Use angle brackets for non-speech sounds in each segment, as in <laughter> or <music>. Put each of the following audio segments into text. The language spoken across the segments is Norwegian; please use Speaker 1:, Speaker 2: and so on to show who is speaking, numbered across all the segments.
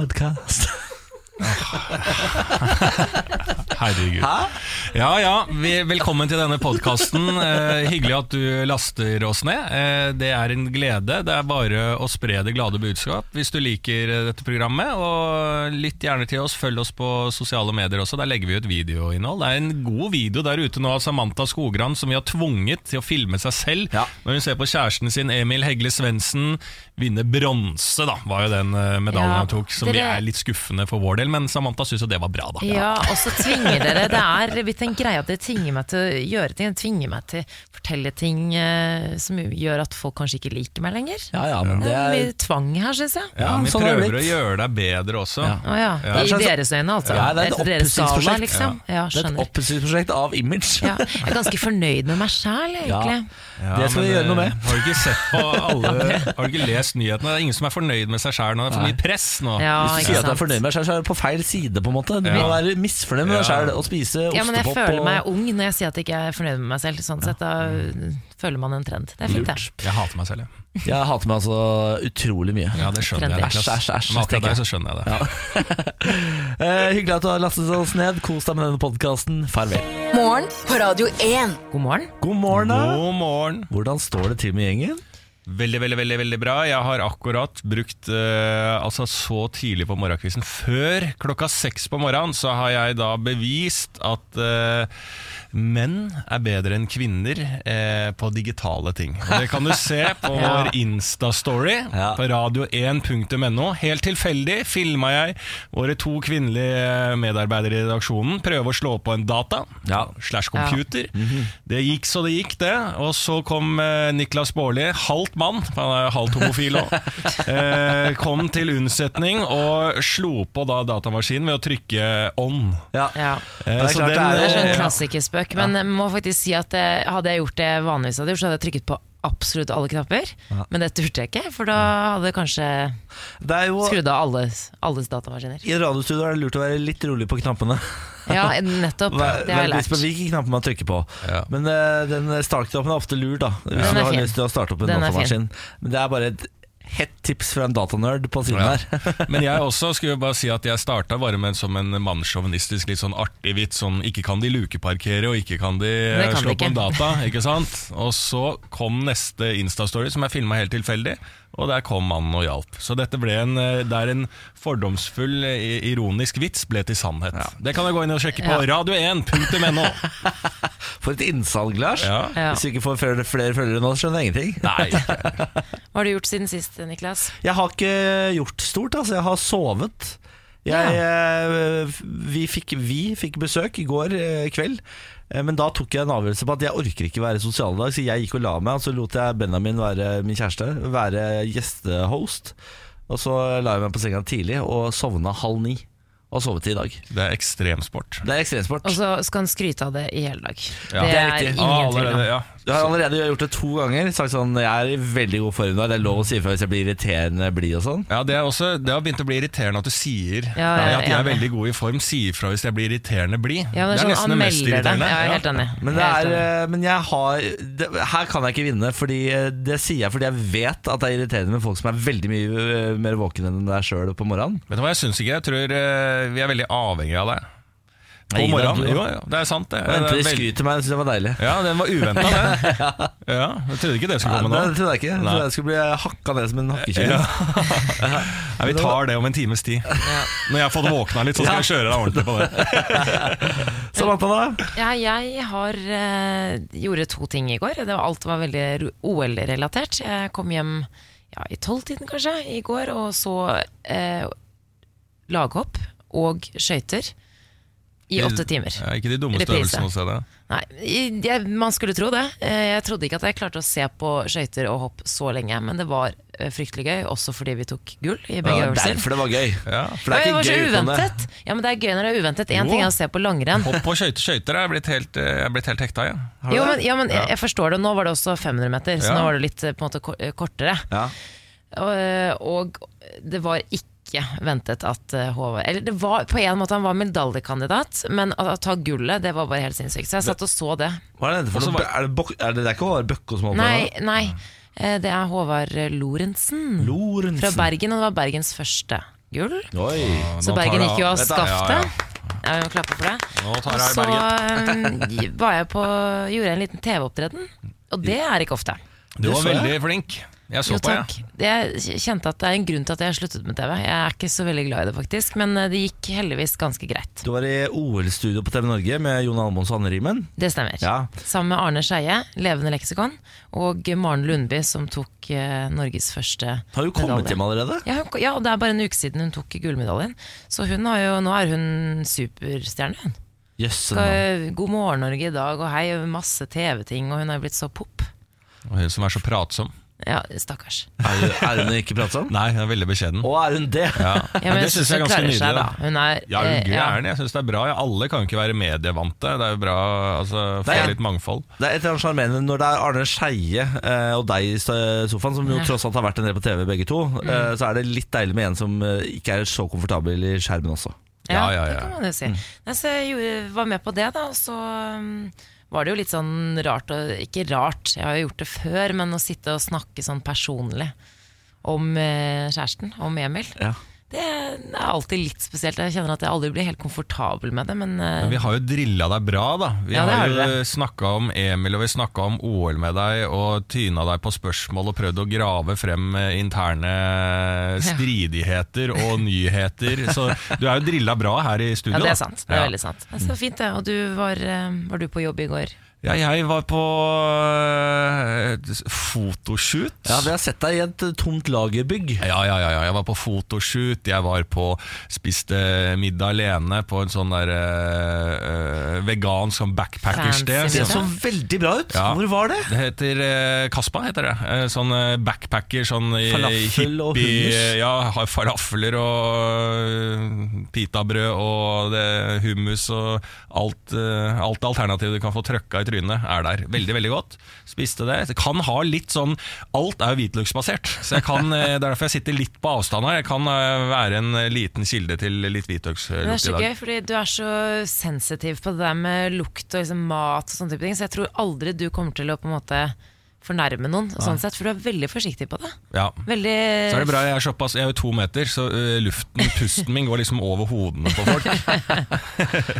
Speaker 1: Podcast.
Speaker 2: Herregud. Ja ja, vi- velkommen til denne
Speaker 3: <laughs>
Speaker 2: podkasten. Eh, hyggelig at du laster oss ned. Eh, det er en glede. Det er bare å spre det glade budskap hvis du liker eh, dette programmet. Og lytt gjerne til oss. Følg oss på sosiale medier også. Der legger vi ut videoinnhold. Det er en god video der ute nå av Samantha Skogran som vi har tvunget til å filme seg selv.
Speaker 1: Ja.
Speaker 2: Når hun ser på kjæresten sin Emil Hegle Svendsen vinne bronse, da, var jo den eh, medaljen
Speaker 3: Ja,
Speaker 2: han tok. Som vi
Speaker 3: dere-
Speaker 2: er litt skuffende for vår del, men Samantha syns jo det var bra, da.
Speaker 3: Ja, og så tvinger dere Det er blitt en greie at dere tvinger meg til å gjøre ting. Dere tvinger meg til å fortelle ting eh, som gjør at folk kanskje ikke liker meg lenger.
Speaker 1: Ja, ja, men
Speaker 3: Det
Speaker 1: det
Speaker 3: er
Speaker 1: er
Speaker 3: mye tvang her, syns jeg.
Speaker 2: Ja,
Speaker 1: Ja,
Speaker 2: Vi
Speaker 1: sånn er det
Speaker 2: prøver å
Speaker 1: blitt.
Speaker 2: gjøre deg bedre også.
Speaker 1: Ja.
Speaker 3: Å ja.
Speaker 2: Ja.
Speaker 1: Det
Speaker 3: I
Speaker 1: er et
Speaker 3: deres øyne, altså.
Speaker 1: Ja, det er et
Speaker 3: Etter deres skala,
Speaker 1: oppussingsprosjekt.
Speaker 3: liksom. Ja,
Speaker 1: Det er et
Speaker 3: skjønner.
Speaker 1: oppussingsprosjekt av image.
Speaker 3: Ja, jeg er ganske fornøyd med meg sjæl,
Speaker 1: Ja.
Speaker 3: egentlig.
Speaker 2: Ja,
Speaker 1: Det skal
Speaker 2: men,
Speaker 1: vi gjøre noe
Speaker 2: eh,
Speaker 1: med.
Speaker 2: Har du ikke sett
Speaker 1: <laughs>
Speaker 2: på alle Har du ikke lest nyhetene? Det er ingen som er fornøyd med seg sjæl nå. Det er for mye press nå.
Speaker 3: Ja,
Speaker 1: Hvis du
Speaker 3: ikke
Speaker 1: sier at du er
Speaker 3: sant.
Speaker 1: fornøyd med deg selv, så er du på feil side. på en måte Du må
Speaker 2: Ja.
Speaker 1: være misfornøyd med deg
Speaker 2: Ja.
Speaker 1: selv og spise
Speaker 3: Ja, men jeg
Speaker 1: ostepop
Speaker 3: føler
Speaker 1: og
Speaker 3: meg ung når jeg sier at jeg ikke er fornøyd med meg selv. Sånn sett, da føler man en trend. Det er fint, det.
Speaker 2: Jeg hater meg selv, jeg.
Speaker 1: Jeg hater meg altså utrolig mye.
Speaker 2: Ja, det skjønner jeg.
Speaker 3: Trendy.
Speaker 2: Niklas.
Speaker 1: Æsj, æsj, æsj,
Speaker 2: Men akkurat
Speaker 1: tenker jeg.
Speaker 2: deg så skjønner jeg det.
Speaker 1: Eh, hyggelig at du har lastet oss ned. Kos deg med denne podkasten. Farvel.
Speaker 4: Morgen på Radio 1.
Speaker 3: God morgen.
Speaker 1: God morgen. da.
Speaker 2: God morgen.
Speaker 1: Hvordan står det til med gjengen?
Speaker 2: Veldig, veldig, veldig veldig bra. Jeg har akkurat brukt eh, Altså så tidlig på morgenkvisten, før klokka seks på morgenen, så har jeg da bevist at eh, menn er bedre enn kvinner eh, på digitale ting. Og det kan du se på
Speaker 3: Ja.
Speaker 2: vår Insta-story
Speaker 1: Ja.
Speaker 2: på radio1.no. Helt tilfeldig filma jeg våre to kvinnelige medarbeidere i redaksjonen prøve å slå på en data
Speaker 1: Ja.
Speaker 2: slash computer.
Speaker 3: Mhm.
Speaker 2: Det gikk så det gikk, det. Og så kom eh, Niklas Baarli, halvt mann, for han er jo halvt homofil òg,
Speaker 3: <laughs>
Speaker 2: eh, kom til unnsetning og slo på da datamaskinen ved å trykke on.
Speaker 1: Ja.
Speaker 3: Ja.
Speaker 2: Eh,
Speaker 1: Det er
Speaker 2: så
Speaker 1: klart
Speaker 2: den,
Speaker 3: Det
Speaker 1: det
Speaker 3: er sånn
Speaker 2: eh, ja.
Speaker 3: klassikerspøk. Men jeg må faktisk si at eh, hadde jeg gjort det vanligvis hadde gjort, så hadde jeg trykket på absolutt alle knapper. Men det turte jeg ikke, for da hadde jeg kanskje
Speaker 1: Det er jo
Speaker 3: skrudd av alles, alles datamaskiner.
Speaker 1: I radiostudio er det lurt å være litt rolig på knappene.
Speaker 3: Ja, <laughs> nettopp.
Speaker 1: Vær-
Speaker 3: Det har jeg
Speaker 1: vær bevisst
Speaker 3: lært.
Speaker 1: på hvilke knapper man trykker på.
Speaker 2: Ja.
Speaker 1: Men eh, den startknappen er ofte lur, da. Hvis
Speaker 3: Den
Speaker 1: du
Speaker 3: er
Speaker 1: har
Speaker 3: fin.
Speaker 1: lyst til å starte opp en
Speaker 3: Den er
Speaker 1: datamaskin. Men det er bare et hett tips fra en datanerd på siden
Speaker 2: Ja.
Speaker 1: her. <laughs>
Speaker 2: <laughs> Men jeg også skulle bare si at jeg starta bare med som en mannssjåvinistisk, litt sånn artig vits. Sånn ikke kan de lukeparkere, og ikke kan de
Speaker 3: Det
Speaker 2: eh,
Speaker 3: kan
Speaker 2: slå
Speaker 3: de
Speaker 2: på en
Speaker 3: ikke.
Speaker 2: data. Ikke sant? Og så kom neste Insta-story, som jeg filma helt tilfeldig. Og der kom mannen og hjalp. Så dette ble en, eh, der en fordomsfull, eh, ironisk vits ble til sannhet. Det kan jeg gå inn og sjekke på radio1.no.
Speaker 3: <laughs>
Speaker 1: For et innsalg, Lars.
Speaker 2: Ja.
Speaker 3: Ja.
Speaker 1: Hvis du ikke får flere, flere følgere nå, skjønner jeg ingenting.
Speaker 2: Nei.
Speaker 3: Hva har du gjort siden sist, Niklas?
Speaker 1: Jeg har ikke gjort stort, altså. Jeg har sovet. Jeg, eh, vi, fikk, vi fikk besøk i går eh, kveld, eh, men da tok jeg en avgjørelse på at jeg orker ikke være sosial i dag, så jeg gikk og la meg, og så lot jeg Benjamin være min kjæreste, være gjestehost. Og så la jeg meg på senga tidlig og sovna halv ni. Og har sovet til i dag.
Speaker 2: Det er ekstremsport.
Speaker 1: Det er ekstremsport.
Speaker 3: Og så skal han skryte av det i hele dag.
Speaker 2: Ja.
Speaker 3: Det
Speaker 1: Det er
Speaker 3: er
Speaker 1: riktig.
Speaker 3: ingen tvil om.
Speaker 2: Allerede, ja.
Speaker 1: Jeg har allerede gjort det to ganger. Sagt sånn, Jeg er i veldig god form i dag. Det er lov å si ifra hvis jeg blir irriterende blid og sånn.
Speaker 2: Ja, det, er også, det har begynt å bli irriterende at du sier
Speaker 3: Ja, ja,
Speaker 2: at jeg er
Speaker 3: enig.
Speaker 2: veldig god i form. Si ifra hvis jeg blir irriterende blid.
Speaker 3: Ja, det er sånn, han melder det. Jeg er
Speaker 2: Ja.
Speaker 3: helt enig.
Speaker 1: Men, det
Speaker 3: Jeg helt
Speaker 1: er,
Speaker 3: enig.
Speaker 1: eh, men jeg har det, Her kan jeg ikke vinne, Fordi eh, det sier jeg fordi jeg vet at det er irriterende med folk som er veldig mye eh, mer våkne enn deg sjøl på morgenen.
Speaker 2: Vet du hva, jeg syns ikke Jeg tror eh, vi er veldig avhengige av deg. På
Speaker 1: Nei, det er
Speaker 2: morgenen.
Speaker 1: du,
Speaker 2: Jo,
Speaker 1: da.
Speaker 2: ja, det er sant, det.
Speaker 1: Og endte
Speaker 2: Det
Speaker 1: de
Speaker 2: er veld-
Speaker 1: skryter meg, det syns jeg var deilig.
Speaker 2: Ja, den var uventa,
Speaker 1: <laughs>
Speaker 2: det. Ja, jeg trodde ikke det
Speaker 1: Nei,
Speaker 2: skulle komme
Speaker 1: det
Speaker 2: nå.
Speaker 1: trodde jeg ikke. Jeg
Speaker 2: Nei.
Speaker 1: trodde jeg skulle bli hakka ned som en hakkekjøring.
Speaker 2: Ja. Nei, vi tar det om en times tid. Når jeg har fått våkna litt, så skal jeg kjøre deg ordentlig på
Speaker 3: <laughs>
Speaker 2: det.
Speaker 1: Samantha, da?
Speaker 3: Ja, jeg har eh, gjorde to ting i går. Det var, alt var veldig ro- OL-relatert. Jeg kom hjem ja, i tolvtiden kanskje i går og så eh, laghopp og skøyter i åtte timer.
Speaker 2: Ja, ikke de dummeste
Speaker 3: Reprise.
Speaker 2: øvelsene å se det.
Speaker 3: Nei, i- jeg, man skulle tro det. Eh, Jeg trodde ikke at jeg klarte å se på skøyter og hopp så lenge, men det var eh, fryktelig gøy, også fordi vi tok gull i begge
Speaker 1: Ja,
Speaker 3: øvelser.
Speaker 1: derfor det var gøy.
Speaker 2: Ja.
Speaker 1: For det
Speaker 3: Ja,
Speaker 1: er
Speaker 3: var
Speaker 1: ikke
Speaker 3: så
Speaker 1: gøy uten det.
Speaker 3: uventet. Ja, men det er gøy når det er uventet.
Speaker 2: Jo.
Speaker 3: Én ting er å se på langrenn.
Speaker 2: Hopp på skøyter, skøyter er jeg blitt helt, eh, jeg er blitt helt hekta igjen.
Speaker 1: Har du
Speaker 3: Jo,
Speaker 1: det?
Speaker 3: men, ja, men jeg, jeg forstår det. Nå var det også 500 meter, så
Speaker 2: Ja.
Speaker 3: nå var det litt eh, på en måte ko- eh, kortere.
Speaker 1: Ja.
Speaker 3: Og, og det var ikke ventet at eh, Håvard Eller det var på en måte han var medaljekandidat, men å, å ta gullet, det var bare helt sinnssykt. Så jeg satt og så det.
Speaker 1: Hva er det for
Speaker 2: Også
Speaker 1: noe?
Speaker 2: var-
Speaker 1: Er det, bok, er det, det er ikke Håvard Bøkke som holder på
Speaker 3: Nei,
Speaker 1: med det?
Speaker 3: nei. Eh, Det er Håvard Lorentzen
Speaker 1: Lorentzen.
Speaker 3: fra Bergen, og det var Bergens første gull.
Speaker 1: Oi.
Speaker 3: Så Bergen gikk jo av
Speaker 1: Dette er-
Speaker 3: skaftet. Ja, vi må klappe for det.
Speaker 2: Nå tar
Speaker 3: Og
Speaker 2: jeg
Speaker 3: så
Speaker 2: Bergen.
Speaker 3: eh, var jeg på, gjorde jeg en liten TV-opptreden, og det er ikke ofte.
Speaker 2: Du var
Speaker 1: så jeg.
Speaker 2: veldig flink. Jeg så
Speaker 3: Jo,
Speaker 2: på,
Speaker 3: takk. Jeg kjente at det er en grunn til at jeg har sluttet med TV. Jeg er ikke så veldig glad i det, faktisk, men eh, det gikk heldigvis ganske greit.
Speaker 1: Du var i OL-studio på TV Norge med Jon Almaas og Hanne Rimen.
Speaker 3: Det stemmer.
Speaker 1: Ja.
Speaker 3: Sammen med Arne Skeie, Levende leksikon, og Maren Lundby, som tok eh, Norges første
Speaker 1: Har jo kommet
Speaker 3: medalje.
Speaker 1: hjem allerede.
Speaker 3: Ja, hun- ja, og det er bare en uke siden hun tok gullmedaljen. Så hun har jo, nå er hun superstjerne, hun.
Speaker 1: Jøsse navn.
Speaker 3: Skal, God morgen Norge i dag, og hei, og masse TV-ting, og hun har jo blitt så pop.
Speaker 2: jeg. Og hun som er så pratsom.
Speaker 3: Ja, stakkars.
Speaker 1: Er hun- Er hun ikke pratsom?
Speaker 2: Nei, hun er veldig beskjeden.
Speaker 1: Og er hun det?
Speaker 2: Ja.
Speaker 3: Ja, men
Speaker 2: det syns jeg er ganske
Speaker 3: klarer
Speaker 2: nydelig.
Speaker 3: seg,
Speaker 2: Da.
Speaker 3: Hun er,
Speaker 2: Ja, hun
Speaker 3: eh,
Speaker 2: gæren. Jeg syns det er bra. Ja, alle kan jo ikke være medievante. Det er jo bra altså, få
Speaker 1: Nei.
Speaker 2: litt mangfold.
Speaker 1: Det er et eller annet sjarmerende når det er Arne Skeie eh, og deg i sta- sofaen, som jo
Speaker 3: Ja. Mm.
Speaker 1: tross alt har vært en del på TV begge to, eh, så er det litt deilig med en som eh, ikke er så komfortabel i skjermen også.
Speaker 2: Ja, ja, Mm.
Speaker 3: Det
Speaker 2: ja.
Speaker 3: kan man jo si. Nei, så jeg gjorde- var med på det, da. Og så um, var det jo litt sånn rart, og ikke rart, jeg har jo gjort det før, men å sitte og snakke sånn personlig om eh, kjæresten, om Emil.
Speaker 1: Ja.
Speaker 3: Det er alltid litt spesielt. Jeg kjenner at jeg aldri blir helt komfortabel med det, men, eh,
Speaker 2: Men vi har jo drilla deg bra, da. Vi
Speaker 3: Ja, det
Speaker 2: har
Speaker 3: har
Speaker 2: jo
Speaker 3: dere.
Speaker 2: snakka om Emil, og vi snakka om OL med deg, og tyna deg på spørsmål og prøvd å grave frem eh, interne eh, stridigheter
Speaker 3: <laughs>
Speaker 2: og nyheter. Så du er jo drilla bra her i
Speaker 3: ja,
Speaker 2: studio.
Speaker 3: det
Speaker 2: da.
Speaker 3: er sant. Det er
Speaker 2: Ja.
Speaker 3: veldig sant. Det er så fint, det. Og du var, eh, var du på jobb i går?
Speaker 2: Ja, jeg var på eh, fotoshoot.
Speaker 1: Ja, vi har sett deg i et eh, tomt lagerbygg.
Speaker 2: Ja, ja, ja, ja. Jeg var på fotoshoot, jeg var på spiste middag alene på en sånn der eh, eh, vegansk sånn backpackersted.
Speaker 3: Fancy
Speaker 1: Det sånn
Speaker 2: som-
Speaker 3: middag.
Speaker 1: så veldig bra ut.
Speaker 2: Ja.
Speaker 1: Hvor var det?
Speaker 2: Det heter eh, Kaspa, heter det. Eh, sånn eh, backpacker, sånn eh,
Speaker 1: Falafel og hummus?
Speaker 2: eh, Ja, har falafler og eh, pitabrød og det, hummus og alt, eh, alt alternativ du kan få trøkka i trynet, er der. Veldig, veldig godt. Spiste det. Det Kan ha litt sånn Alt er jo hvitløksbasert, så jeg kan, eh, det er derfor jeg sitter litt på avstand her. Jeg kan eh, være en eh, liten kilde til litt
Speaker 3: Men Det er
Speaker 2: hvitløkslukt
Speaker 3: så
Speaker 2: i dag.
Speaker 3: gøy, fordi du er så sensitiv på det der med lukt og liksom mat og sånne type ting, så jeg tror aldri du kommer til å på en måte fornærme noen, sånn sett, for du er veldig forsiktig på det.
Speaker 2: Ja.
Speaker 3: Veldig
Speaker 2: Så er det bra, jeg er såpass Jeg er jo to meter, så eh, luften, pusten min går liksom over hodene på folk.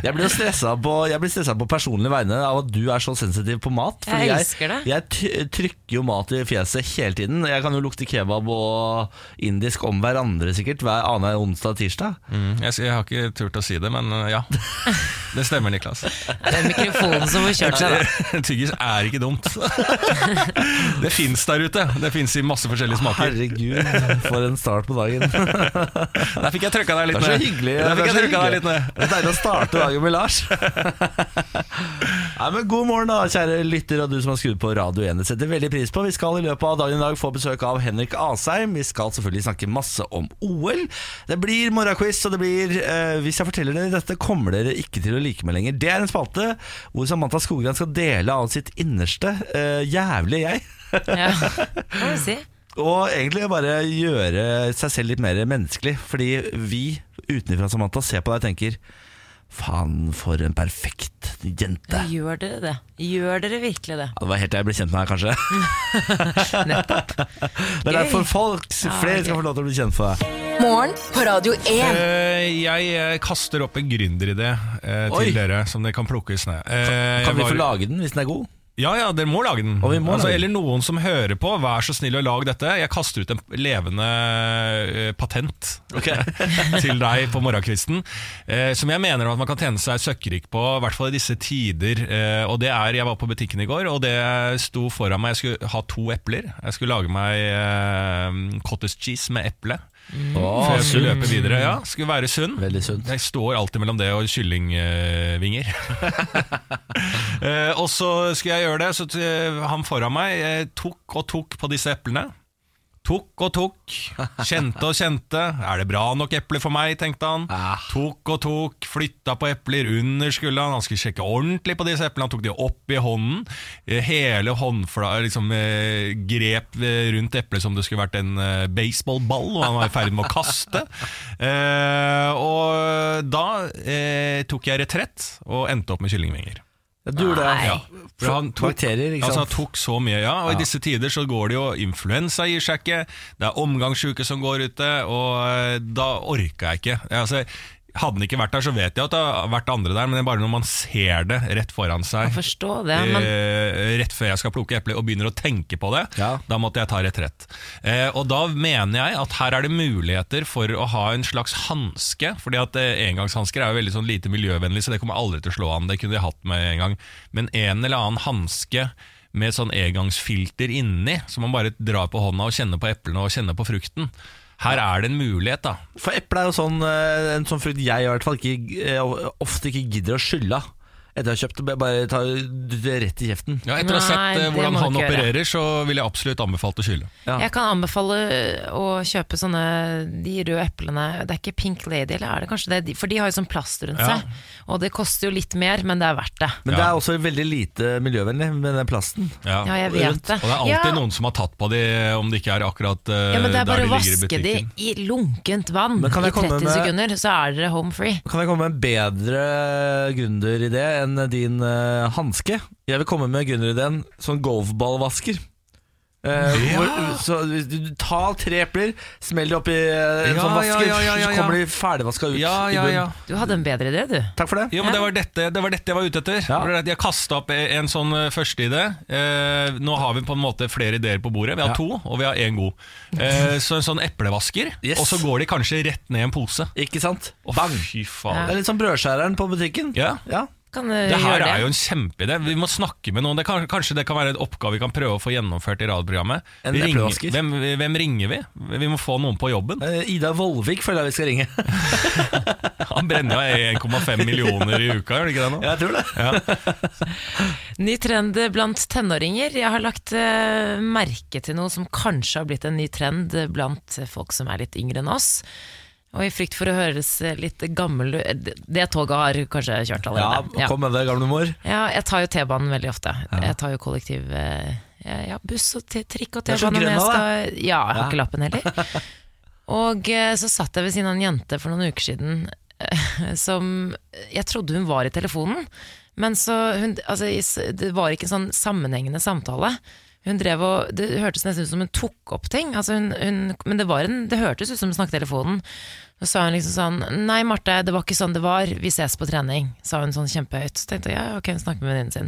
Speaker 1: Jeg blir jo stressa på, jeg blir stressa på personlig vegne av at du er så sensitiv på mat.
Speaker 3: Jeg elsker det.
Speaker 1: Jeg, ty- trykker jo mat i fjeset hele tiden. Jeg kan jo lukte kebab og indisk om hverandre sikkert hver annen onsdag og tirsdag.
Speaker 2: Mm, jeg, s- jeg har ikke turt å si det, men uh,
Speaker 1: <laughs>
Speaker 2: ja. Det stemmer, Niklas.
Speaker 3: Den mikrofonen som får
Speaker 2: <laughs>
Speaker 3: kjørt seg, da.
Speaker 2: Tyggis er ikke dumt. <laughs> Det fins der ute. Det fins i masse forskjellige smaker.
Speaker 1: Herregud, for en start på dagen. Det
Speaker 2: Der fikk jeg trykka deg litt
Speaker 1: er så
Speaker 2: ned.
Speaker 1: hyggelig.
Speaker 2: Der fikk jeg
Speaker 1: så
Speaker 2: trykka deg
Speaker 1: hyggelig.
Speaker 2: litt ned.
Speaker 1: Det er deilig å starte dagen med Lars. Nei, men God morgen, da, kjære lytter og du som har skrudd på Radio 1. Det setter vi veldig pris på. Vi skal i løpet av dagen i dag få besøk av Henrik Asheim. Vi skal selvfølgelig snakke masse om OL. Det blir morgenquiz, og det blir eh, Hvis jeg forteller dere dette, kommer dere ikke til å like meg lenger. Det er en spalte hvor Samantha Skogran skal dele av sitt innerste eh, jævlige jeg.
Speaker 3: Ja. Det må jeg si.
Speaker 1: Og egentlig bare gjøre seg selv litt mer menneskelig. Fordi vi utenfra Samantha ser på deg og tenker Faen, for en perfekt jente.
Speaker 3: Gjør dere det? Gjør dere virkelig det?
Speaker 1: Ja, det var helt til jeg ble kjent med deg, kanskje. Det er
Speaker 3: Gøy.
Speaker 1: derfor folk flere skal få lov til å bli kjent med deg.
Speaker 4: Morgen på Radio 1.
Speaker 2: Eh, jeg eh, kaster opp en gründeridé eh,
Speaker 1: Oi.
Speaker 2: til dere, som dere kan plukkes ned. Eh, jeg
Speaker 1: Kan vi
Speaker 2: var-
Speaker 1: få lage den hvis den er god?
Speaker 2: Ja, ja, dere må lage den.
Speaker 1: Og vi må
Speaker 2: altså,
Speaker 1: lage den.
Speaker 2: eller noen som hører på, vær så snill å lage dette. Jeg kaster ut en levende eh, patent
Speaker 1: <laughs>
Speaker 2: <laughs> til deg på morgenkvisten, eh, som jeg mener at man kan tjene seg søkkrik på, i hvert fall i disse tider. Eh, og det er, Jeg var på butikken i går, og det sto foran meg Jeg skulle ha to epler. Jeg skulle lage meg eh, cottage cheese med eple.
Speaker 1: Å,
Speaker 2: Før jeg
Speaker 1: sunt.
Speaker 2: skulle løpe videre. Ja, skulle være sunn.
Speaker 1: Veldig sunt.
Speaker 2: Jeg står alltid mellom det og kyllingvinger. Eh, og så skulle jeg gjøre det, så t han foran meg eh, tok og tok på disse eplene. Tok og tok, kjente og kjente. Er det bra nok eple for meg, tenkte han.
Speaker 1: Ah.
Speaker 2: Tok og tok, flytta på epler under skulderen. Han skulle sjekke ordentlig på disse eplene. Han tok de opp i hånden. Eh, Hele håndfla liksom, eh, grep eh, rundt eplet som det skulle vært en eh, baseballball, og han var i ferd med å kaste. Eh, og da eh, tok jeg retrett og endte opp med kyllingvinger.
Speaker 1: Du gjorde det,
Speaker 2: Ja. For han tok,
Speaker 1: Bakterier, ikke
Speaker 2: altså,
Speaker 1: sant?
Speaker 2: han tok så mye, ja. Og
Speaker 1: Ja.
Speaker 2: i disse tider så går det jo influensa gir seg ikke, det er omgangssjuke som går ute, og eh, da orka jeg ikke. Altså, hadde den ikke vært der, så vet jeg at det har vært andre der, men det er bare når man ser det rett foran seg,
Speaker 3: Jeg forstår det, men
Speaker 2: eh, rett før jeg skal plukke epler og begynner å tenke på det,
Speaker 1: Ja.
Speaker 2: da måtte jeg ta retrett. Eh, og da mener jeg at her er det muligheter for å ha en slags hanske, fordi at eh, engangshansker er jo veldig sånn lite miljøvennlig, så det kommer aldri til å slå an, det kunne jeg hatt med en gang. Men en eller annen hanske med sånn engangsfilter inni, så man bare drar på hånda og kjenner på eplene og kjenner på frukten. Her er det en mulighet da.
Speaker 1: For eple er jo sånn, eh, en sånn frukt jeg i hvert fall ikke, eh, ofte ikke gidder å skylle av. Etter å ha kjøpt det, bare ta det rett i kjeften.
Speaker 2: Ja, etter å ha
Speaker 3: Nei,
Speaker 2: sett eh,
Speaker 3: det
Speaker 2: hvordan
Speaker 3: må du
Speaker 2: han
Speaker 3: ikke gjøre.
Speaker 2: opererer, så vil jeg absolutt anbefalt å skylde.
Speaker 1: Ja.
Speaker 3: jeg kan anbefale å kjøpe sånne de røde eplene. Det er ikke Pink Lady, eller er det kanskje det? De- For de har jo sånn plast rundt
Speaker 2: Ja.
Speaker 3: seg. Og det koster jo litt mer, men det er verdt det.
Speaker 1: Men det
Speaker 2: Ja.
Speaker 1: er også veldig lite miljøvennlig med den plasten.
Speaker 3: Ja, jeg vet det.
Speaker 2: Og det er alltid
Speaker 3: ja.
Speaker 2: noen som har tatt på de om det ikke er akkurat eh,
Speaker 3: Ja, men det er
Speaker 2: der
Speaker 3: bare
Speaker 2: de ligger
Speaker 3: å
Speaker 2: i
Speaker 3: vaske de
Speaker 2: butikken.
Speaker 3: i lunkent vann i
Speaker 1: Men kan jeg komme
Speaker 3: 30
Speaker 1: med-
Speaker 3: sekunder, så er dere home free.
Speaker 1: Kan jeg komme med en bedre gründeridé enn din uh, hanske? Jeg vil komme med gründerideen sånn golfballvasker. Eh,
Speaker 2: Ja.
Speaker 1: hvor, så du, du, du tar tre epler, smell det opp i eh, en
Speaker 2: Ja,
Speaker 1: sånn
Speaker 2: ja,
Speaker 1: vasker,
Speaker 2: ja, ja, ja,
Speaker 1: så
Speaker 2: ja.
Speaker 1: kommer de ferdigvaska ut
Speaker 2: Ja, ja,
Speaker 1: i
Speaker 2: ja.
Speaker 1: bunnen.
Speaker 3: Du hadde en bedre idé, du.
Speaker 1: Takk for det.
Speaker 2: Jo, men det var, dette, det var dette jeg var ute etter.
Speaker 1: Ja.
Speaker 2: Det var det at Jeg kasta opp en sånn eh, første idé. Eh, nå har vi på en måte flere ideer på bordet. Vi har
Speaker 1: Ja.
Speaker 2: to, og vi har én god. Eh, så en sånn eplevasker,
Speaker 1: Yes.
Speaker 2: og så går de kanskje rett ned i en pose.
Speaker 1: Ikke sant?
Speaker 2: Å,
Speaker 1: Bang!
Speaker 2: Fy faen.
Speaker 1: Det er litt sånn brødskjæreren på butikken.
Speaker 2: Ja.
Speaker 1: Ja.
Speaker 3: Kan du
Speaker 2: Det her
Speaker 3: gjøre Eh, det?
Speaker 2: er jo en kjempeidé. Vi må snakke med noen. Det kan, kanskje det kan være en oppgave vi kan prøve å få gjennomført i radioprogrammet.
Speaker 1: En
Speaker 2: Vi ringer-
Speaker 1: eplevasker.
Speaker 2: Hvem, hvem ringer vi? Vi må få noen på jobben.
Speaker 1: Eh, Ida Vollvik føler jeg vi <laughs> skal ringe.
Speaker 2: Han brenner jo 1,5 millioner i uka, gjør det ikke det nå?
Speaker 1: Jeg tror det.
Speaker 3: Ny trend blant tenåringer. Jeg har lagt eh, merke til noe som kanskje har blitt en ny trend blant folk som er litt yngre enn oss. Og i frykt for å høres litt gammel ut Det toget har kanskje kjørt
Speaker 1: Ja,
Speaker 3: allerede.
Speaker 1: kom med det, gamle mor.
Speaker 3: Ja, jeg tar jo T-banen veldig ofte. Jeg tar jo kollektiv eh, ja, buss og t- trikk
Speaker 1: Du
Speaker 3: og
Speaker 1: er så
Speaker 3: T-bane. når
Speaker 1: grønn
Speaker 3: jeg
Speaker 1: av
Speaker 3: skal- Ja, jeg har ikke lappen
Speaker 1: <laughs>
Speaker 3: heller. Og eh, så satt jeg ved siden av en jente for noen uker siden eh, som Jeg trodde hun var i telefonen, men så hun, altså, i s- Det var ikke en sånn sammenhengende samtale. Hun drev og, Det hørtes nesten ut som hun tok opp ting, altså hun, hun, men det, var en, det hørtes ut som hun snakket i telefonen. Så sa hun liksom sånn Nei, Marte, det var ikke sånn det var. Vi ses på trening. Sa hun sånn kjempehøyt. Så tenkte jeg ja, ok, hun snakker med venninnen sin.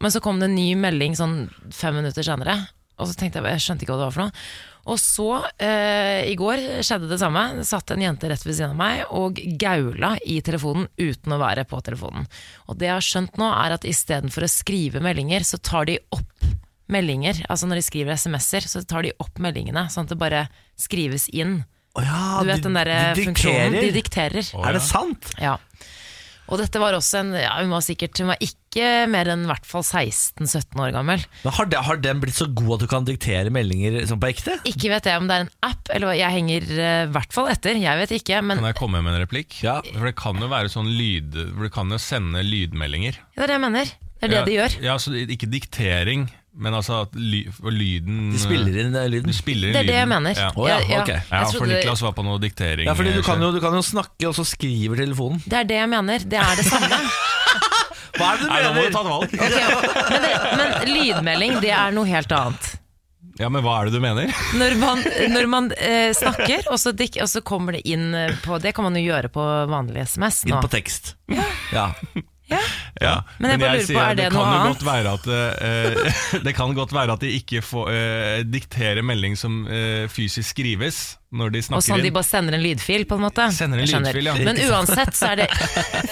Speaker 3: Men så kom det en ny melding sånn fem minutter senere. Og så tenkte jeg, jeg skjønte ikke hva det var for noe. Og så, eh, i går skjedde det samme. Det Satt en jente rett ved siden av meg og gaula i telefonen uten å være på telefonen. Og det jeg har skjønt nå, er at istedenfor å skrive meldinger, så tar de opp meldinger. Altså når de skriver SMS-er, så tar de opp meldingene. Sånn at det bare skrives inn.
Speaker 1: Å ja,
Speaker 3: Du vet den der
Speaker 1: Ah,
Speaker 3: eh,
Speaker 1: du
Speaker 3: funksjonen? De
Speaker 1: dikterer.
Speaker 3: dikterer.
Speaker 1: Er det sant?
Speaker 3: Ja. Og dette var også en ja, Hun var sikkert Hun var ikke mer enn i hvert fall 16-17 år gammel.
Speaker 1: Men har, de, har den blitt så god at du kan diktere meldinger sånn på ekte?
Speaker 3: Ikke vet jeg om det er en app, eller hva- jeg henger eh, i hvert fall etter. Jeg vet ikke, men
Speaker 2: Kan
Speaker 3: det
Speaker 2: jeg komme med en replikk?
Speaker 1: Ja.
Speaker 2: For det kan jo være sånn lyd For du kan jo sende lydmeldinger.
Speaker 3: er det jeg mener. Det er det de gjør.
Speaker 2: Ja, så det- Ikke diktering, men altså at ly, og lyden
Speaker 1: De spiller inn eh,
Speaker 2: Du
Speaker 1: lyden.
Speaker 2: spiller inn
Speaker 3: Det er det jeg
Speaker 2: lyden.
Speaker 3: mener.
Speaker 2: Ja,
Speaker 1: Å ja,
Speaker 3: Jeg- ja,
Speaker 1: ok.
Speaker 3: jeg
Speaker 2: ja for
Speaker 3: trodde-
Speaker 2: Niklas var på noe diktering. eh,
Speaker 1: Ja, fordi du kan,
Speaker 2: selv.
Speaker 1: jo, du kan jo snakke, og så skriver telefonen.
Speaker 3: Det er det jeg mener. Det er det
Speaker 1: <laughs>
Speaker 3: samme.
Speaker 1: Hva er det
Speaker 2: Nei, nå må du ta et valg.
Speaker 3: Ok, og- men, det, men lydmelding, det er noe helt annet.
Speaker 2: Ja, men hva er det du mener?
Speaker 3: Når man, når man eh, snakker, og så, dik, og så kommer det inn eh, på Det kan man jo gjøre på vanlig SMS nå.
Speaker 1: Inn på tekst. Ja.
Speaker 3: Ja.
Speaker 2: Ja,
Speaker 3: Men jeg bare lurer på,
Speaker 2: sier
Speaker 3: er
Speaker 2: at
Speaker 3: det
Speaker 2: kan
Speaker 3: noe
Speaker 2: jo
Speaker 3: annet?
Speaker 2: Godt være at, eh, <laughs> det kan godt være at de ikke får, eh, dikterer melding som eh, fysisk skrives når de
Speaker 3: Og
Speaker 2: snakker
Speaker 3: sånn de
Speaker 2: inn.
Speaker 3: bare sender en lydfil, på en måte.
Speaker 2: Sender en
Speaker 3: Jeg skjønner.
Speaker 2: lydfil, ja. <laughs>
Speaker 3: Men uansett så er det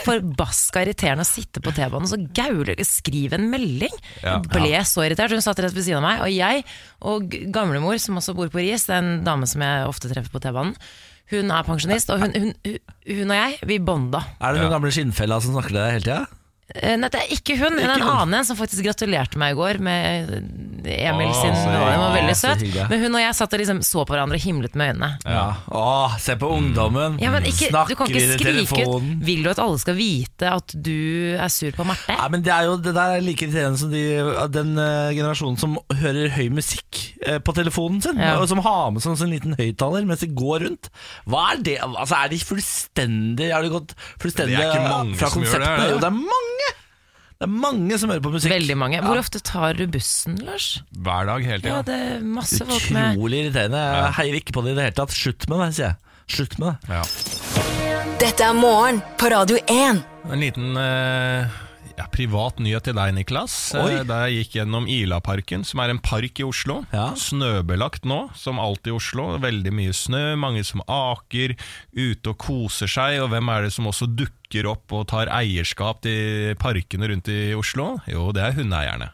Speaker 3: forbaska irriterende å sitte på T-banen og så gaule Skriv en melding!
Speaker 2: Ja.
Speaker 3: Jeg ble så irritert. Hun satt rett ved siden av meg. Og jeg og gamlemor, som også bor på Ris, det er en dame som jeg ofte treffer på T-banen, hun er pensjonist, og hun, hun, hun og jeg, vi bonda.
Speaker 1: Er det den gamle skinnfella som snakker til deg hele tida?
Speaker 3: Eh, Nei, det er ikke hun, men en annen en som faktisk gratulerte meg i går med eh, Emil
Speaker 2: Å,
Speaker 3: sin
Speaker 2: så
Speaker 3: Hun var veldig
Speaker 1: hyggelig.
Speaker 3: søt.
Speaker 1: Så hyggelig.
Speaker 3: Men hun og jeg satt og liksom så på hverandre og himlet med øynene.
Speaker 1: Ja. Åh, se på ungdommen.
Speaker 3: Ja, men ikke, du kan
Speaker 1: Snakker
Speaker 3: ikke
Speaker 1: inn i
Speaker 3: skrike ut.
Speaker 1: telefonen.
Speaker 3: Vil du at alle skal vite at du er sur på Marte?
Speaker 1: Nei, men Det er jo det der er like irriterende som de, den eh, generasjonen som hører høy musikk eh, på telefonen sin.
Speaker 3: Ja.
Speaker 1: Og som har med seg en sånn liten høyttaler mens de går rundt. Hva Er det? Altså, er de fullstendig Har de gått fullstendig
Speaker 2: Det er ikke mange
Speaker 1: fra
Speaker 2: som gjør det,
Speaker 1: konseptet?
Speaker 2: er det?
Speaker 1: Jo, det er mange! Det er mange som hører på musikk.
Speaker 3: Veldig mange. Hvor ofte tar du bussen, Lars?
Speaker 2: Hver dag hele
Speaker 3: Ja,
Speaker 2: tida.
Speaker 3: det er masse folk med
Speaker 1: Utrolig irriterende. Jeg heier ikke på det i det hele tatt. Slutt med det, sier jeg. Slutt med det.
Speaker 2: Ja.
Speaker 4: Dette er morgen på Radio 1.
Speaker 2: En liten eh, ja, privat nyhet til deg, Niklas.
Speaker 1: Oi.
Speaker 2: Eh, Da jeg gikk gjennom Ilaparken, som er en park i Oslo.
Speaker 1: Ja.
Speaker 2: Snøbelagt nå, som alltid i Oslo. Veldig mye snø, mange som aker, ute og koser seg. Og hvem er det som også dukker opp og tar eierskap til parkene rundt i Oslo? Jo, det er
Speaker 1: <laughs>
Speaker 2: hundeeierne.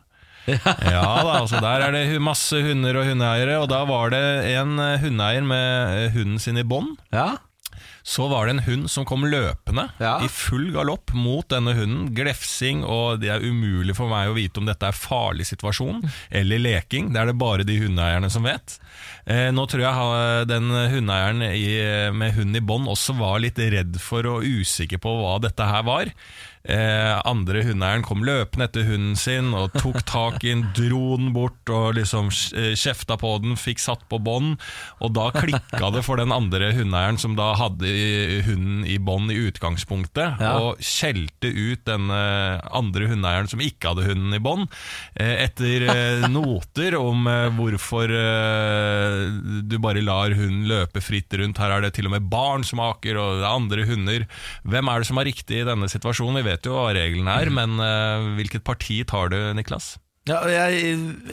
Speaker 2: Ja da, altså der er det hu- masse hunder og hundeeiere, og da var det en eh, hundeeier med eh, hunden sin i bånd.
Speaker 1: Ja.
Speaker 2: Så var det en hund som kom løpende
Speaker 1: Ja.
Speaker 2: i full galopp mot denne hunden. Glefsing, og det er umulig for meg å vite om dette er farlig situasjon eller leking. Det er det bare de hundeeierne som vet. Eh, nå tror jeg ha- den hundeeieren i, med hund i bånd også var litt redd for og usikker på hva dette her var. Eh, andre hundeeieren kom løpende etter hunden sin og tok tak i den, dro den bort og liksom sk- eh, kjefta på den, fikk satt på bånd. Og da klikka det for den andre hundeeieren som da hadde i- hunden i bånd i utgangspunktet,
Speaker 1: Ja.
Speaker 2: og skjelte ut den eh, andre hundeeieren som ikke hadde hunden i bånd, eh, etter
Speaker 1: <laughs>
Speaker 2: eh, noter om eh, hvorfor eh, du bare lar hunden løpe fritt rundt. Her er det til og med barn som aker, og det er andre hunder. Hvem er det som har riktig i denne situasjonen? Vi vet jo hva reglene
Speaker 1: Mm.
Speaker 2: er, men eh, hvilket parti tar du, Niklas?
Speaker 1: Ja, og jeg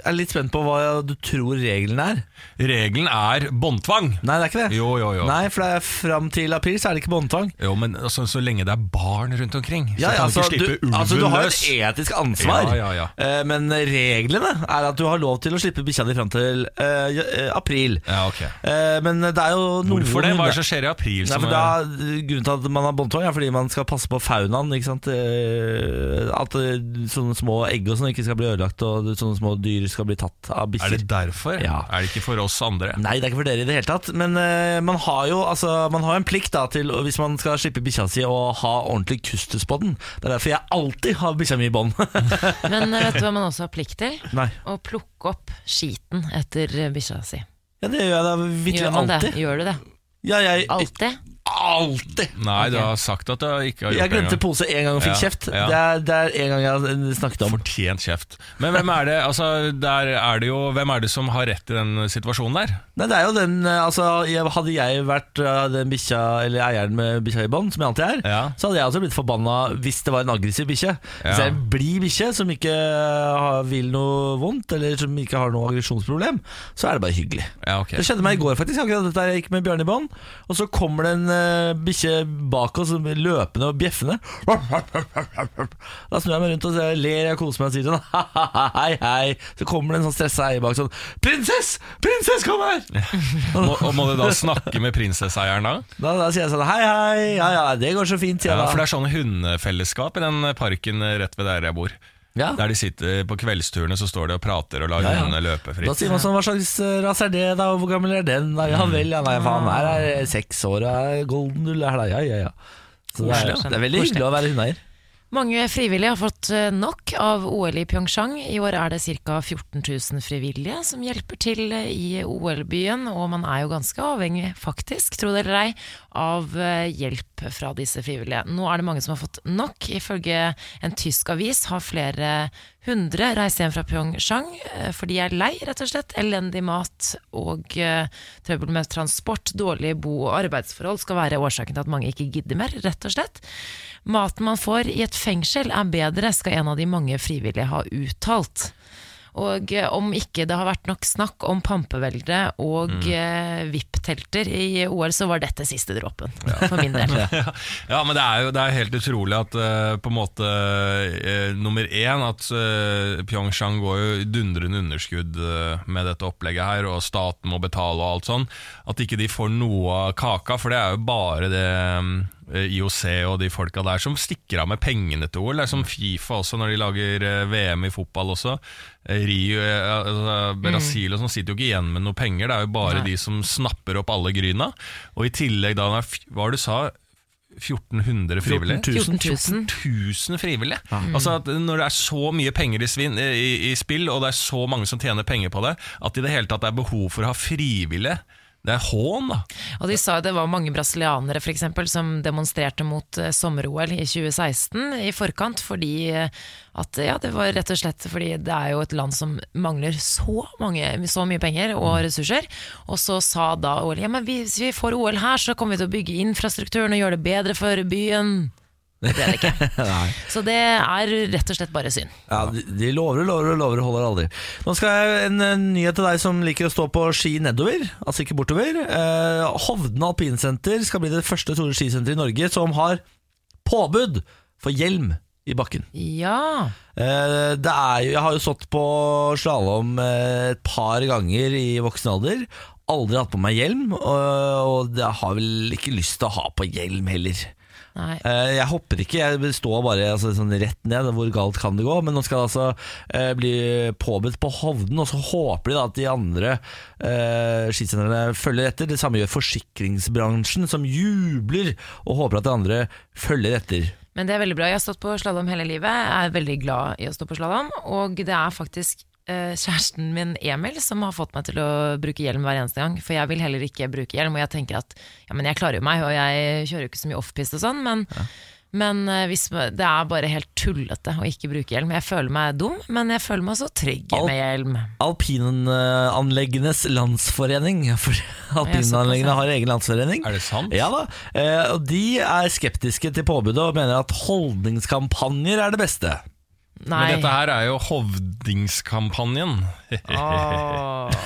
Speaker 1: er litt spent på hva du tror reglene er.
Speaker 2: Regelen er båndtvang!
Speaker 1: Nei, det er ikke det.
Speaker 2: Jo, jo, jo.
Speaker 1: Nei, for det er fram til april så er det ikke båndtvang.
Speaker 2: Jo, men altså, så lenge det er barn rundt omkring, så
Speaker 1: Ja,
Speaker 2: kan
Speaker 1: altså,
Speaker 2: du ikke slippe
Speaker 1: du,
Speaker 2: ulven
Speaker 1: altså, du har jo
Speaker 2: løs.
Speaker 1: et etisk ansvar,
Speaker 2: Ja, ja, ja.
Speaker 1: Eh, men reglene er at du har lov til å slippe bikkja di fram til eh, ja, eh, april.
Speaker 2: Ja, ok.
Speaker 1: Eh, men det er jo noen
Speaker 2: Hvorfor det? Hva er
Speaker 1: hunder-
Speaker 2: det som skjer i april?
Speaker 1: Nei,
Speaker 2: Som,
Speaker 1: for da, grunnen til at man har båndtvang, er fordi man skal passe på faunaen. Ikke sant? Eh, At eh, sånne små egg og sånn ikke skal bli ødelagt, og sånne små dyr skal bli tatt av
Speaker 2: er
Speaker 1: bikkjer.
Speaker 2: det derfor?
Speaker 1: Ja.
Speaker 2: Er det ikke for oss andre?
Speaker 1: Nei, det er ikke for dere i det hele tatt. Men eh, man har jo altså, man har jo en plikt da til, og hvis man skal slippe bikkja si, å ha ordentlig kustus på den. Det er derfor jeg alltid har bikkja mi i bånd.
Speaker 3: Men eh, vet du hva man også har plikt til?
Speaker 1: Nei.
Speaker 3: Å plukke opp skiten etter eh, bikkja si.
Speaker 1: Ja, det gjør jeg da virkelig
Speaker 3: Gjør man det?
Speaker 1: alltid.
Speaker 3: Gjør du det?
Speaker 1: Ja, jeg
Speaker 3: Alltid?
Speaker 1: Alltid!
Speaker 2: Nei, du
Speaker 3: Ok.
Speaker 2: har sagt at du ikke har gjort
Speaker 1: Jeg glemte
Speaker 2: det engang.
Speaker 1: pose én gang og fikk
Speaker 2: Ja,
Speaker 1: kjeft.
Speaker 2: ja.
Speaker 1: Det, er, det er en gang jeg har snakket om.
Speaker 2: Fortjent kjeft. Men hvem er det, altså, der er det jo, hvem er det som har rett i den situasjonen der?
Speaker 1: Nei, det er jo den, eh, altså jeg- Hadde jeg vært eh, den bikkja, eller eieren med bikkja i bånd, som jeg alltid er,
Speaker 2: Ja.
Speaker 1: så hadde jeg også blitt forbanna hvis det var en aggressiv bikkje. Hvis det
Speaker 2: Ja.
Speaker 1: er en blid bikkje som ikke har- vil noe vondt, eller som ikke har noe aggresjonsproblem, så er det bare hyggelig.
Speaker 2: Ja, ok.
Speaker 1: Det skjedde meg i går, faktisk. akkurat dette her. Jeg gikk med Bjørn i bånd, og så kommer det en eh, bikkje bak oss som løpende og bjeffende. Da snur jeg meg rundt og så ler jeg og koser meg og sier sånn <laughs> hei, hei. Så kommer det en sånn stressa eier bak sånn Prinsess! Prinsess, kom her!
Speaker 2: Må, og må du da snakke med prinsesseeieren da?
Speaker 1: Da, da sier jeg sånn Hei, hei, ja, <laughs> ja, det går så fint, sier
Speaker 2: Ja,
Speaker 1: jeg
Speaker 2: for
Speaker 1: da.
Speaker 2: det er sånn hundefellesskap i den parken rett ved der jeg bor.
Speaker 1: Ja.
Speaker 2: Der de sitter på kveldsturene, så står de og prater og lar
Speaker 1: Ja, ja.
Speaker 2: hundene
Speaker 1: Da
Speaker 2: løpe fritt.
Speaker 1: sier man sånn Hva slags eh, ras er det, da? og Hvor gammel er den? Da? Ja vel, ja, nei,
Speaker 2: Mm.
Speaker 1: faen. Her er jeg seks år, jeg er golden null her, da. Ja, ja, ja. Så det er,
Speaker 3: Koselig.
Speaker 1: det er veldig
Speaker 3: Koselig.
Speaker 1: hyggelig å være hundeeier.
Speaker 3: Mange frivillige har fått eh, nok av OL i Pyeongchang. I år er det ca. 14 000 frivillige som hjelper til eh, i OL-byen, og man er jo ganske avhengig, faktisk, tro det eller ei, av eh, hjelp fra disse frivillige. Nå er det mange som har fått nok. Ifølge en tysk avis har flere hundre reist hjem fra Pyeongchang eh, fordi de er lei, rett og slett. Elendig mat og eh, trøbbel med transport, dårlige bo- og arbeidsforhold skal være årsaken til at mange ikke gidder mer, rett og slett. Maten man får i et fengsel er bedre, skal en av de mange frivillige ha uttalt. Og eh, om ikke det har vært nok snakk om pampevelde og eh, VIP-telter i OL, så var dette siste dråpen, for min del.
Speaker 2: Ja, men det er jo det er helt utrolig at eh, på en måte eh, nummer én at eh, Pyeongchang går jo i dundrende underskudd eh, med dette opplegget her, og staten må betale og alt sånn. At ikke de får noe av kaka, for det er jo bare det eh, IOC og de folka der som stikker av med pengene til OL. Det er som Fifa også, når de lager eh, VM i fotball også. Eh, Rio, eh, altså, Brasil og sånn sitter jo ikke igjen med noe penger, det er jo bare de
Speaker 3: Nei.
Speaker 2: som snapper opp alle gryna. Og i tillegg da, f- hva var det du sa? 1400 frivillige?
Speaker 3: 14 000.
Speaker 2: 14 000 frivillige. Altså at Når det er så mye penger i, svinn, i, i spill, og det er så mange som tjener penger på det, at det i det hele tatt er behov for å ha frivillige Det er hån, da.
Speaker 3: Og de sa jo det var mange brasilianere for eksempel, som demonstrerte mot eh, sommer-OL i 2016 i forkant, fordi eh, at ja, det var rett og slett fordi det er jo et land som mangler så, mange, så mye penger og ressurser. Og så sa da OL ja, men hvis vi får OL her, så kommer vi til å bygge infrastrukturen og gjøre det bedre for byen. Det er det ikke. Så det er rett og slett bare synd.
Speaker 1: Ja, de- De lover og lover og lover og holder aldri. Nå skal jeg en eh, nyhet til deg som liker å stå på ski nedover, altså ikke bortover. Eh, Hovden alpinsenter skal bli det første store skisenteret i Norge som har påbud for hjelm i bakken.
Speaker 3: Ja.
Speaker 1: Eh, Det er jo, jeg har jo stått på slalåm et par ganger i voksen alder. Aldri hatt på meg hjelm, og, og jeg har vel ikke lyst til å ha på hjelm heller.
Speaker 3: Nei.
Speaker 1: Eh, Jeg hopper ikke, jeg står bare altså, sånn rett ned. Hvor galt kan det gå? Men nå skal det altså eh, bli påbudt på Hovden, og så håper de da at de andre eh, skisentrene følger etter. Det samme gjør forsikringsbransjen, som jubler og håper at de andre følger etter.
Speaker 3: Men det er veldig bra. Jeg har stått på slalåm hele livet. Jeg er veldig glad i å stå på slalåm. Og det er faktisk eh, kjæresten min Emil som har fått meg til å bruke hjelm hver eneste gang. For jeg vil heller ikke bruke hjelm. Og jeg tenker at ja, men jeg klarer jo meg, og jeg kjører jo ikke så mye offpiste og sånn. Men, men eh, hvis, det er bare helt tullete å ikke bruke hjelm. Jeg føler meg dum, men jeg føler meg så trygg
Speaker 1: Alt-
Speaker 3: med hjelm.
Speaker 1: Alpinanleggenes landsforening. <laughs> For alpinanleggene har egen landsforening.
Speaker 2: Er det sant?
Speaker 1: Ja da. Eh, og de er skeptiske til påbudet og mener at holdningskampanjer er det beste.
Speaker 3: Nei.
Speaker 2: Men dette her er jo Hovdingskampanjen.
Speaker 3: Åh. <laughs>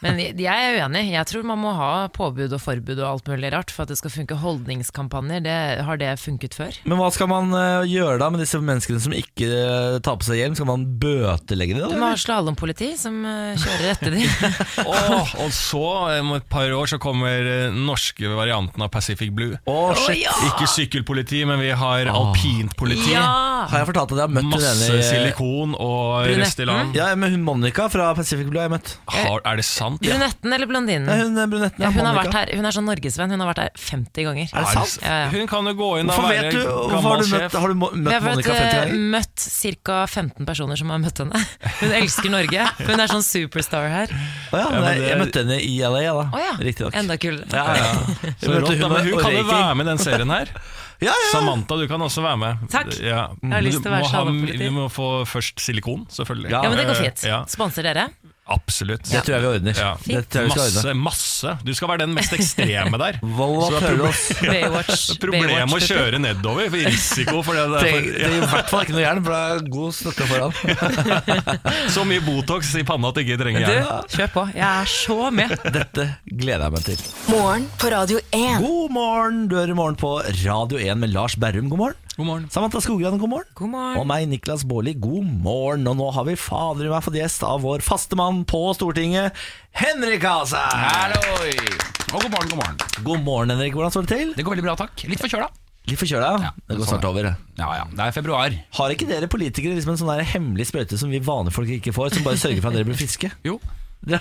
Speaker 3: Men jeg er uenig. Jeg tror man må ha påbud og forbud og alt mulig rart for at det skal funke. Holdningskampanjer, det, har det funket før?
Speaker 1: Men hva skal man eh, gjøre da med disse menneskene som ikke eh, tar på seg hjelm? Skal man bøtelegge det?
Speaker 3: Du
Speaker 1: da?
Speaker 3: må ha slalåmpoliti som eh, kjører
Speaker 1: <laughs>
Speaker 3: etter dem.
Speaker 2: Åh, <laughs> og så, om et par år, så kommer eh, norske varianten av Pacific Blue.
Speaker 1: Å, shit.
Speaker 3: ja!
Speaker 2: Ikke sykkelpoliti, men vi har alpint politi.
Speaker 3: Ja!
Speaker 1: Har jeg fortalt at jeg har møtt hun
Speaker 2: Masse
Speaker 1: ene i-
Speaker 2: silikon og
Speaker 3: Brunetten.
Speaker 2: Restylane.
Speaker 1: Ja, men hun Monica fra Pacific Blue har jeg møtt.
Speaker 2: Har- Er det sant?
Speaker 3: Brunetten eller
Speaker 1: Nei,
Speaker 3: blondinen?
Speaker 1: Hun eh, brunetten
Speaker 3: Ja,
Speaker 1: er
Speaker 3: hun, har vært
Speaker 1: Monica.
Speaker 3: her, hun er sånn norgesvenn. Hun har vært her 50 ganger.
Speaker 1: Er det
Speaker 2: Er det
Speaker 1: sant?
Speaker 2: s-
Speaker 3: Ja, ja.
Speaker 2: Hun kan jo gå inn og
Speaker 1: Hvorfor
Speaker 2: være
Speaker 1: vet du? Hvorfor
Speaker 2: gammel
Speaker 1: har du møtt,
Speaker 2: sjef.
Speaker 1: har du mo-
Speaker 3: Vi
Speaker 1: møtt
Speaker 3: har fått,
Speaker 1: Monica 50
Speaker 3: eh,
Speaker 1: ganger?
Speaker 3: møtt ca. 15 personer som har møtt henne. <laughs> Hun elsker Norge. Hun er sånn superstar her.
Speaker 1: Å ja,
Speaker 2: men
Speaker 1: nei,
Speaker 2: det-
Speaker 1: jeg møtte henne i LA, da.
Speaker 3: Å ja,
Speaker 1: Riktig nok.
Speaker 3: enda kulere.
Speaker 1: Ja,
Speaker 3: <laughs>
Speaker 1: ja.
Speaker 2: Så rått, da, men hun kan jo være med i den serien her.
Speaker 1: Ja, ja.
Speaker 2: Samantha, du kan også være med.
Speaker 3: Takk.
Speaker 2: Ja.
Speaker 3: Jeg har lyst til å
Speaker 2: Du
Speaker 3: være
Speaker 2: må ha-
Speaker 3: slalåmpoliti.
Speaker 2: Vi må få først silikon, selvfølgelig.
Speaker 1: Ja.
Speaker 3: Ja, men det går
Speaker 2: Eh,
Speaker 3: fint.
Speaker 2: Ja,
Speaker 3: Sponser dere?
Speaker 2: absolutt.
Speaker 1: Det tror jeg vi ordner.
Speaker 2: Ja.
Speaker 1: Det tror jeg vi skal ordne.
Speaker 2: Masse, masse. Du skal være den mest ekstreme
Speaker 3: <laughs>
Speaker 2: der.
Speaker 1: Volva
Speaker 2: Så det er proble-
Speaker 1: Tørås.
Speaker 3: Baywatch.
Speaker 1: <laughs>
Speaker 2: Problemet å
Speaker 3: Baywatch,
Speaker 2: kjøre nedover, for risiko for det. det er
Speaker 1: Trenger
Speaker 2: for,
Speaker 1: trenger i hvert fall ikke noe jern, for det er god støtte foran.
Speaker 2: så mye Botox i panna at du ikke trenger
Speaker 3: Du,
Speaker 2: hjelm.
Speaker 3: kjør på. Jeg er så
Speaker 5: <laughs>
Speaker 3: med.
Speaker 1: Dette gleder jeg meg til.
Speaker 4: Morgen på Radio 1.
Speaker 1: God morgen! Du hører Morgen på Radio 1 med Lars Berrum, god morgen.
Speaker 2: God morgen.
Speaker 1: Samantha Skogran, god morgen.
Speaker 3: God
Speaker 1: Og
Speaker 3: morgen.
Speaker 1: meg, Niklas Baarli, god morgen. Og nå har vi fader i meg fått gjest av vår faste mann på Stortinget, Henrik Asheim.
Speaker 5: Halloi! Og god morgen, god morgen.
Speaker 1: God morgen, Henrik. Hvordan står det til?
Speaker 5: Det går veldig bra, takk. Litt forkjøla.
Speaker 1: Litt forkjøla?
Speaker 5: Ja,
Speaker 1: Det går
Speaker 5: sånn
Speaker 1: snart
Speaker 5: er
Speaker 1: over.
Speaker 5: Ja, ja. Det er februar.
Speaker 1: Har ikke dere politikere liksom en sånn der hemmelig sprøyte som vi vanlige folk ikke får, som bare sørger for at dere blir friske?
Speaker 5: Jo.
Speaker 1: Dere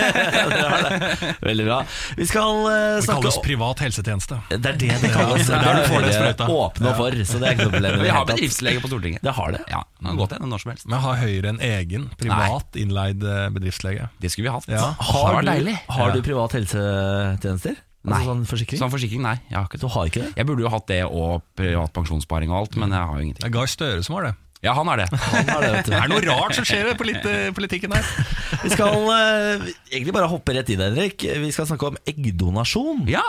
Speaker 1: har det. Veldig bra. Vi skal eh,
Speaker 2: Det
Speaker 1: snakke
Speaker 2: kalles privat helsetjeneste.
Speaker 1: Det er det det kalles.
Speaker 2: Ja,
Speaker 1: Det er
Speaker 2: du får den
Speaker 1: dere
Speaker 2: sprøyta.
Speaker 1: åpne for, så det er ikke noe problem. i det
Speaker 5: Vi
Speaker 1: hele
Speaker 5: har
Speaker 1: tatt.
Speaker 5: bedriftslege på Stortinget.
Speaker 1: Det har det.
Speaker 5: Ja, det kan gå til henne når som helst.
Speaker 2: Men har Høyre en egen privat innleid eh, bedriftslege?
Speaker 5: Det skulle vi hatt.
Speaker 2: Ja.
Speaker 5: Åh, det var
Speaker 1: du,
Speaker 5: deilig.
Speaker 1: har du privat helsetjenester?
Speaker 5: Nei.
Speaker 1: Altså sånn forsikring?
Speaker 5: Sånn forsikring, nei. Jeg har ikke
Speaker 1: Du
Speaker 5: det.
Speaker 1: har ikke det?
Speaker 5: Jeg burde jo hatt det og privat pensjonssparing og alt, men jeg har jo
Speaker 2: Det
Speaker 5: ingenting.
Speaker 2: er Gahr Støre som har det.
Speaker 5: Ja, han er det.
Speaker 1: Han har det, vet
Speaker 2: Det
Speaker 1: du.
Speaker 2: er noe rart som skjer i polit- politikken her.
Speaker 1: Vi skal eh, egentlig bare hoppe rett inn, Henrik. Vi skal snakke om eggdonasjon.
Speaker 5: Ja.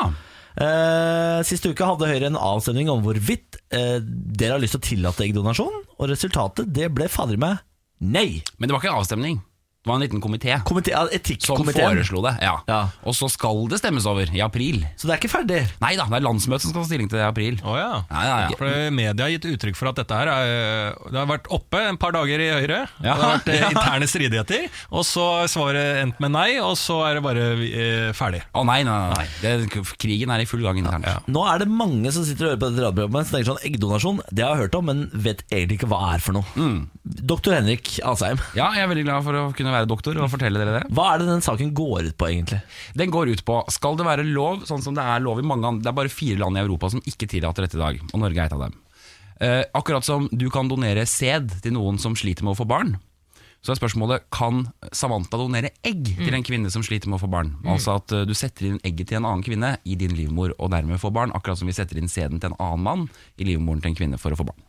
Speaker 1: Eh, siste uke hadde Høyre en avstemning om hvorvidt eh, dere har lyst til å tillate eggdonasjon, og resultatet det ble fader meg nei.
Speaker 5: Men det var ikke en avstemning. Det var en liten komité
Speaker 1: Komite ja,
Speaker 5: som
Speaker 1: Etikkomiteen.
Speaker 5: foreslo det. Ja.
Speaker 1: Ja.
Speaker 5: Og så skal det stemmes over i april.
Speaker 1: Så det er ikke ferdig.
Speaker 5: Nei da, det er landsmøtet som skal ta stilling til det i april.
Speaker 2: Oh, ja.
Speaker 5: Ja, ja, ja.
Speaker 2: For Media har gitt uttrykk for at dette her er, eh, Det har vært oppe en par dager i Høyre.
Speaker 5: <laughs> Ja.
Speaker 2: Det har vært eh, interne stridigheter. Og så er svaret endt med nei, og så er det bare eh, ferdig.
Speaker 5: Å nei, nei, nei. nei. Det, krigen er i full gang internt.
Speaker 1: Nå er det mange som sitter og hører på dette radioprogrammet som tenker sånn Eggdonasjon, det har jeg hørt om, men vet egentlig ikke hva er for noe. Doktor Henrik Asheim,
Speaker 5: Ja, jeg er veldig glad for å kunne være doktor og fortelle dere det.
Speaker 1: hva er det den saken går ut på egentlig?
Speaker 5: Den går ut på Skal det være lov, sånn som det er lov i mange andre Det er bare fire land i Europa som ikke tillater dette i dag Og Norge er et av dem eh, Akkurat som du kan donere sæd til noen som sliter med å få barn Så er spørsmålet kan Samantha donere egg til en kvinne som sliter med å få barn. Altså at eh, du setter inn egget til en annen kvinne i din livmor og dermed får barn, akkurat som vi setter inn sæden til en annen mann i livmoren til en kvinne for å få barn.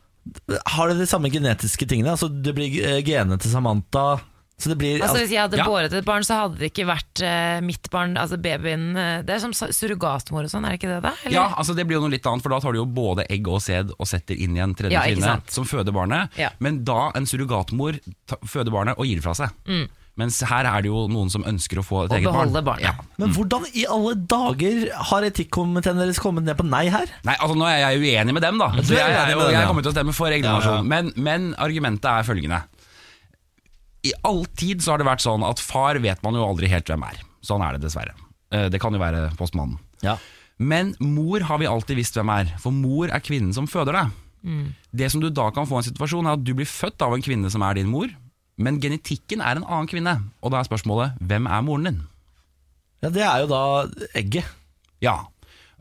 Speaker 1: Har det de samme genetiske tingene? Altså Det blir eh, genene til Samantha Så det blir
Speaker 3: Altså
Speaker 1: altså,
Speaker 3: Hvis jeg hadde
Speaker 5: Ja.
Speaker 3: båret et barn, så hadde det ikke vært eh, mitt barn. Altså babyen eh, Det er som sa- surrogatmor og sånn, er det ikke det? da? Eller?
Speaker 5: Ja, altså det blir jo noe litt annet, for da tar du jo både egg og sæd og setter inn i en tredje
Speaker 3: Ja, ikke
Speaker 5: kvinne
Speaker 3: sant?
Speaker 5: som føder barnet,
Speaker 3: Ja.
Speaker 5: men da en surrogatmor ta, føder barnet og gir det fra seg. Mens her er det jo noen som ønsker å få et
Speaker 3: Og
Speaker 5: eget barn.
Speaker 3: beholde barnet.
Speaker 5: Ja.
Speaker 1: Men hvordan i alle dager har etikkomiteen deres kommet ned på nei her?
Speaker 5: Nei, altså Nå er jeg uenig med dem, da.
Speaker 1: Du
Speaker 5: Så
Speaker 1: er
Speaker 5: jeg,
Speaker 1: uenig
Speaker 5: er jo-
Speaker 1: med dem, ja.
Speaker 5: jeg kommer til å stemme for
Speaker 1: Ja, ja.
Speaker 5: eggdonasjon. Men, men argumentet er følgende. I all tid så har det vært sånn at far vet man jo aldri helt hvem er. Sånn er det dessverre. Eh, Det kan jo være postmannen.
Speaker 1: Ja
Speaker 5: Men mor har vi alltid visst hvem er, for mor er kvinnen som føder deg.
Speaker 3: Mm.
Speaker 5: Det som du da kan få i en situasjon, er at du blir født av en kvinne som er din mor, men genetikken er en annen kvinne. Og da er spørsmålet hvem er moren din?
Speaker 1: Ja, det er jo da egget.
Speaker 5: Ja.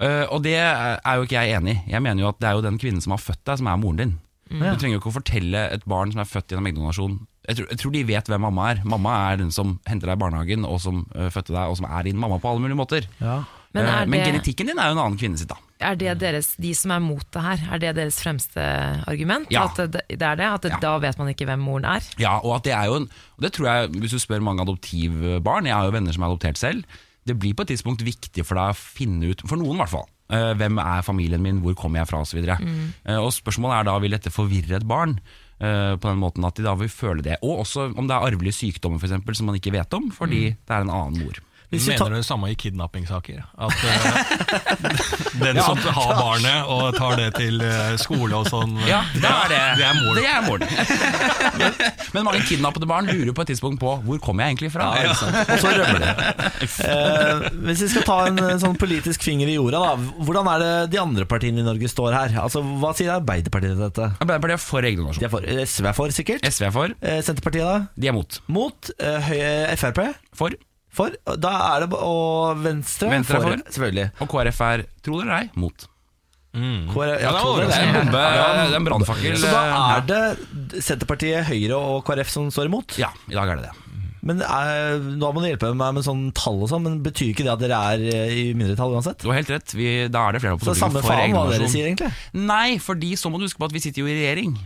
Speaker 5: Eh, og det er jo ikke jeg enig i. Jeg mener jo at det er jo den kvinnen som har født deg, som er moren din.
Speaker 3: Mm.
Speaker 5: Du trenger jo ikke å fortelle et barn som er født gjennom eggdonasjon jeg tror, jeg tror de vet hvem mamma er. Mamma er den som henter deg i barnehagen, og som eh, fødte deg, og som er din mamma på alle mulige måter.
Speaker 3: Men
Speaker 5: Eh,
Speaker 3: er
Speaker 5: men
Speaker 3: det-
Speaker 5: genetikken din er jo en annen kvinne sitt, da.
Speaker 3: Er det deres, De som er mot det her, er det deres fremste argument?
Speaker 5: Ja.
Speaker 3: At det, det er det? At det,
Speaker 5: Ja.
Speaker 3: da vet man ikke hvem moren er?
Speaker 5: Ja, og at det er jo en og Det tror jeg, hvis du spør mange adoptivbarn Jeg har jo venner som er adoptert selv Det blir på et tidspunkt viktig for deg å finne ut For noen i hvert fall eh, Hvem er familien min, hvor kommer jeg fra og så videre Eh, Og spørsmålet er da, vil dette forvirre et barn? eh, På den måten at de da vil føle det Og også om det er arvelige sykdommer for eksempel Som man ikke vet om, fordi det er en annen mor
Speaker 1: Hvis vi
Speaker 2: Mener
Speaker 1: tar-
Speaker 2: du det samme i kidnappingssaker? At
Speaker 5: <laughs>
Speaker 2: eh, den som har barnet og tar det til eh, skole og sånn
Speaker 5: Ja, det er det
Speaker 2: Det er moren.
Speaker 5: Det er moren <laughs> Men mange kidnappede barn lurer på et tidspunkt på Hvor kommer jeg egentlig fra? Ja,
Speaker 1: Og så rømmer det. Eh, hvis vi skal ta en eh, sånn politisk finger i jorda, da. Hvordan er det de andre partiene i Norge står her? Altså, Hva sier Arbeiderpartiet til dette?
Speaker 5: Arbeiderpartiet er for eggdonasjon
Speaker 1: De er for, eh, SV er for, sikkert.
Speaker 5: SV er for,
Speaker 1: Eh, Senterpartiet, da?
Speaker 5: de er mot
Speaker 1: Mot. Eh, Høyre, Frp?
Speaker 5: For
Speaker 1: For. Da er det, ba- og Venstre?
Speaker 5: Venstre er for.
Speaker 1: Selvfølgelig.
Speaker 5: Og KrF er, tro det eller ei, mot.
Speaker 1: KrF,
Speaker 2: Ja, det er
Speaker 1: tror
Speaker 5: Det
Speaker 1: det.
Speaker 5: er en bombe, det er en brannfakkel.
Speaker 1: Så da er det Senterpartiet, Høyre og KrF som står imot?
Speaker 5: Ja, i dag er det det.
Speaker 1: Men eh, Da må du hjelpe meg med sånn tall og sånn, men betyr ikke det at dere er eh, i mindretall uansett?
Speaker 5: Du har helt rett. Vi, da er det flere på
Speaker 1: Så det er samme
Speaker 5: Stortinget for
Speaker 1: faen hva
Speaker 5: egenversjon.
Speaker 1: dere sier, egentlig?
Speaker 5: Nei, fordi så må du huske på at vi sitter jo i regjering.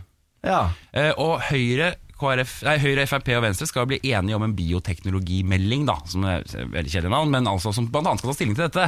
Speaker 1: Ja.
Speaker 5: Eh, og Høyre, KrF, nei, Høyre, Frp og Venstre skal bli enige om en bioteknologimelding, da, som er et veldig kjedelig navn, men altså som bl.a. skal ta stilling til dette.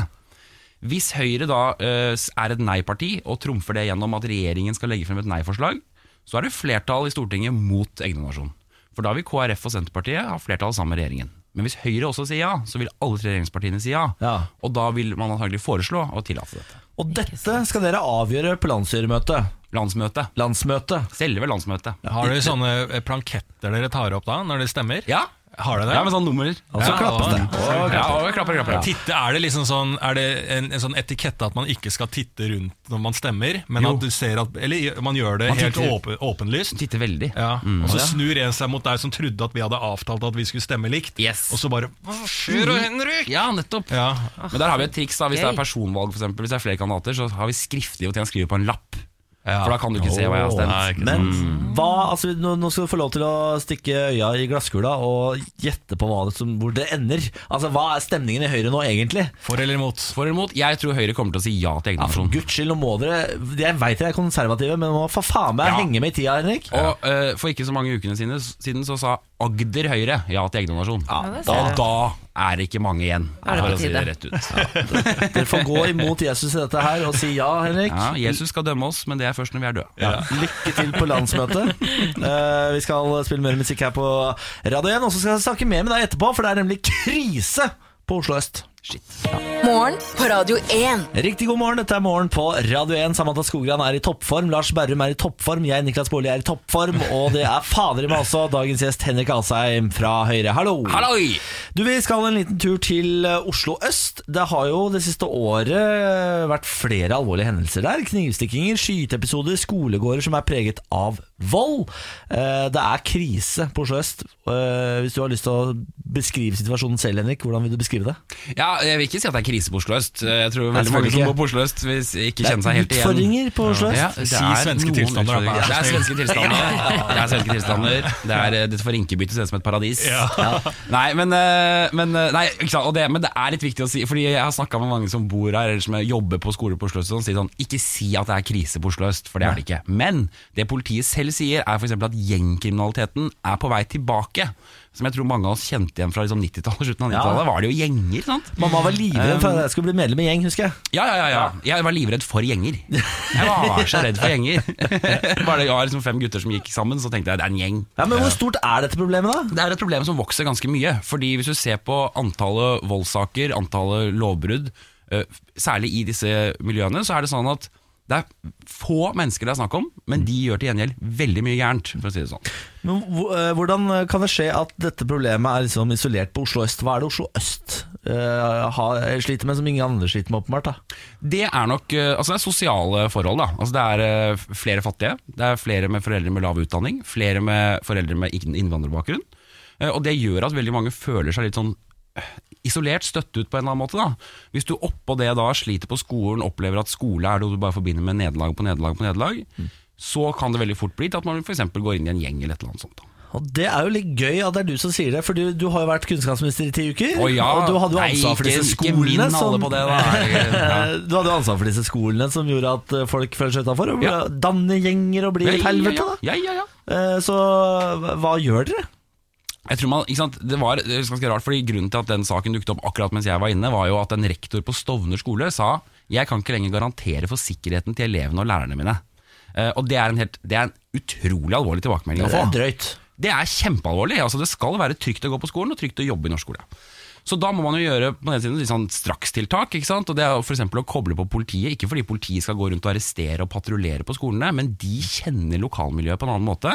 Speaker 5: Hvis Høyre da eh, er et nei-parti og trumfer det gjennom at regjeringen skal legge frem et nei-forslag, så er det flertall i Stortinget mot eggdonasjon. For da vil KrF og Senterpartiet ha flertall sammen med regjeringen. Men hvis Høyre også sier ja, så vil alle tre regjeringspartiene si ja.
Speaker 1: Ja.
Speaker 5: Og da vil man antagelig foreslå å tillate dette.
Speaker 1: Og dette skal dere avgjøre på landsstyremøtet.
Speaker 5: Landsmøtet.
Speaker 1: Landsmøte.
Speaker 5: Selve landsmøtet.
Speaker 2: Har dere sånne eh, planketter dere tar opp da, når det stemmer?
Speaker 5: Ja,
Speaker 2: Har dere det?
Speaker 5: ja med sånn nummer.
Speaker 1: Og så
Speaker 2: Ja,
Speaker 1: klappes det.
Speaker 5: Ja, og klapper, klapper.
Speaker 2: Titte, er det liksom sånn Er det en, en sånn etikette at man ikke skal titte rundt når man stemmer? Men
Speaker 5: Jo.
Speaker 2: at du ser at Eller man gjør det
Speaker 5: Man
Speaker 2: helt
Speaker 5: titter- Mm.
Speaker 2: åpen, åpenlyst?
Speaker 5: Titter veldig.
Speaker 2: Ja. Og så snur en seg mot deg som trodde at vi hadde avtalt at vi skulle stemme likt.
Speaker 5: Yes. Mm-hmm.
Speaker 2: Og så bare Hva skjer, Henrik?
Speaker 5: Ja, nettopp.
Speaker 2: Ja.
Speaker 5: Men der har vi et triks. da Hvis det
Speaker 3: Gøy.
Speaker 5: er personvalg, for eksempel, hvis det er flere kandidater, så har vi skriftlig og til han skriver på en lapp.
Speaker 2: Ja.
Speaker 5: For da kan du ikke Mm. se hva jeg har
Speaker 2: Åh, nei,
Speaker 5: stemt.
Speaker 2: ikke
Speaker 1: Men hva, altså, nå, nå skal du få lov til å stikke øya i glasskula og gjette på hva det, som, hvor det ender. Altså, Hva er stemningen i Høyre nå, egentlig?
Speaker 2: For eller imot?
Speaker 5: For eller imot? Jeg tror Høyre kommer til å si ja til
Speaker 1: Ja, for
Speaker 5: eggdonasjon.
Speaker 1: guds skyld, nå må dere Jeg veit dere er konservative, men nå må for faen meg
Speaker 5: Ja.
Speaker 1: henge med i tida, Henrik.
Speaker 5: og eh, for ikke så mange ukene sine, siden så sa Agder Høyre ja til eggdonasjon.
Speaker 1: Ja,
Speaker 3: det
Speaker 5: Da,
Speaker 3: ser jeg.
Speaker 5: da er det ikke mange igjen,
Speaker 3: Da er det
Speaker 5: for
Speaker 3: på
Speaker 5: å si det
Speaker 3: tide.
Speaker 5: rett
Speaker 1: <laughs>
Speaker 5: ut.
Speaker 1: Dere får gå imot Jesus i dette her og si ja, Henrik.
Speaker 5: Ja, Jesus skal dømme oss, men det er først når vi er døde.
Speaker 1: Ja. Lykke til på landsmøtet. Eh, vi skal spille mer musikk her på Radio 1, og så skal jeg snakke mer med deg etterpå, for det er nemlig krise på Oslo øst.
Speaker 4: Morgen på Radio 1.
Speaker 1: Riktig god morgen, dette er Morgen på Radio 1. Samantha Skogran er i toppform, Lars Berrum er i toppform, jeg, Niklas Baarli, er i toppform, og det er fader i meg også dagens gjest Henrik Asheim fra Høyre. Hallo!
Speaker 5: Halloi!
Speaker 1: Du, Vi skal en liten tur til eh, Oslo øst. Det har jo det siste året eh, vært flere alvorlige hendelser der. Knivstikkinger, skyteepisoder, skolegårder som er preget av vold. Eh, Det er krise på Oslo øst. Eh, Hvis du har lyst til å beskrive situasjonen selv, Henrik, hvordan vil du beskrive det?
Speaker 5: Ja, Ja, Jeg vil ikke si at det er krise på Oslo øst. Jeg tror
Speaker 1: Nei,
Speaker 5: veldig mange som
Speaker 1: selvfølgelig
Speaker 5: bor på Oslo øst, vil s- ikke
Speaker 1: Det
Speaker 5: kjenne seg
Speaker 1: er
Speaker 5: helt igjen.
Speaker 1: utfordringer på Oslo øst.
Speaker 5: Ja,
Speaker 2: Si svenske
Speaker 5: noen
Speaker 2: tilstander, da, vær så
Speaker 5: utfordringer. Det er
Speaker 2: snill.
Speaker 5: svenske tilstander. Det er svenske tilstander Det er eh, dette for Rinkeby-bytet ser ut som et paradis. Ja. Nei, men, eh, men, eh, nei ikke sant? Og det, men det er litt viktig å si, Fordi jeg har snakka med mange som bor her, eller som jobber på skole på Oslo øst, og sånn, sier sånn Ikke si at det er krise på Oslo øst, for det er det ikke. Men det politiet selv sier, er f.eks. at gjengkriminaliteten er på vei tilbake. Som jeg tror mange av oss kjente igjen fra liksom 90-tallet. Slutten av 90-tallet var det jo gjenger. sant?
Speaker 1: Mamma var livredd for at jeg skulle bli medlem i gjeng, husker jeg.
Speaker 5: Ja, ja, ja, ja. Jeg var livredd for gjenger. Jeg var så redd for gjenger. <laughs> Bare det var liksom fem gutter som gikk sammen, så tenkte jeg det er en gjeng.
Speaker 1: Ja, Men hvor stort er dette problemet, da?
Speaker 5: Det er et problem som vokser ganske mye. Fordi hvis du ser på antallet voldssaker, antallet lovbrudd, eh, særlig i disse miljøene, så er det sånn at det er få mennesker det er snakk om, men de gjør til gjengjeld veldig mye gærent, for å si det sånn.
Speaker 1: Men hvor- eh, Hvordan kan det skje at dette problemet er liksom isolert på Oslo øst? Hva er det Oslo øst eh, har, sliter med som ingen andre sliter med, åpenbart? da?
Speaker 5: Det er nok eh, altså det er sosiale forhold. da altså Det er eh, flere fattige, det er flere med foreldre med lav utdanning, flere med foreldre med ikke- innvandrerbakgrunn. Eh, Og det gjør at veldig mange føler seg litt sånn eh, isolert, støtt ut på en eller annen måte. da Hvis du oppå det da sliter på skolen, opplever at skole er noe du bare forbinder med nederlag på nederlag, på nederlag
Speaker 1: Mm.
Speaker 5: så kan det veldig fort bli til at man for eksempel går inn i en gjeng eller et eller annet sånt. da
Speaker 1: Og Det er jo litt gøy at det er du som sier det, for du, du har jo vært kunnskapsminister i ti uker.
Speaker 5: Å ja,
Speaker 1: Og du hadde jo
Speaker 5: nei,
Speaker 1: ansvar for
Speaker 5: ikke-
Speaker 1: disse
Speaker 5: ikke minn
Speaker 1: skolene
Speaker 5: alle
Speaker 1: som, Eh,
Speaker 5: på det,
Speaker 1: <laughs>
Speaker 5: da. Ja.
Speaker 1: Du hadde jo ansvar for disse skolene som gjorde at eh, folk føler seg utafor. Ja.
Speaker 5: Ja.
Speaker 1: Danne gjenger og bli et helvete, da.
Speaker 5: Ja, ja, ja.
Speaker 1: Eh, Så hva gjør dere?
Speaker 5: Jeg tror man, ikke sant, det var det er ganske rart, fordi Grunnen til at den saken dukket opp akkurat mens jeg var inne, var jo at en rektor på Stovner skole sa jeg kan ikke lenger garantere for sikkerheten til elevene og lærerne mine. Eh, og det er, en helt, det er en utrolig alvorlig tilbakemelding å
Speaker 1: Det
Speaker 5: få.
Speaker 1: er drøyt.
Speaker 5: Det er kjempealvorlig. altså Det skal være trygt å gå på skolen og trygt å jobbe i norsk skole. Så da må man jo gjøre på den ene siden litt sånn strakstiltak. ikke sant? Og Det er for eksempel å koble på politiet. Ikke fordi politiet skal gå rundt og arrestere og patruljere på skolene, men de kjenner lokalmiljøet på en annen måte.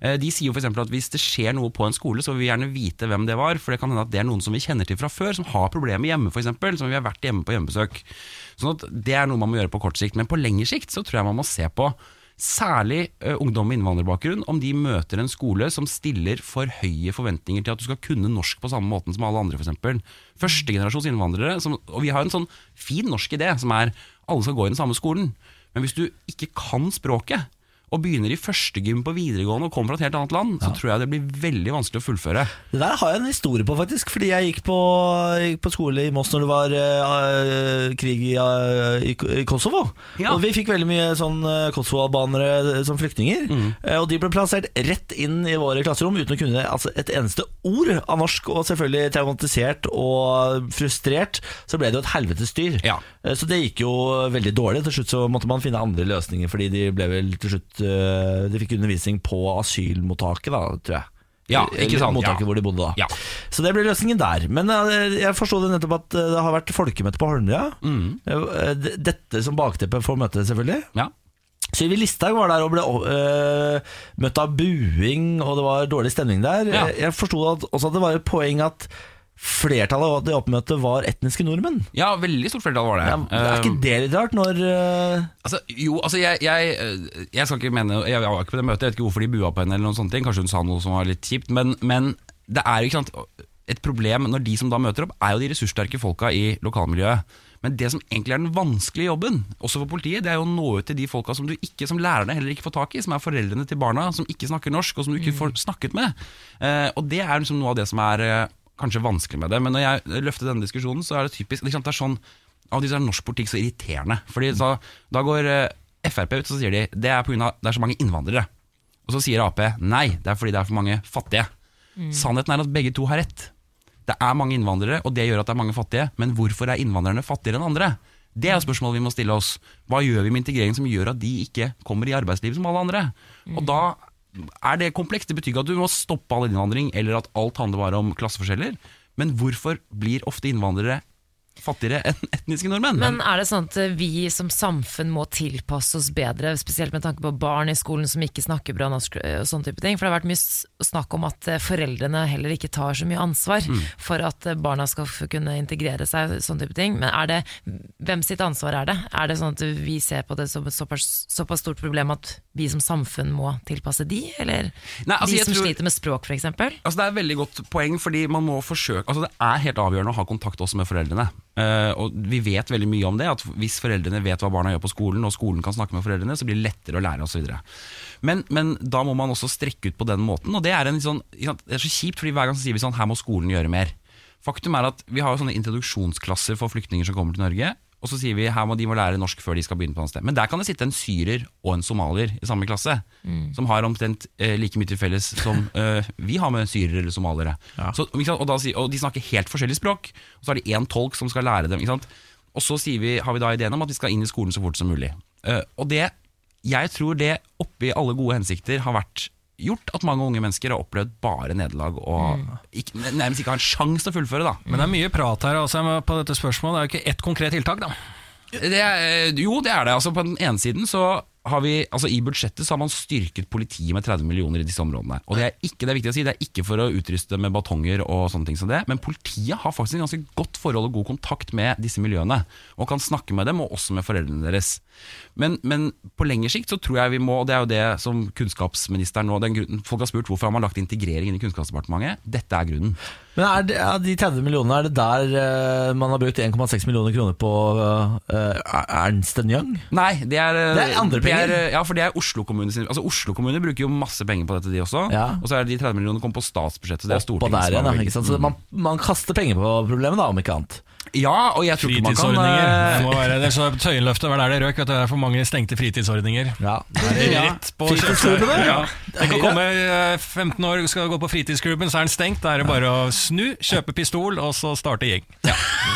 Speaker 5: Eh, De sier jo f.eks. at hvis det skjer noe på en skole, så vil vi gjerne vite hvem det var. For det kan hende at det er noen som vi kjenner til fra før, som har problemer hjemme f.eks. Som vi har vært hjemme på hjemmebesøk. Sånn at Det er noe man må gjøre på kort sikt. Men på lengre sikt så tror jeg man må se på Særlig ø, ungdom med innvandrerbakgrunn, om de møter en skole som stiller for høye forventninger til at du skal kunne norsk på samme måten som alle andre, f.eks. Førstegenerasjons innvandrere. Som, og vi har en sånn fin norsk idé som er alle skal gå i den samme skolen. Men hvis du ikke kan språket, og begynner i førstegym på videregående og kommer fra et helt annet land, så tror jeg det blir veldig vanskelig å fullføre.
Speaker 1: Det der har jeg en historie på, faktisk. Fordi jeg gikk på, gikk på skole i Moss når det var eh, krig i, eh, i, Ko- i Kosovo.
Speaker 5: Ja.
Speaker 1: Og vi fikk veldig mye sånn eh, Kosovo-albanere som flyktninger.
Speaker 5: Mm.
Speaker 1: Eh, og de ble plassert rett inn i våre klasserom uten å kunne altså, et eneste ord av norsk. Og selvfølgelig traumatisert og frustrert. Så ble det jo et helvetes styr.
Speaker 5: Ja.
Speaker 1: Eh, så det gikk jo veldig dårlig. Til slutt så måtte man finne andre løsninger, fordi de ble vel til slutt eh, De fikk undervisning på asylmottaket, da, tror jeg.
Speaker 5: Ja, ikke sant,
Speaker 1: Mottaket
Speaker 5: ja.
Speaker 1: hvor de bodde da.
Speaker 5: Ja.
Speaker 1: Så det ble løsningen der. Men eh, jeg forsto det nettopp at eh, det har vært folkemøte på Holmlia. Eh, d- Dette som bakteppe for møtet, selvfølgelig.
Speaker 5: Ja.
Speaker 1: Sylvi Listhaug var der og ble eh, møtt av buing, og det var dårlig stemning der.
Speaker 5: Ja.
Speaker 1: Jeg- Jeg forsto at- også at det var et poeng at flertallet av det oppmøtet var etniske nordmenn.
Speaker 5: ja, veldig stort flertall var det.
Speaker 1: Ja, er ikke det litt rart når eh,
Speaker 5: Altså, jo, altså jeg, jeg, øh, jeg skal ikke mene Jeg var ikke på det møtet, jeg vet ikke hvorfor de bua på henne eller noen sånne ting Kanskje hun sa noe som var litt kjipt Men, men det er jo ikke sant et problem når de som da møter opp Er jo de ressurssterke folka i lokalmiljøet Men det som egentlig er den vanskelige jobben Også for politiet, det er jo å nå ut til de folka Som du ikke, som lærerne heller ikke får tak i Som er foreldrene til barna, som ikke snakker norsk Og som du ikke får snakket med Eh, Og det er liksom noe av det som er eh, kanskje vanskelig med det Men når jeg løfter denne diskusjonen Så er det typisk, ikke sant, det er sånn av de som er norsk politikk så irriterende. Fordi så, Da går eh, Frp ut og sier de det er pga. det er så mange innvandrere. Og så sier Ap nei, det er fordi det er for mange fattige. Sannheten er at begge to har rett. Det er mange innvandrere, og det gjør at det er mange fattige. Men hvorfor er innvandrerne fattigere enn andre? Det er spørsmålet vi må stille oss. Hva gjør vi med integrering som gjør at de ikke kommer i arbeidslivet som alle andre? Og da er det komplekst. Det betyr ikke at du må stoppe all innvandring, eller at alt handler bare om klasseforskjeller. Men hvorfor blir ofte innvandrere fattigere enn etniske nordmenn.
Speaker 3: Men er det sånn at vi som samfunn må tilpasse oss bedre, spesielt med tanke på barn i skolen som ikke snakker bra norsk eh, og sånne type ting? For det har vært mye s- snakk om at eh, foreldrene heller ikke tar så mye ansvar
Speaker 5: Mm.
Speaker 3: for at eh, barna skal få kunne integrere seg, sånne type ting. Men er det, hvem sitt ansvar er det? Er det sånn at vi ser på det som et såpass, såpass stort problem at vi som samfunn må tilpasse de, eller
Speaker 5: Nei, altså,
Speaker 3: de
Speaker 5: jeg
Speaker 3: som
Speaker 5: tror-
Speaker 3: sliter med språk, for eksempel?
Speaker 5: Altså Det er et veldig godt poeng, fordi man må forsøke Altså Det er helt avgjørende å ha kontakt også med foreldrene. Eh, og Vi vet veldig mye om det. At Hvis foreldrene vet hva barna gjør på skolen, og skolen kan snakke med foreldrene, så blir det lettere å lære osv. Men, men da må man også strekke ut på den måten. Og det er, en litt sånn, ikke sant, det er så kjipt, fordi hver gang så sier vi sånn Her må skolen gjøre mer. Faktum er at vi har jo sånne introduksjonsklasser for flyktninger som kommer til Norge. Og så sier vi her må de må lære norsk før de skal begynne på et sted. Men der kan det sitte en syrer og en somalier i samme klasse, som har omtrent eh, like mye til felles som eh, vi har med syrere eller somaliere. Så, ikke sant? Og, da, sier- og de snakker helt forskjellig språk, og så har de én tolk som skal lære dem. Ikke sant? Og så sier vi, har vi da ideen om at vi skal inn i skolen så fort som mulig. Eh, og det, jeg tror det oppi alle gode hensikter har vært gjort at mange unge mennesker har opplevd bare nederlag og ikke, nærmest ikke har en sjanse til å fullføre. da
Speaker 2: Men det er mye prat her altså, på dette spørsmålet. Det er jo ikke ett konkret tiltak, da.
Speaker 5: det er, jo, det er det. Altså, på den ene siden så har vi, altså I budsjettet så har man styrket politiet med 30 millioner i disse områdene. Og Det er ikke det er viktig å si, det er ikke for å utruste med batonger, og sånne ting som det, men politiet har faktisk en ganske godt forhold og god kontakt med disse miljøene. Og kan snakke med dem, og også med foreldrene deres. Men, men på lengre sikt så tror jeg vi må, og det er jo det som kunnskapsministeren nå den grunnen, Folk har spurt hvorfor har man lagt integrering inn i Kunnskapsdepartementet. Dette er grunnen.
Speaker 1: Men er det, er de 30 millionene, er det der eh, man har brukt 1,6 millioner kroner på eh, Ernst Young?
Speaker 5: Nei, det er, eh,
Speaker 1: Det er andre penger.
Speaker 5: det er- ja, for det er Oslo kommune sin Altså Oslo kommune bruker jo masse penger på dette, de også.
Speaker 1: Ja.
Speaker 5: Og så er det de 30 millionene kom på statsbudsjettet. så Det er
Speaker 1: Opp og der
Speaker 5: Stortinget som
Speaker 1: igjen,
Speaker 5: har
Speaker 1: da,
Speaker 5: bevilget.
Speaker 1: ikke sant? Så man, man kaster penger på problemet, da, om ikke annet.
Speaker 5: Ja, og jeg tror ikke man kan
Speaker 2: Fritidsordninger. Det
Speaker 5: eh,
Speaker 2: må være det. Så Tøyenløftet var der det røk. Vet du, det er for mange stengte fritidsordninger.
Speaker 1: Ja.
Speaker 2: Ja.
Speaker 1: Fritidsklubben, da?
Speaker 2: ja. Det kan komme eh, 15 år, skal gå på fritidsklubben, så er den stengt. Da er det bare å snu, kjøpe pistol, og så starte gjeng.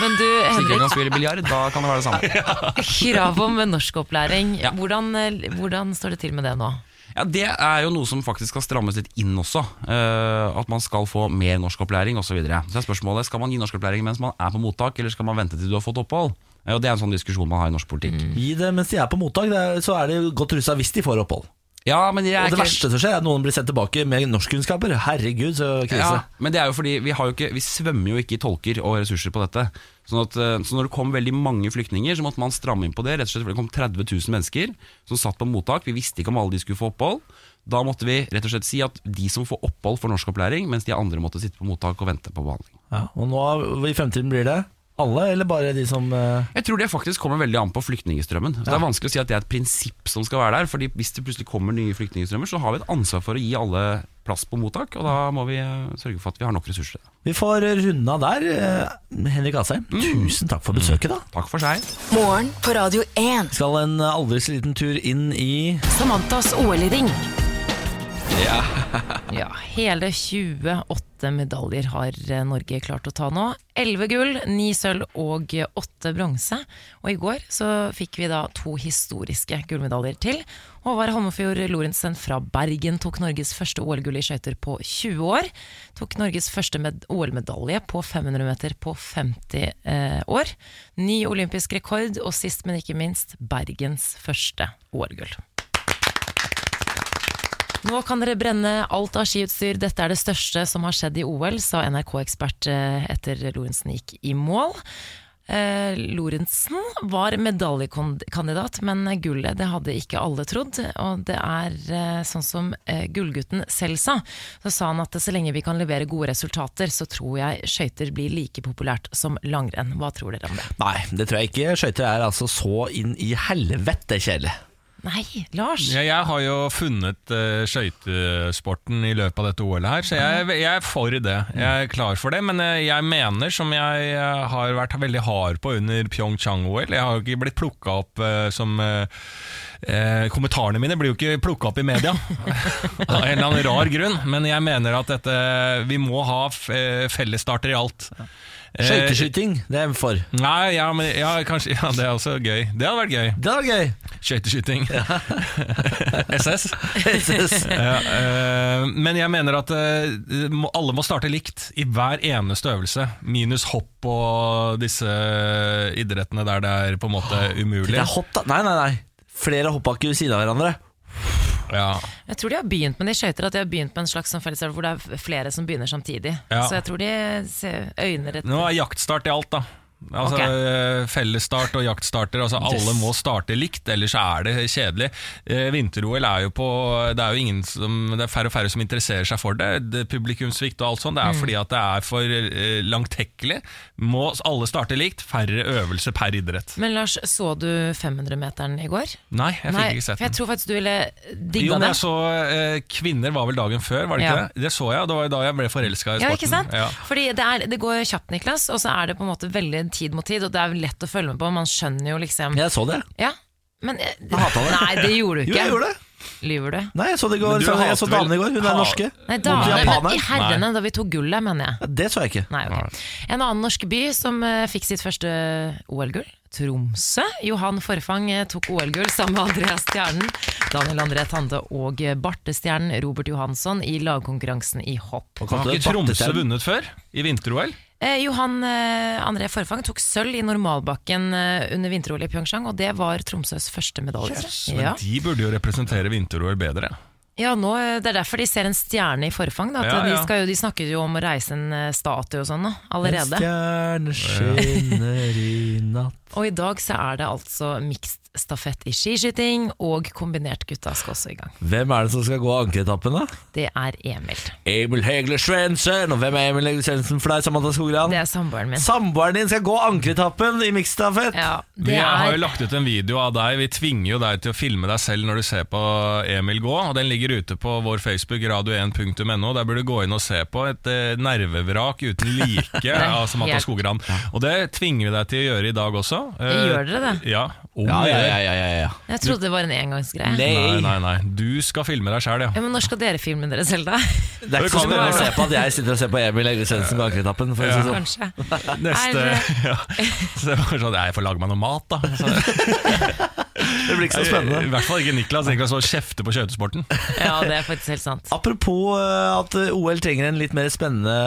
Speaker 3: Men du,
Speaker 5: Hvis ikke
Speaker 3: Henrik,
Speaker 5: man spiller biljard, da kan det være det samme.
Speaker 3: krav om norskopplæring.
Speaker 5: <laughs> Ja.
Speaker 3: Hvordan, eh, hvordan står det til med det nå?
Speaker 5: Ja, Det er jo noe som faktisk skal strammes litt inn også. eh, at man skal få mer norskopplæring osv. Så, videre. så er spørsmålet skal man gi norskopplæring mens man er på mottak, eller skal man vente til du har fått opphold? Eh, Og Det er en sånn diskusjon man har i norsk politikk.
Speaker 1: Gi det mens de er på mottak, det er, så er de godt russa hvis de får opphold.
Speaker 5: Ja, men jeg er
Speaker 1: Og det
Speaker 5: ikke-
Speaker 1: verste som skjer, er at noen blir sendt tilbake med norskkunnskaper. Herregud, så krise.
Speaker 5: Ja, men det er jo fordi vi, har jo ikke, vi svømmer jo ikke i tolker og ressurser på dette. Sånn at, eh, så når det kom veldig mange flyktninger, så måtte man stramme inn på det. Rett og slett, for Det kom 30 000 mennesker som satt på mottak. Vi visste ikke om alle de skulle få opphold. Da måtte vi rett og slett si at de som får opphold, får norskopplæring, mens de andre måtte sitte på mottak og vente på behandling.
Speaker 1: Ja, og nå i fremtiden blir det alle, eller bare de som eh,
Speaker 5: Jeg tror det faktisk kommer veldig an på flyktningstrømmen. Så Det er vanskelig å si at det er et prinsipp som skal være der. Fordi hvis det plutselig kommer nye flyktningstrømmer, så har vi et ansvar for å gi alle plass på mottak. Og da må vi eh, sørge for at vi har nok ressurser.
Speaker 1: Vi får runde av der. eh, Henrik Asheim, tusen takk for besøket, da.
Speaker 5: Takk for seg.
Speaker 4: Morgen på Radio
Speaker 1: Mm.
Speaker 4: 1.
Speaker 1: Vi skal en aldri så liten tur inn i
Speaker 4: Samantas årlige ring.
Speaker 3: <laughs> Ja, hele 28 medaljer har eh, Norge klart å ta nå. 11 gull, 9 sølv og 8 bronse. Og i går så fikk vi da to historiske gullmedaljer til. Håvard Holmefjord Lorentzen fra Bergen tok Norges første OL-gull i skøyter på 20 år. Tok Norges første med- OL-medalje på 500 meter på 50 eh, år. Ny olympisk rekord, og sist, men ikke minst, Bergens første OL-gull. Nå kan dere brenne alt av skiutstyr. Dette er det største som har skjedd i OL, sa NRK-ekspert eh, etter Lorentzen gikk i mål. Eh, Lorentzen var medaljekandidat, men gullet det hadde ikke alle trodd. Og det er eh, sånn som eh, gullgutten selv sa. Så sa han at så lenge vi kan levere gode resultater, så tror jeg skøyter blir like populært som langrenn. Hva tror dere om det?
Speaker 1: Nei, det tror jeg ikke. Skøyter er altså så inn i helvete kjedelig.
Speaker 3: Nei, Lars!
Speaker 2: Ja, jeg har jo funnet eh, skøytesporten i løpet av dette OL-et her, så jeg, jeg er for det. Jeg er klar for det, men eh, jeg mener, som jeg eh, har vært veldig hard på under Pyeongchang-OL Jeg har jo ikke blitt plukka opp eh, som eh, eh, Kommentarene mine blir jo ikke plukka opp i media, av en eller annen rar grunn, men jeg mener at dette, vi må ha f- eh, fellesstarter i alt. Eh,
Speaker 1: Skøyteskyting, det er jeg for.
Speaker 2: Nei, ja, men, ja, kanskje, ja, det er også gøy. Det hadde vært gøy.
Speaker 1: Det var gøy.
Speaker 2: Skøyteskyting. <laughs> SS.
Speaker 1: SS.
Speaker 2: Ja, eh, men jeg mener at eh, må- alle må starte likt i hver eneste øvelse. Minus hopp og disse eh, idrettene der det er på en måte umulig.
Speaker 1: Det er hopp, da. Nei, nei, nei. Flere hoppbakker ved siden av hverandre.
Speaker 2: Ja.
Speaker 3: Jeg tror de har begynt med de skøyter, at de har begynt med en slags sånn fellesøvelse hvor det er flere som begynner samtidig.
Speaker 2: Ja.
Speaker 3: Så jeg tror de ser- øyner et
Speaker 2: Nå er jaktstart i alt, da. Altså, eh, Fellesstart og jaktstarter. Altså, Alle må starte likt, ellers er det kjedelig. Eh, Vinter-OL er jo på Det er jo ingen som Det er færre og færre som interesserer seg for det. det publikumssvikt og alt sånt.
Speaker 1: Mm.
Speaker 2: Det er fordi at det er for eh, langtekkelig. Må alle starte likt. Færre øvelser per idrett.
Speaker 3: Men Lars, så du 500-meteren i går?
Speaker 2: Nei, jeg fikk ikke sett
Speaker 3: for jeg
Speaker 2: den.
Speaker 3: tror faktisk du ville
Speaker 2: Jo,
Speaker 3: digga
Speaker 2: men
Speaker 3: det.
Speaker 2: jeg så eh, Kvinner var vel dagen før, var det ikke
Speaker 3: Ja.
Speaker 2: det? Det så jeg, og det var jo da jeg ble forelska i sporten.
Speaker 3: Ja, ikke sant?
Speaker 2: Ja.
Speaker 3: Fordi det, er, det går kjapt, Niklas, og så er det på en måte veldig tid mot tid, og det er lett å følge med på. Man skjønner jo liksom
Speaker 1: Jeg så det.
Speaker 3: Ja, men eh,
Speaker 1: hatet det.
Speaker 3: Nei, det gjorde
Speaker 1: Jo,
Speaker 3: du ikke.
Speaker 1: jeg gjorde det.
Speaker 3: Lyver du?
Speaker 1: Nei, jeg så det i
Speaker 2: Men
Speaker 1: går.
Speaker 2: du
Speaker 1: Så, jeg
Speaker 2: hater
Speaker 1: så damene i går.
Speaker 2: vel-
Speaker 1: Hun er
Speaker 2: Ha-
Speaker 1: norske.
Speaker 3: Nei,
Speaker 1: Mot
Speaker 3: damene,
Speaker 1: japanerne.
Speaker 3: men i herrene, da vi tok gullet, mener jeg.
Speaker 1: Ja, Det så jeg ikke.
Speaker 3: Nei, ok. En annen norsk by som eh, fikk sitt første OL-gull, Tromsø. Johan Forfang eh, tok OL-gull sammen med Andreas Stjernen, Daniel André Tande og eh, Barte Stjernen, Robert Johansson, i lagkonkurransen i hopp.
Speaker 1: Og
Speaker 2: Har
Speaker 1: kalte
Speaker 2: ikke
Speaker 1: det
Speaker 2: Tromsø
Speaker 1: Bartestjern.
Speaker 2: vunnet før? I vinter-OL?
Speaker 3: Eh, Johan eh, André Forfang tok sølv i normalbakken eh, under vinter-OL i Pyeongchang, og det var Tromsøs første medalje.
Speaker 2: Men
Speaker 3: ja.
Speaker 2: de burde jo representere vinter-OL bedre.
Speaker 3: Ja, nå, eh, Det er derfor de ser en stjerne i forfang. Da, at
Speaker 2: Ja, ja.
Speaker 3: De, skal jo, de snakker jo om å reise en eh, statue og sånn da, allerede.
Speaker 1: En stjerne skinner i natt
Speaker 3: Og i dag så er det altså mixed stafett i skiskyting, og kombinert gutta skal også i gang.
Speaker 1: Hvem er det som skal gå ankeetappen, da?
Speaker 3: Det er Emil.
Speaker 1: Emil Hegle Svendsen. Og hvem er Emil Hegle Svendsen for deg, Samantha Skogran?
Speaker 3: Det er samboeren min.
Speaker 1: Samboeren din skal gå ankeetappen i mikstafett.
Speaker 3: Ja,
Speaker 2: Vi
Speaker 3: det
Speaker 2: har jo
Speaker 3: er,
Speaker 2: lagt ut en video av deg. Vi tvinger jo deg til å filme deg selv når du ser på Emil gå. og Den ligger ute på vår Facebook, radio1.no. Der bør du gå inn og se på et eh, nervevrak uten
Speaker 3: <laughs>
Speaker 2: like av Samantha
Speaker 3: helt-
Speaker 2: Skogran. Og det tvinger vi deg til å gjøre i dag også. Eh,
Speaker 3: Gjør dere det?
Speaker 2: Ja. Om
Speaker 1: Ja, ja,
Speaker 2: dere-
Speaker 1: ja, ja, ja, ja.
Speaker 3: jeg trodde det var en engangsgreie.
Speaker 2: Nei, nei, nei. Du skal filme deg sjæl, ja.
Speaker 3: Ja, men Når skal dere filme dere selv, da?
Speaker 1: Det er ikke så
Speaker 2: kan jo
Speaker 1: spennende å
Speaker 2: være-
Speaker 1: se på at jeg sitter og ser på Emil Hegle Svendsen gå ankeetappen. For å si det sånn.
Speaker 3: <laughs> Kanskje.
Speaker 2: Neste <laughs> ja. Så det var sånn, Jeg får lage meg noe mat,
Speaker 1: <laughs>
Speaker 2: da. Så,
Speaker 1: Det blir ikke så spennende.
Speaker 2: I hvert fall ikke Niklas. Niklas var kjefte på skøytesporten.
Speaker 3: Ja, det er faktisk helt sant.
Speaker 1: Apropos eh, at OL trenger en litt mer spennende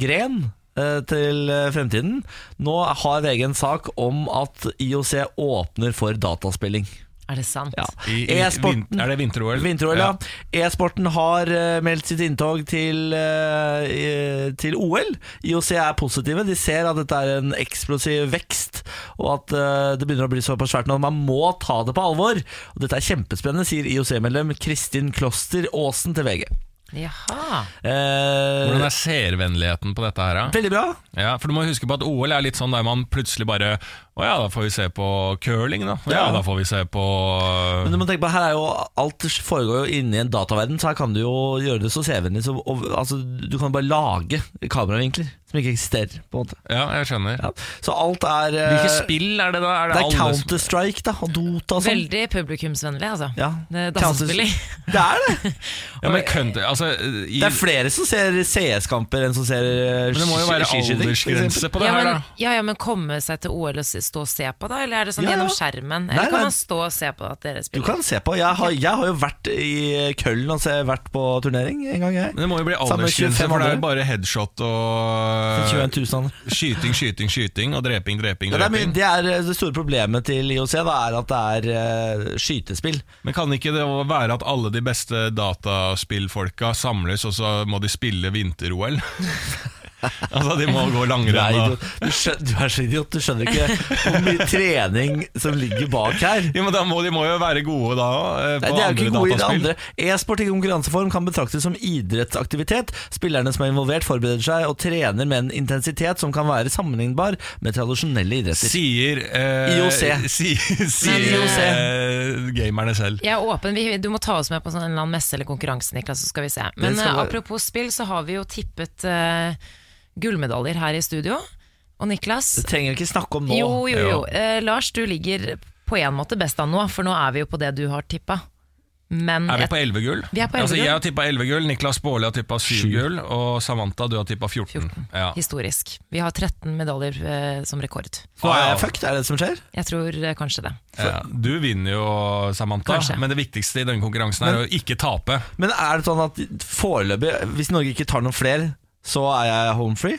Speaker 1: gren eh, til eh, fremtiden. Nå har VG en sak om at IOC åpner for dataspilling.
Speaker 3: Er det sant?
Speaker 1: Ja.
Speaker 2: I, i,
Speaker 1: E-sporten-
Speaker 2: vin- er det vinter-OL?
Speaker 1: Vinter-OL, ja. E-sporten har eh, meldt sitt inntog til, eh, i- til OL. IOC er positive. De ser at dette er en eksplosiv vekst, og at eh, det begynner å bli såpass svært nå. Man må ta det på alvor. Og dette er kjempespennende, sier IOC-medlem Kristin Kloster Aasen til VG.
Speaker 3: Jaha.
Speaker 1: Eh,
Speaker 2: Hvordan er seervennligheten på dette her? da?
Speaker 1: Veldig bra.
Speaker 2: Ja, for du må huske på at OL er litt sånn der man plutselig bare Å ja, da får vi se på curling, da. Ja,
Speaker 1: Ja.
Speaker 2: da får vi se på
Speaker 1: Men du må tenke på, her er jo Alt foregår jo inni en dataverden, så her kan du jo gjøre det så sevennlig som og- altså, Du kan bare lage kameravinkler som ikke eksisterer. på en måte
Speaker 2: Ja, jeg skjønner.
Speaker 1: ja. Så alt er eh,
Speaker 2: Hvilke spill er det, da? Er
Speaker 1: Det er
Speaker 2: alle som-
Speaker 1: Counter-Strike da og Dota og sånn.
Speaker 3: Veldig publikumsvennlig, altså.
Speaker 1: Ja.
Speaker 3: Det er Dansespilling.
Speaker 1: Det er
Speaker 2: <laughs>
Speaker 1: det!
Speaker 2: Ja, men kønt, altså, i,
Speaker 1: Det er flere som ser CS-kamper enn som ser eh,
Speaker 2: Men det må jo være
Speaker 1: skiskyting, for eksempel.
Speaker 2: aldersgrense på det
Speaker 3: Ja
Speaker 2: her,
Speaker 3: men,
Speaker 2: da.
Speaker 3: ja, ja, men komme seg til OL og s- stå og se på, da? Eller er det sånn
Speaker 1: Ja, ja.
Speaker 3: gjennom skjermen?
Speaker 1: Nei,
Speaker 3: Eller
Speaker 1: nei.
Speaker 3: kan man stå og se på at dere
Speaker 1: Du
Speaker 3: spiller?
Speaker 1: kan se på. Jeg har, jeg har jo vært i Køllen og se- vært på turnering en gang, jeg.
Speaker 2: Men det må jo bli
Speaker 1: Sammen med
Speaker 2: aldersgrense,
Speaker 1: 25
Speaker 2: for det er
Speaker 1: andre.
Speaker 2: jo bare headshot og
Speaker 1: 21 000 andre.
Speaker 2: skyting, skyting, skyting og dreping, dreping,
Speaker 1: Ja, det, er mye,
Speaker 2: dreping.
Speaker 1: det, er eh, det store problemet til IOC da, er at det er eh, skytespill.
Speaker 2: Men kan ikke det være at alle de beste dataspillfolka samles, og så må de spille vinter-OL? <laughs> altså, de må gå
Speaker 1: Du er,
Speaker 2: langrenn og
Speaker 1: idiot. Du, skjønner, du er så idiot, du skjønner ikke hvor mye trening som ligger bak her.
Speaker 2: Jo, men da må, De må jo være gode da eh,
Speaker 1: Nei,
Speaker 2: på
Speaker 1: de er jo
Speaker 2: andre
Speaker 1: ikke gode i det
Speaker 2: dataspill.
Speaker 1: andre. E-sport i konkurranseform kan betraktes som idrettsaktivitet. Spillerne som er involvert, forbereder seg og trener med en intensitet som kan være sammenlignbar med tradisjonelle idretter.
Speaker 2: Sier eh,
Speaker 1: IOC.
Speaker 2: si- <laughs> Sier
Speaker 1: IOC.
Speaker 2: eh, gamerne selv.
Speaker 3: Jeg er åpen. Vi, du må ta oss med på sånn en eller annen messe eller konkurranse, Niklas, så skal vi se. Men
Speaker 1: skal
Speaker 3: eh,
Speaker 1: være-
Speaker 3: apropos spill, så har vi jo tippet eh, gullmedaljer her i studio. Og Niklas
Speaker 1: Det trenger vi ikke snakke om nå.
Speaker 3: Jo, jo, jo.
Speaker 2: Ja.
Speaker 3: Eh, Lars, du ligger på en måte best an nå, for nå er vi jo på det du har tippa. Men
Speaker 2: Er vi
Speaker 3: jeg-
Speaker 2: på 11 gull?
Speaker 3: Vi er på 11
Speaker 2: altså,
Speaker 3: gull.
Speaker 2: jeg har tippa 11 gull, Niklas Baarli har tippa 7 gull, og Samantha du har tippa 14.
Speaker 3: 14.
Speaker 2: Ja.
Speaker 3: Historisk. Vi har 13 medaljer eh, som rekord.
Speaker 1: Så er jeg fucked, er det det som skjer?
Speaker 3: Jeg tror eh, kanskje det.
Speaker 2: Ja. Du vinner jo, Samantha,
Speaker 3: Kanskje.
Speaker 2: men det viktigste i denne konkurransen er å ikke tape.
Speaker 1: Men er det sånn at foreløpig, hvis Norge ikke tar noen flere, så er jeg home free?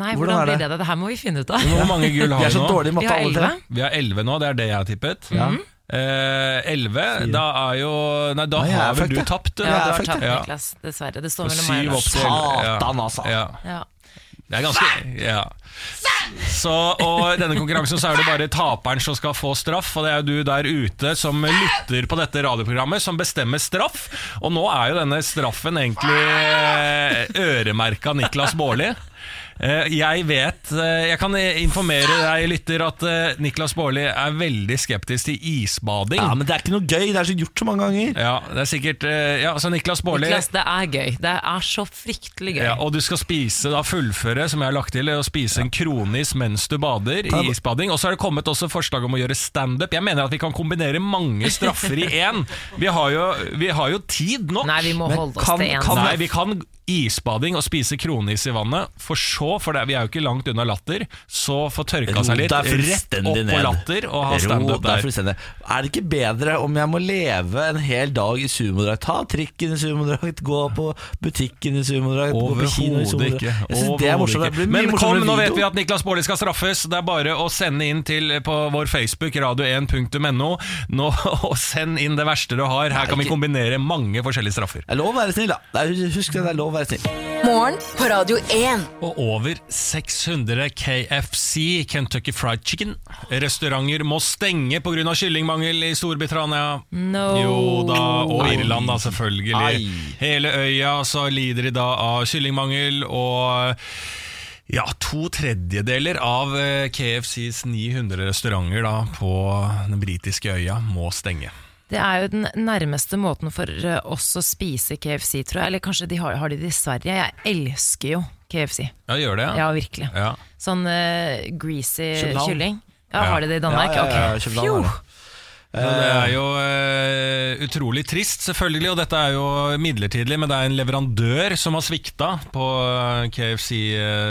Speaker 3: Nei,
Speaker 1: Hvordan er
Speaker 3: hvordan,
Speaker 1: det?
Speaker 3: blir det? det? Det her må vi finne ut av.
Speaker 2: Hvor mange gull
Speaker 1: Vi
Speaker 2: har
Speaker 1: er
Speaker 2: vi
Speaker 1: så
Speaker 2: nå?
Speaker 1: dårlige i
Speaker 3: Vi
Speaker 1: matte,
Speaker 3: har
Speaker 1: alle
Speaker 3: 11.
Speaker 1: tre.
Speaker 2: Vi har 11 nå, det er det jeg har tippet.
Speaker 1: Ja.
Speaker 3: Mhm.
Speaker 2: Eh, 11, da er jo Nei, da
Speaker 1: Nei, jeg er
Speaker 2: har vel
Speaker 1: fucked,
Speaker 2: du
Speaker 1: jeg.
Speaker 2: tapt.
Speaker 3: Ja, du
Speaker 1: det er
Speaker 3: har
Speaker 1: faktisk-
Speaker 3: tapt,
Speaker 2: ja.
Speaker 3: Niklas. Dessverre. Det står mellom meg
Speaker 2: Syv
Speaker 3: og
Speaker 2: opp
Speaker 3: deg.
Speaker 2: til elleve.
Speaker 1: Satan, altså.
Speaker 2: Ja.
Speaker 3: Ja.
Speaker 2: Det er ganske ja. Så, og I denne konkurransen så er det bare taperen som skal få straff. Og Det er jo du der ute som lytter på dette radioprogrammet, som bestemmer straff. Og nå er jo denne straffen egentlig eh, øremerka Niklas Baarli. Eh, Jeg vet eh, Jeg kan informere deg, lytter, at eh, Niklas Baarli er veldig skeptisk til isbading.
Speaker 1: Ja,
Speaker 2: Ja,
Speaker 1: men det er ikke noe gøy, det er så gjort så mange ganger.
Speaker 2: det er sikkert eh, Ja, så Niklas Baarli
Speaker 3: Niklas, det er gøy. Det er så fryktelig gøy.
Speaker 2: Ja, og du skal spise, da fullføre, som jeg har lagt til, å spise en kronis mens du bader i isbading. Og så er det kommet også forslag om å gjøre standup. Jeg mener at vi kan kombinere mange straffer i én. Vi, har jo- vi har jo tid nok.
Speaker 3: Nei, vi må
Speaker 1: Men
Speaker 3: holde oss
Speaker 1: kan-
Speaker 3: til én.
Speaker 1: kan-
Speaker 2: Nei, vi kan isbading og spise kronis i vannet, for så, for det, vi er jo ikke langt unna latter, så få tørka seg litt, rett opp på latter og ha
Speaker 1: Ro
Speaker 2: standup
Speaker 1: deg
Speaker 2: der.
Speaker 1: fullstendig. Er det ikke bedre om jeg må leve en hel dag i sumodrakt? Ta trikken i sumodrakt, gå på butikken i sumodrakt, gå på kino i
Speaker 2: Overhodet
Speaker 1: sumodrakt.
Speaker 2: ikke.
Speaker 1: Jeg synes det er morsomt.
Speaker 2: Overhodet
Speaker 1: Det blir
Speaker 2: ikke.
Speaker 1: mye
Speaker 2: Men kom,
Speaker 1: morsommere
Speaker 2: nå vet
Speaker 1: video.
Speaker 2: vi at Niklas Baarli skal straffes. Det er bare å sende inn til på vår Facebook, radio1.no, nå, <laughs> og send inn det verste du har. Her kan vi
Speaker 1: ikke-
Speaker 2: kombinere mange forskjellige straffer.
Speaker 1: Det er lov å være snill, da. Det er- Husk det, det er lov å være snill.
Speaker 4: Morgen på Radio 1.
Speaker 2: Og over 600 KFC, Kentucky Fried Chicken, restauranter må stenge pga. kyllingmangel i Storbritannia.
Speaker 3: No.
Speaker 2: Jo da, og Irland da, selvfølgelig.
Speaker 1: Ai.
Speaker 2: Hele øya så lider de da av kyllingmangel, og ja, to tredjedeler av eh, KFCs 900 restauranter da, på den britiske øya må stenge.
Speaker 3: Det er jo den nærmeste måten for eh, oss å spise KFC, tror jeg. Eller kanskje de har, har de det i Sverige. Jeg elsker jo KFC.
Speaker 2: Ja, gjør det?
Speaker 3: Ja, virkelig.
Speaker 2: Ja.
Speaker 3: Sånn eh, greasy
Speaker 1: København.
Speaker 3: kylling. Ja,
Speaker 2: Ja.
Speaker 3: Har de det i
Speaker 1: Ja,
Speaker 3: Danmark?
Speaker 1: ja, ja,
Speaker 3: Ok.
Speaker 1: København har
Speaker 3: Fjo!
Speaker 1: det.
Speaker 2: Ja, Det
Speaker 1: Eh.
Speaker 2: er jo eh, utrolig trist, selvfølgelig, og dette er jo midlertidig, men det er en leverandør som har svikta på eh, KFC,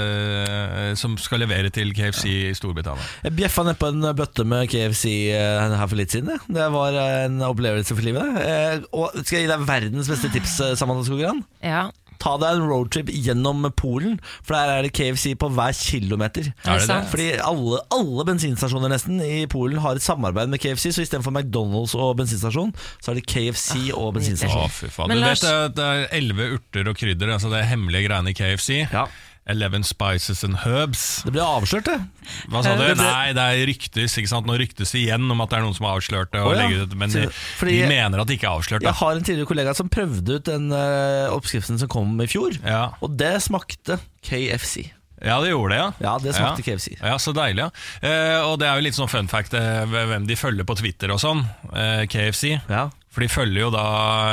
Speaker 2: eh, som skal levere til KFC i Storbritannia.
Speaker 1: Jeg bjeffa nedpå en bøtte med KFC eh, her for litt siden. jeg. Det var eh, en opplevelse for livet. det. Eh, Og skal jeg gi deg verdens beste tips, eh, Samantha Skogran?
Speaker 3: Ja.
Speaker 1: Ta deg en roadtrip gjennom Polen, for der er det KFC på hver kilometer.
Speaker 2: Er det
Speaker 3: sant?
Speaker 2: det?
Speaker 1: Fordi alle, alle bensinstasjoner nesten i Polen har et samarbeid med KFC, så istedenfor McDonald's og bensinstasjon, så er det KFC
Speaker 2: Ah,
Speaker 1: og bensinstasjon.
Speaker 2: Å, fy faen.
Speaker 3: Men
Speaker 2: Du
Speaker 3: Lars-
Speaker 2: vet eh, det er elleve urter og krydder, altså det er hemmelige greiene i KFC.
Speaker 1: Ja.
Speaker 2: Eleven spices and herbs.
Speaker 1: Det ble avslørt, det.
Speaker 2: Hva sa du?
Speaker 1: Det- det-
Speaker 2: Nei, det er ryktes, ikke sant? Nå ryktes det igjen om at det er noen som har avslørt det.
Speaker 1: Å,
Speaker 2: Og
Speaker 1: ja.
Speaker 2: legger ut, men de,
Speaker 1: Fordi-
Speaker 2: de mener at det ikke er avslørt.
Speaker 1: Jeg
Speaker 2: Da.
Speaker 1: har en tidligere kollega som prøvde ut den eh, oppskriften som kom i fjor,
Speaker 2: Ja.
Speaker 1: og det smakte KFC.
Speaker 2: Ja, det gjorde det, ja.
Speaker 1: Ja, det smakte
Speaker 2: ja.
Speaker 1: KFC.
Speaker 2: Ja, så deilig, ja. Eh, og det er jo litt sånn fun fact eh, hvem de følger på Twitter og sånn, eh, KFC.
Speaker 1: Ja.
Speaker 2: For de følger jo da,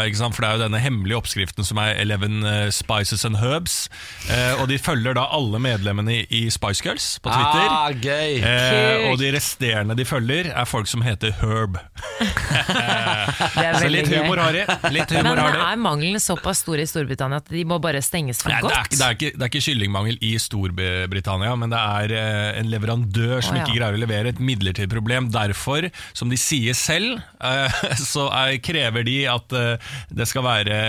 Speaker 2: ikke sant, for det er jo denne hemmelige oppskriften som er 11 eh, spices and herbs. Eh, og de følger da alle medlemmene i, i Spice Girls på Twitter.
Speaker 1: Ah, gøy.
Speaker 2: Eh, og de resterende de følger, er folk som heter Herb.
Speaker 3: Det er
Speaker 2: Så
Speaker 3: veldig
Speaker 2: Altså, litt humor
Speaker 3: gøy.
Speaker 2: har de. Litt humor
Speaker 3: Men
Speaker 2: har de.
Speaker 3: er mangelen såpass stor i Storbritannia at de må bare stenges for
Speaker 2: Nei, det, er,
Speaker 3: godt?
Speaker 2: ikke- det, er ikke, det er ikke kyllingmangel i Storbritannia, men det er eh, en leverandør som
Speaker 3: Å, ja.
Speaker 2: ikke greier å levere et midlertidig problem. Derfor, som de sier selv, eh, <laughs> så er, krever de at eh, det skal være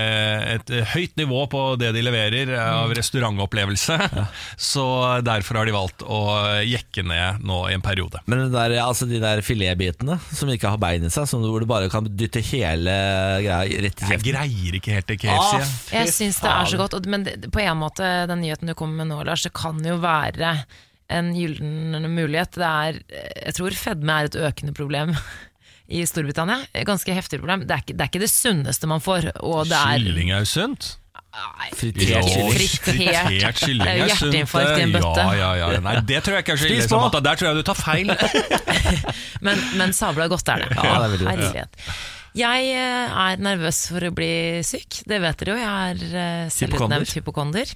Speaker 2: et eh, høyt nivå på det de leverer eh,
Speaker 3: Mm.
Speaker 2: av restaurantopplevelse. <laughs> Så derfor har de valgt å jekke ned nå i en periode.
Speaker 1: Men den der, altså de der filetbitene som ikke har bein i seg, som hvor du bare kan dytte hele greia rett i
Speaker 2: Jeg
Speaker 1: kjeften.
Speaker 2: greier ikke helt til
Speaker 1: Ah,
Speaker 2: KFC. jeg.
Speaker 1: fy
Speaker 3: Jeg syns det er så
Speaker 1: faen.
Speaker 3: godt, og- men det- på en måte, den nyheten du kommer med nå, Lars, det kan jo være en gyllen mulighet. Det er, jeg tror fedme er et økende problem i Storbritannia. Et Ganske heftig problem. Det er ikke det, er ikke det sunneste man får, og det er
Speaker 2: Kylling er jo sunt.
Speaker 1: Fritert
Speaker 2: Jo,
Speaker 1: kylling.
Speaker 3: Fritert.
Speaker 2: fritert kylling
Speaker 3: Det er jo
Speaker 2: er sunt,
Speaker 3: hjerteinfarkt i en
Speaker 2: det.
Speaker 3: bøtte.
Speaker 2: Ja, ja, ja. Nei, det tror jeg ikke er så
Speaker 1: Spis
Speaker 2: ille.
Speaker 1: på.
Speaker 2: Samantha. Der tror jeg du tar feil.
Speaker 3: Men, men sabla godt er det.
Speaker 1: Ja, det er veldig godt.
Speaker 3: Herlighet. Jeg eh, er nervøs for å bli syk, det vet dere jo. Jeg er eh, selvutnevnt hypokonder.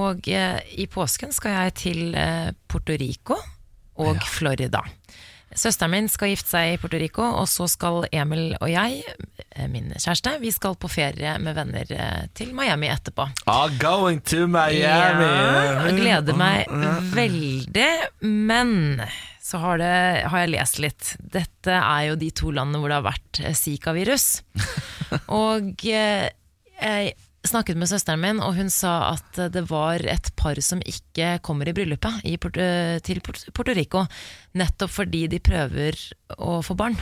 Speaker 3: Og eh, i påsken skal jeg til eh, Puerto Rico og Florida. Søsteren min skal gifte seg i Puerto Rico, og så skal Emil og jeg, eh, min kjæreste, vi skal på ferie med venner eh, til Miami etterpå.
Speaker 1: Ah, going to Miami.
Speaker 3: Ja, jeg gleder meg veldig. Men så har, det, har jeg lest litt. Dette er jo de to landene hvor det har vært eh, Zika-virus. Og eh, jeg snakket med søsteren min, og hun sa at eh, det var et par som ikke kommer i bryllupet i Port eh, til Port Puerto Rico, nettopp fordi de prøver å få barn.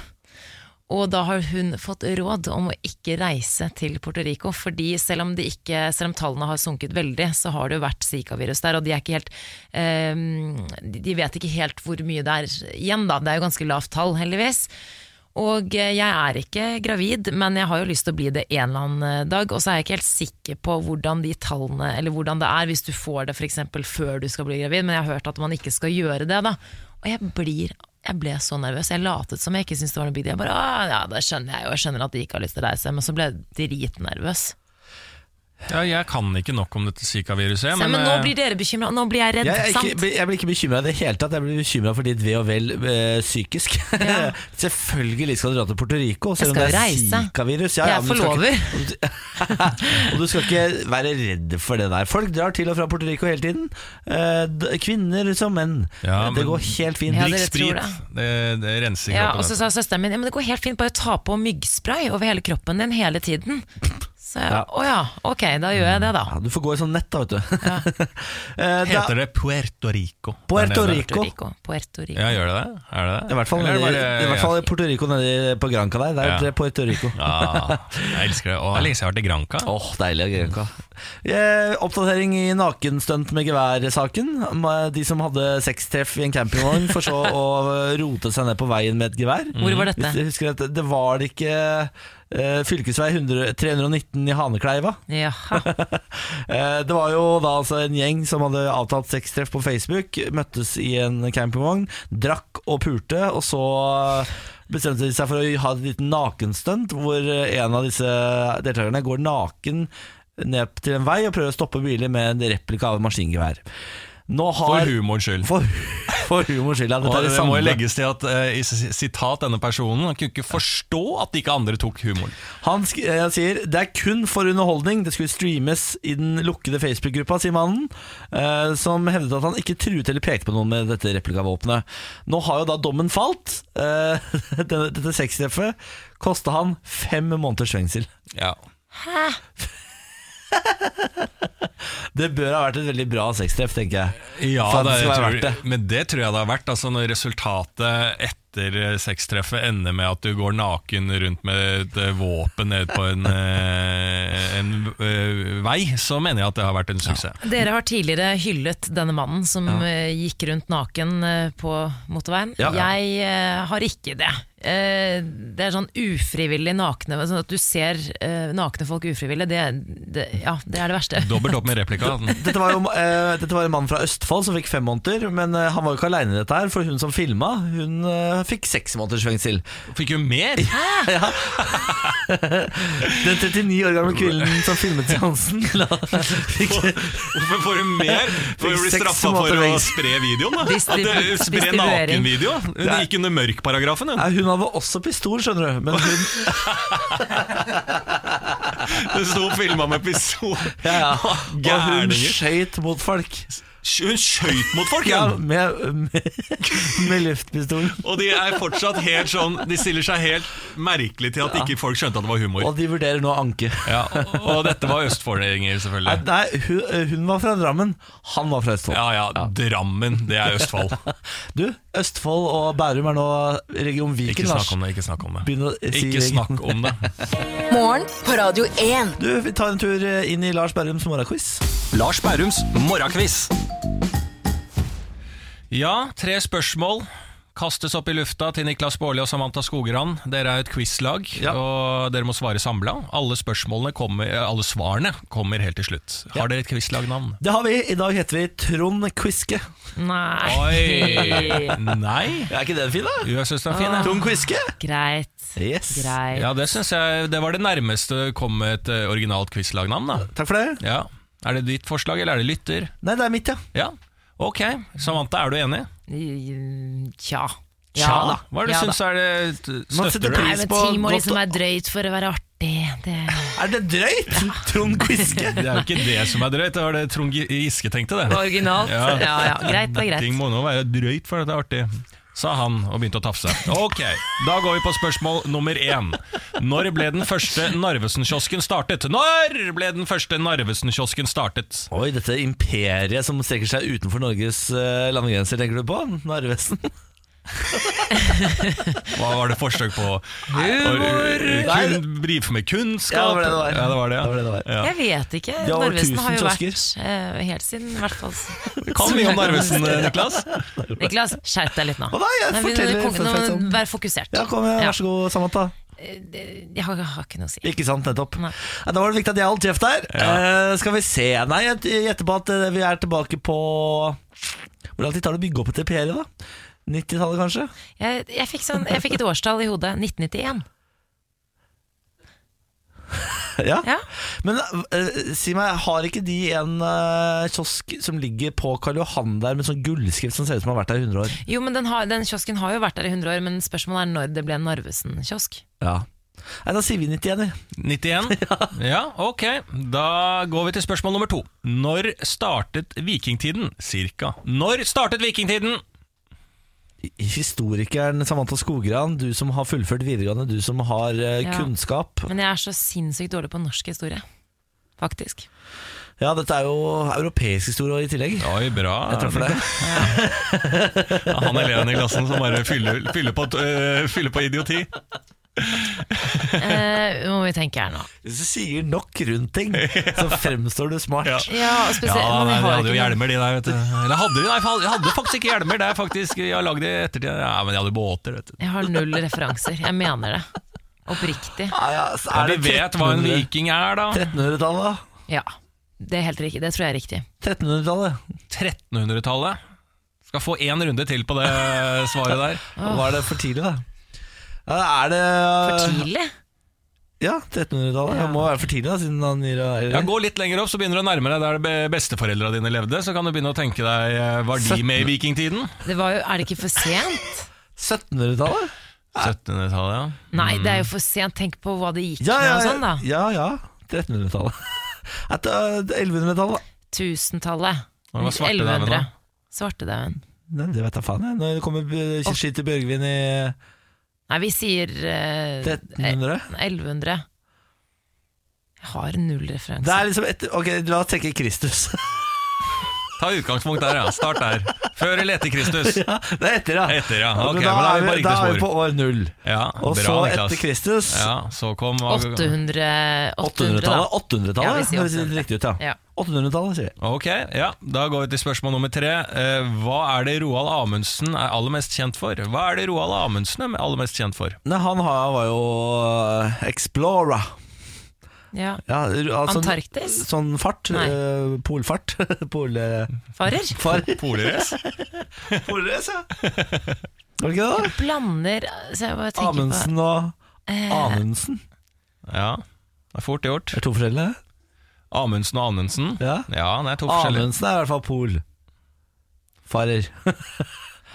Speaker 3: Og da har hun fått råd om å ikke reise til Puerto Rico, fordi selv om, de ikke, selv om tallene har sunket veldig, så har det jo vært Zika-virus der, og de er ikke helt eh, de- De vet ikke helt hvor mye det er igjen, da. Det er jo ganske lavt tall, heldigvis. Og eh, jeg er ikke gravid, men jeg har jo lyst til å bli det en eller annen eh, dag. Og så er jeg ikke helt sikker på hvordan de tallene, eller hvordan det er hvis du får det f.eks. før du skal bli gravid, men jeg har hørt at man ikke skal gjøre det. da. Og jeg blir jeg ble så nervøs. Jeg latet som jeg ikke syntes det var noe big deal. Jeg bare, «Å, ja, det skjønner jeg jo, jeg skjønner at de ikke har lyst til å reise, men så ble jeg dritnervøs.
Speaker 2: Ja, jeg kan ikke nok om dette Zika-viruset. eh,
Speaker 3: Men, eh, men nå blir dere bekymra, nå blir jeg redd,
Speaker 1: Jeg, er
Speaker 3: sant?
Speaker 1: ikke, jeg blir ikke bekymra i det hele tatt. Jeg blir bekymra for ditt ve og vel eh, psykisk.
Speaker 3: Ja.
Speaker 1: <laughs> Selvfølgelig skal du dra til Puerto Rico,
Speaker 3: Jeg
Speaker 1: selv om det
Speaker 3: skal
Speaker 1: er
Speaker 3: jo reise.
Speaker 1: Zika-virus.
Speaker 3: Jeg
Speaker 1: men
Speaker 3: er
Speaker 1: du skal ikke- <laughs> og du skal ikke være redd for det der. Folk drar til og fra Puerto Rico hele tiden. Eh, d- kvinner som menn.
Speaker 2: Ja,
Speaker 1: det
Speaker 2: men-
Speaker 1: går helt fint.
Speaker 3: Ja,
Speaker 2: Drikk
Speaker 3: dere tror
Speaker 2: sprit. Det, det renser
Speaker 3: Ja,
Speaker 2: kroppen.
Speaker 3: og så sa søsteren min ja, men det går helt fint, bare ta på myggspray over hele kroppen din hele tiden. Så jeg, å ja, ok, da gjør jeg det, da.
Speaker 1: Ja, du får gå i sånn nett, da, vet du. <laughs> Eh, da-
Speaker 2: Heter det Puerto Rico?
Speaker 1: Puerto
Speaker 2: der nede?
Speaker 1: Rico.
Speaker 3: Puerto Rico. Puerto Rico.
Speaker 2: Ja, gjør det det? Er det det?
Speaker 1: I hvert fall,
Speaker 2: Eller er
Speaker 1: nede,
Speaker 2: det bare-
Speaker 1: i hvert fall i Puerto Rico nede på Granca der. Der
Speaker 2: Ja.
Speaker 1: er det Puerto Rico.
Speaker 2: <laughs> Ja, jeg elsker det. Og det er lenge siden jeg har vært i Granca.
Speaker 1: Åh, deilig Granca. Eh, oppdatering i nakenstunt med gevær-saken. Ma- De som hadde sextreff i en campingvogn, for
Speaker 2: <laughs>
Speaker 1: så å rote seg ned på veien med et gevær.
Speaker 2: Mm.
Speaker 3: Hvor var dette?
Speaker 1: Hvis dere husker dette, det var det ikke eh, fylkesvei 100, 319 i Hanekleiva.
Speaker 3: Jaha.
Speaker 1: <laughs> Eh, Det var jo da altså en gjeng som hadde avtalt sextreff på Facebook, møttes i en campingvogn, drakk og pulte, og så eh, bestemte de seg for å ha et lite nakenstunt, hvor en av disse deltakerne går naken ned til en vei og prøver å stoppe biler med en replika av et maskingevær. Nå har
Speaker 2: For humorens skyld.
Speaker 1: <laughs> For, for humors skyld, ja.
Speaker 2: Og
Speaker 1: Dette er
Speaker 2: det
Speaker 1: det
Speaker 2: må
Speaker 1: samme.
Speaker 2: jo legges til at eh, i s- sitat denne personen Han kunne ikke forstå at ikke andre tok humoren.
Speaker 1: Han sk eh, han sier det er kun for underholdning. Det skulle streames i den lukkede Facebook-gruppa, sier mannen, eh, som hevdet at han ikke truet eller pekte på noen med dette replikavåpenet. Nå har jo da dommen falt. Eh, <laughs> denne- dette sextreffet kosta han fem måneders fengsel.
Speaker 2: Ja.
Speaker 3: Hæ?
Speaker 1: Det bør ha vært et veldig bra sextreff, tenker jeg.
Speaker 2: Ja,
Speaker 1: For at
Speaker 2: det,
Speaker 1: det
Speaker 2: jeg
Speaker 1: skal være
Speaker 2: tror,
Speaker 1: verdt det.
Speaker 2: men det tror jeg det har vært. Altså Når resultatet etter eh, sextreffet ender med at du går naken rundt med et eh, våpen ned på en, eh, en eh, vei, så mener jeg at det har vært en suksess.
Speaker 3: Dere har tidligere hyllet denne mannen som eh, gikk rundt naken eh, på motorveien.
Speaker 1: Ja.
Speaker 3: Jeg eh, har ikke det. Eh, det er sånn ufrivillig nakne sånn At du ser eh, nakne folk ufrivillig, det, det, ja, det er det verste.
Speaker 2: Dobbelt opp med replika.
Speaker 1: Dette var, jo, eh, dette var en mann fra Østfold som fikk fem måneder, men eh, han var jo ikke aleine i dette her, for hun som filma, hun eh, fikk seks måneders fengsel.
Speaker 2: Fikk jo mer!
Speaker 1: Ja. Den 39 år gamle kvinnen som filmet seansen la- fikk,
Speaker 2: Hvorfor får du mer for å bli
Speaker 1: Seks
Speaker 2: straffa for å
Speaker 1: måneder.
Speaker 2: spre videoen? da?
Speaker 3: Distribu-
Speaker 2: At det- Spre
Speaker 3: distribuering.
Speaker 2: nakenvideo? Hun gikk under mørkparagrafen, hun.
Speaker 1: Nei, Hun hadde også pistol, skjønner du. Men hun,
Speaker 2: Hun sto og filma med pistol.
Speaker 1: <laughs> ja, ja. Og hun
Speaker 2: Gærninger.
Speaker 1: skøyt mot folk.
Speaker 2: Hun skøyt mot folk,
Speaker 1: Ja,
Speaker 2: hun!
Speaker 1: med, med, med luftpistol.
Speaker 2: Og de er fortsatt helt sånn De stiller seg helt merkelig til at ikke folk skjønte at det var humor.
Speaker 1: Og de vurderer nå å anke.
Speaker 2: Ja, og dette var østfoldinger,
Speaker 1: Nei,
Speaker 2: selvfølgelig.
Speaker 1: Nei, hun, hun var fra Drammen, han var fra Østfold.
Speaker 2: Ja ja, Drammen, det er Østfold.
Speaker 1: Du, Østfold og Bærum er nå region
Speaker 2: Ikke
Speaker 1: Viken,
Speaker 2: snakk
Speaker 1: Lars.
Speaker 2: om det. Ikke snakk om det.
Speaker 1: Begynn å si
Speaker 2: Ikke snakk om det.
Speaker 4: Morgen på Radio 1.
Speaker 1: Du, vi tar en tur inn i Lars Bærums morgenquiz.
Speaker 2: Lars Bærums morgenkviss. Ja, tre spørsmål kastes opp i lufta til Niklas Baarli og Samantha Skogran. Dere er et quizlag,
Speaker 1: Ja.
Speaker 2: og dere må svare samla. Alle, spørsmålene kommer, eh, alle svarene kommer helt til slutt. Har dere et quizlagnavn?
Speaker 1: Det har vi. I dag heter vi Trond Quiske.
Speaker 3: Nei.
Speaker 2: Oi! Nei?
Speaker 1: Er ikke den fin, da?
Speaker 2: Jo, jeg syns den er fin, jeg.
Speaker 1: Trond Quiske?
Speaker 3: <laughs> Greit.
Speaker 1: Yes.
Speaker 3: Greit.
Speaker 2: Ja, det synes jeg Det var det nærmeste kom et eh, originalt quizlagnavn, da.
Speaker 1: Takk for det.
Speaker 2: Ja. Er det ditt forslag, eller er det lytter?
Speaker 1: Nei, det er mitt, ja.
Speaker 2: Ja. Ok. Samantha, er du enig?
Speaker 3: Mm, Tja.
Speaker 1: Tja da.
Speaker 2: Hva er det du
Speaker 3: Ja
Speaker 2: syns er det
Speaker 1: Man setter
Speaker 2: Støtter du?
Speaker 1: pris-
Speaker 3: Nei, men ting må
Speaker 1: godt
Speaker 3: liksom
Speaker 1: og-
Speaker 3: være drøyt for å være artig. Det,
Speaker 1: <laughs> Er det drøyt? Trond
Speaker 2: <laughs>
Speaker 1: Giske?
Speaker 2: Det er jo ikke det som er drøyt, det var det Trond Giske tenkte, det.
Speaker 3: det var originalt. Ja. ja, Greit, det er greit.
Speaker 2: Ting må nå være drøyt for det er artig, sa han og begynte å tafse. Ok, da går vi på spørsmål nummer én. Når ble den første Narvesen-kiosken startet? Når ble den første Narvesen-kiosken startet?
Speaker 1: Oi, dette imperiet som strekker seg utenfor Norges eh, landegrenser, tenker du på? Narvesen?
Speaker 2: Hva var det forsøk på? Humor! uh, Kun, brife med
Speaker 1: Ja,
Speaker 2: kunnskap?
Speaker 1: det var det det var.
Speaker 2: Ja, det var det, ja.
Speaker 1: Det var det det var.
Speaker 2: Ja.
Speaker 3: Jeg vet ikke.
Speaker 1: har over
Speaker 3: Narvesen har jo
Speaker 1: 1000
Speaker 3: vært eh, helt siden, i hvert fall
Speaker 2: Kan mye om
Speaker 1: <laughs>
Speaker 2: Narvesen, eh. Niklas.
Speaker 3: Niklas, skjerp deg litt nå.
Speaker 1: Å nei, jeg
Speaker 3: vi-
Speaker 1: forteller
Speaker 3: kon-
Speaker 1: fun facts
Speaker 3: nå-
Speaker 2: sånn.
Speaker 1: om-
Speaker 3: Vær fokusert.
Speaker 1: Ja, kom igjen, vær så god, Samantha.
Speaker 3: Jeg har, jeg har ikke noe å si.
Speaker 1: Ikke sant, nettopp.
Speaker 3: Nei.
Speaker 1: Ja, Da var det viktig at jeg holdt kjeft der. Eh, skal vi se Nei, jeg gjetter på at eh, vi er tilbake på Hvor lang tid tar det å bygge opp et imperium, da? 90-tallet, kanskje?
Speaker 3: Jeg, jeg, fikk sånn, jeg fikk et årstall i hodet. 1991.
Speaker 1: Ja.
Speaker 3: Ja.
Speaker 1: Men eh, si meg, har ikke de en eh, kiosk som ligger på Karl Johan der med sånn gullskrift som ser ut som har vært der i 100 år?
Speaker 3: Jo, men den, har, den kiosken har jo vært der i 100 år, men spørsmålet er når det ble en Narvesen-kiosk.
Speaker 1: Ja. Nei, da sier vi 91, vi.
Speaker 2: 91? Ja, ok. Da går vi til spørsmål nummer to. Når startet vikingtiden? Cirka. Når startet vikingtiden?
Speaker 1: Historikeren Samantha Skogran, du som har fullført videregående, du som har eh,
Speaker 3: Ja.
Speaker 1: kunnskap.
Speaker 3: Men jeg er så sinnssykt dårlig på norsk historie. Faktisk.
Speaker 1: Ja, dette er jo europeisk historie i tillegg.
Speaker 2: Oi, bra.
Speaker 1: Jeg traff deg.
Speaker 2: Ja, Han eleven i klassen som bare fyller, fyller, på, øh, fyller på idioti.
Speaker 3: Eh, nå må vi tenke her nå.
Speaker 1: Hvis du sier nok rundt
Speaker 2: <laughs>
Speaker 1: ting, så fremstår du smart.
Speaker 2: Ja.
Speaker 3: Ja, og
Speaker 2: Ja,
Speaker 3: spesielt,
Speaker 2: nei,
Speaker 3: men jeg
Speaker 2: de
Speaker 3: har
Speaker 2: hadde jo
Speaker 3: ikke noe-
Speaker 2: hjelmer, de der. vet du Eller hadde de? Nei, faen, de hadde faktisk ikke hjelmer. Det er faktisk, Jeg har lagd det i ettertid. Ja, men de hadde båter, vet du.
Speaker 3: Jeg har null referanser. Jeg mener det. Oppriktig.
Speaker 1: Ja, ja, så
Speaker 2: Ja,
Speaker 1: er
Speaker 2: vi
Speaker 1: det
Speaker 2: vet hva en
Speaker 1: 1300
Speaker 2: viking er, da.
Speaker 1: 1300-tallet, da?
Speaker 3: Ja. Det er helt riktig. Det tror jeg er riktig.
Speaker 1: 1300-tallet.
Speaker 2: 1300-tallet. Skal få én runde til på det svaret der.
Speaker 1: Var det for tidlig, da? Ja, er det
Speaker 3: For
Speaker 1: Eh.
Speaker 3: tidlig?
Speaker 1: Ja, 1300-tallet. Det må være for tidlig, da, siden han gir
Speaker 2: Ja,
Speaker 1: eller?
Speaker 2: Gå litt lenger opp, så begynner du å nærme deg der be- besteforeldra dine levde. Så kan du begynne å tenke deg eh, Var de med i vikingtiden?
Speaker 3: Det var jo, er det ikke for sent?
Speaker 1: 1700-tallet?
Speaker 2: 1700-tallet, ja.
Speaker 3: Nei, det er jo for sent. Tenk på hva det gikk
Speaker 1: Ja,
Speaker 3: med
Speaker 1: ja,
Speaker 3: og sånn, da.
Speaker 1: ja. ja. <laughs> 1300-tallet. Er det, øh, 1100-tallet?
Speaker 3: Tusentallet.
Speaker 2: Og det var svartedauden, da.
Speaker 3: Svartedauden.
Speaker 1: Nei, det vet jeg faen, jeg. Når det kommer øh, skitt til Bjørgvin i eh,
Speaker 3: Nei, vi sier eh,
Speaker 1: 1300?
Speaker 3: 1100. Jeg har null
Speaker 1: Det
Speaker 3: referanser.
Speaker 1: er liksom etter Ok, la oss tenke Kristus. <laughs>
Speaker 2: Ta utgangspunkt der, ja. Start der. Før eller etter Kristus?
Speaker 1: Det er etter, ja.
Speaker 2: Etter, ja. Ok,
Speaker 1: men
Speaker 2: men da er vi på
Speaker 1: da
Speaker 2: riktig
Speaker 1: er vi på
Speaker 2: spor.
Speaker 1: år null.
Speaker 2: Ja,
Speaker 1: Og
Speaker 2: bra,
Speaker 1: så
Speaker 2: Niklas.
Speaker 1: etter Kristus
Speaker 2: Ja, så kom
Speaker 3: 800, 800 da.
Speaker 1: 800-tallet. 800-tallet,
Speaker 3: Ja, vi sier
Speaker 1: høres litt riktig ut, ja.
Speaker 3: Ja.
Speaker 1: 800-tallet, sier vi.
Speaker 2: Ok, ja. Da går vi til spørsmål nummer tre. Eh, hva er det Roald Amundsen er aller mest kjent for? Hva er det Roald Amundsen er aller mest kjent for?
Speaker 1: Nei, han har, var jo øh, Explorer.
Speaker 3: Ja.
Speaker 1: Ja, ru- altså,
Speaker 3: Antarktis?
Speaker 1: Sånn fart.
Speaker 3: Nei.
Speaker 1: øh, polfart. <laughs>
Speaker 2: <laughs>
Speaker 1: Polefar.
Speaker 3: Farer?
Speaker 2: Polrace?
Speaker 1: Polres, ja. Var det ikke det? da?
Speaker 3: Blander så jeg bare tenker Eh, Amundsen.
Speaker 1: Amundsen og Anundsen.
Speaker 2: Ja, det er fort gjort.
Speaker 1: Er to forskjellige?
Speaker 2: Amundsen og Anundsen.
Speaker 1: Ja.
Speaker 2: ja det er to forskjellige.
Speaker 1: Anundsen er i hvert fall polfarer.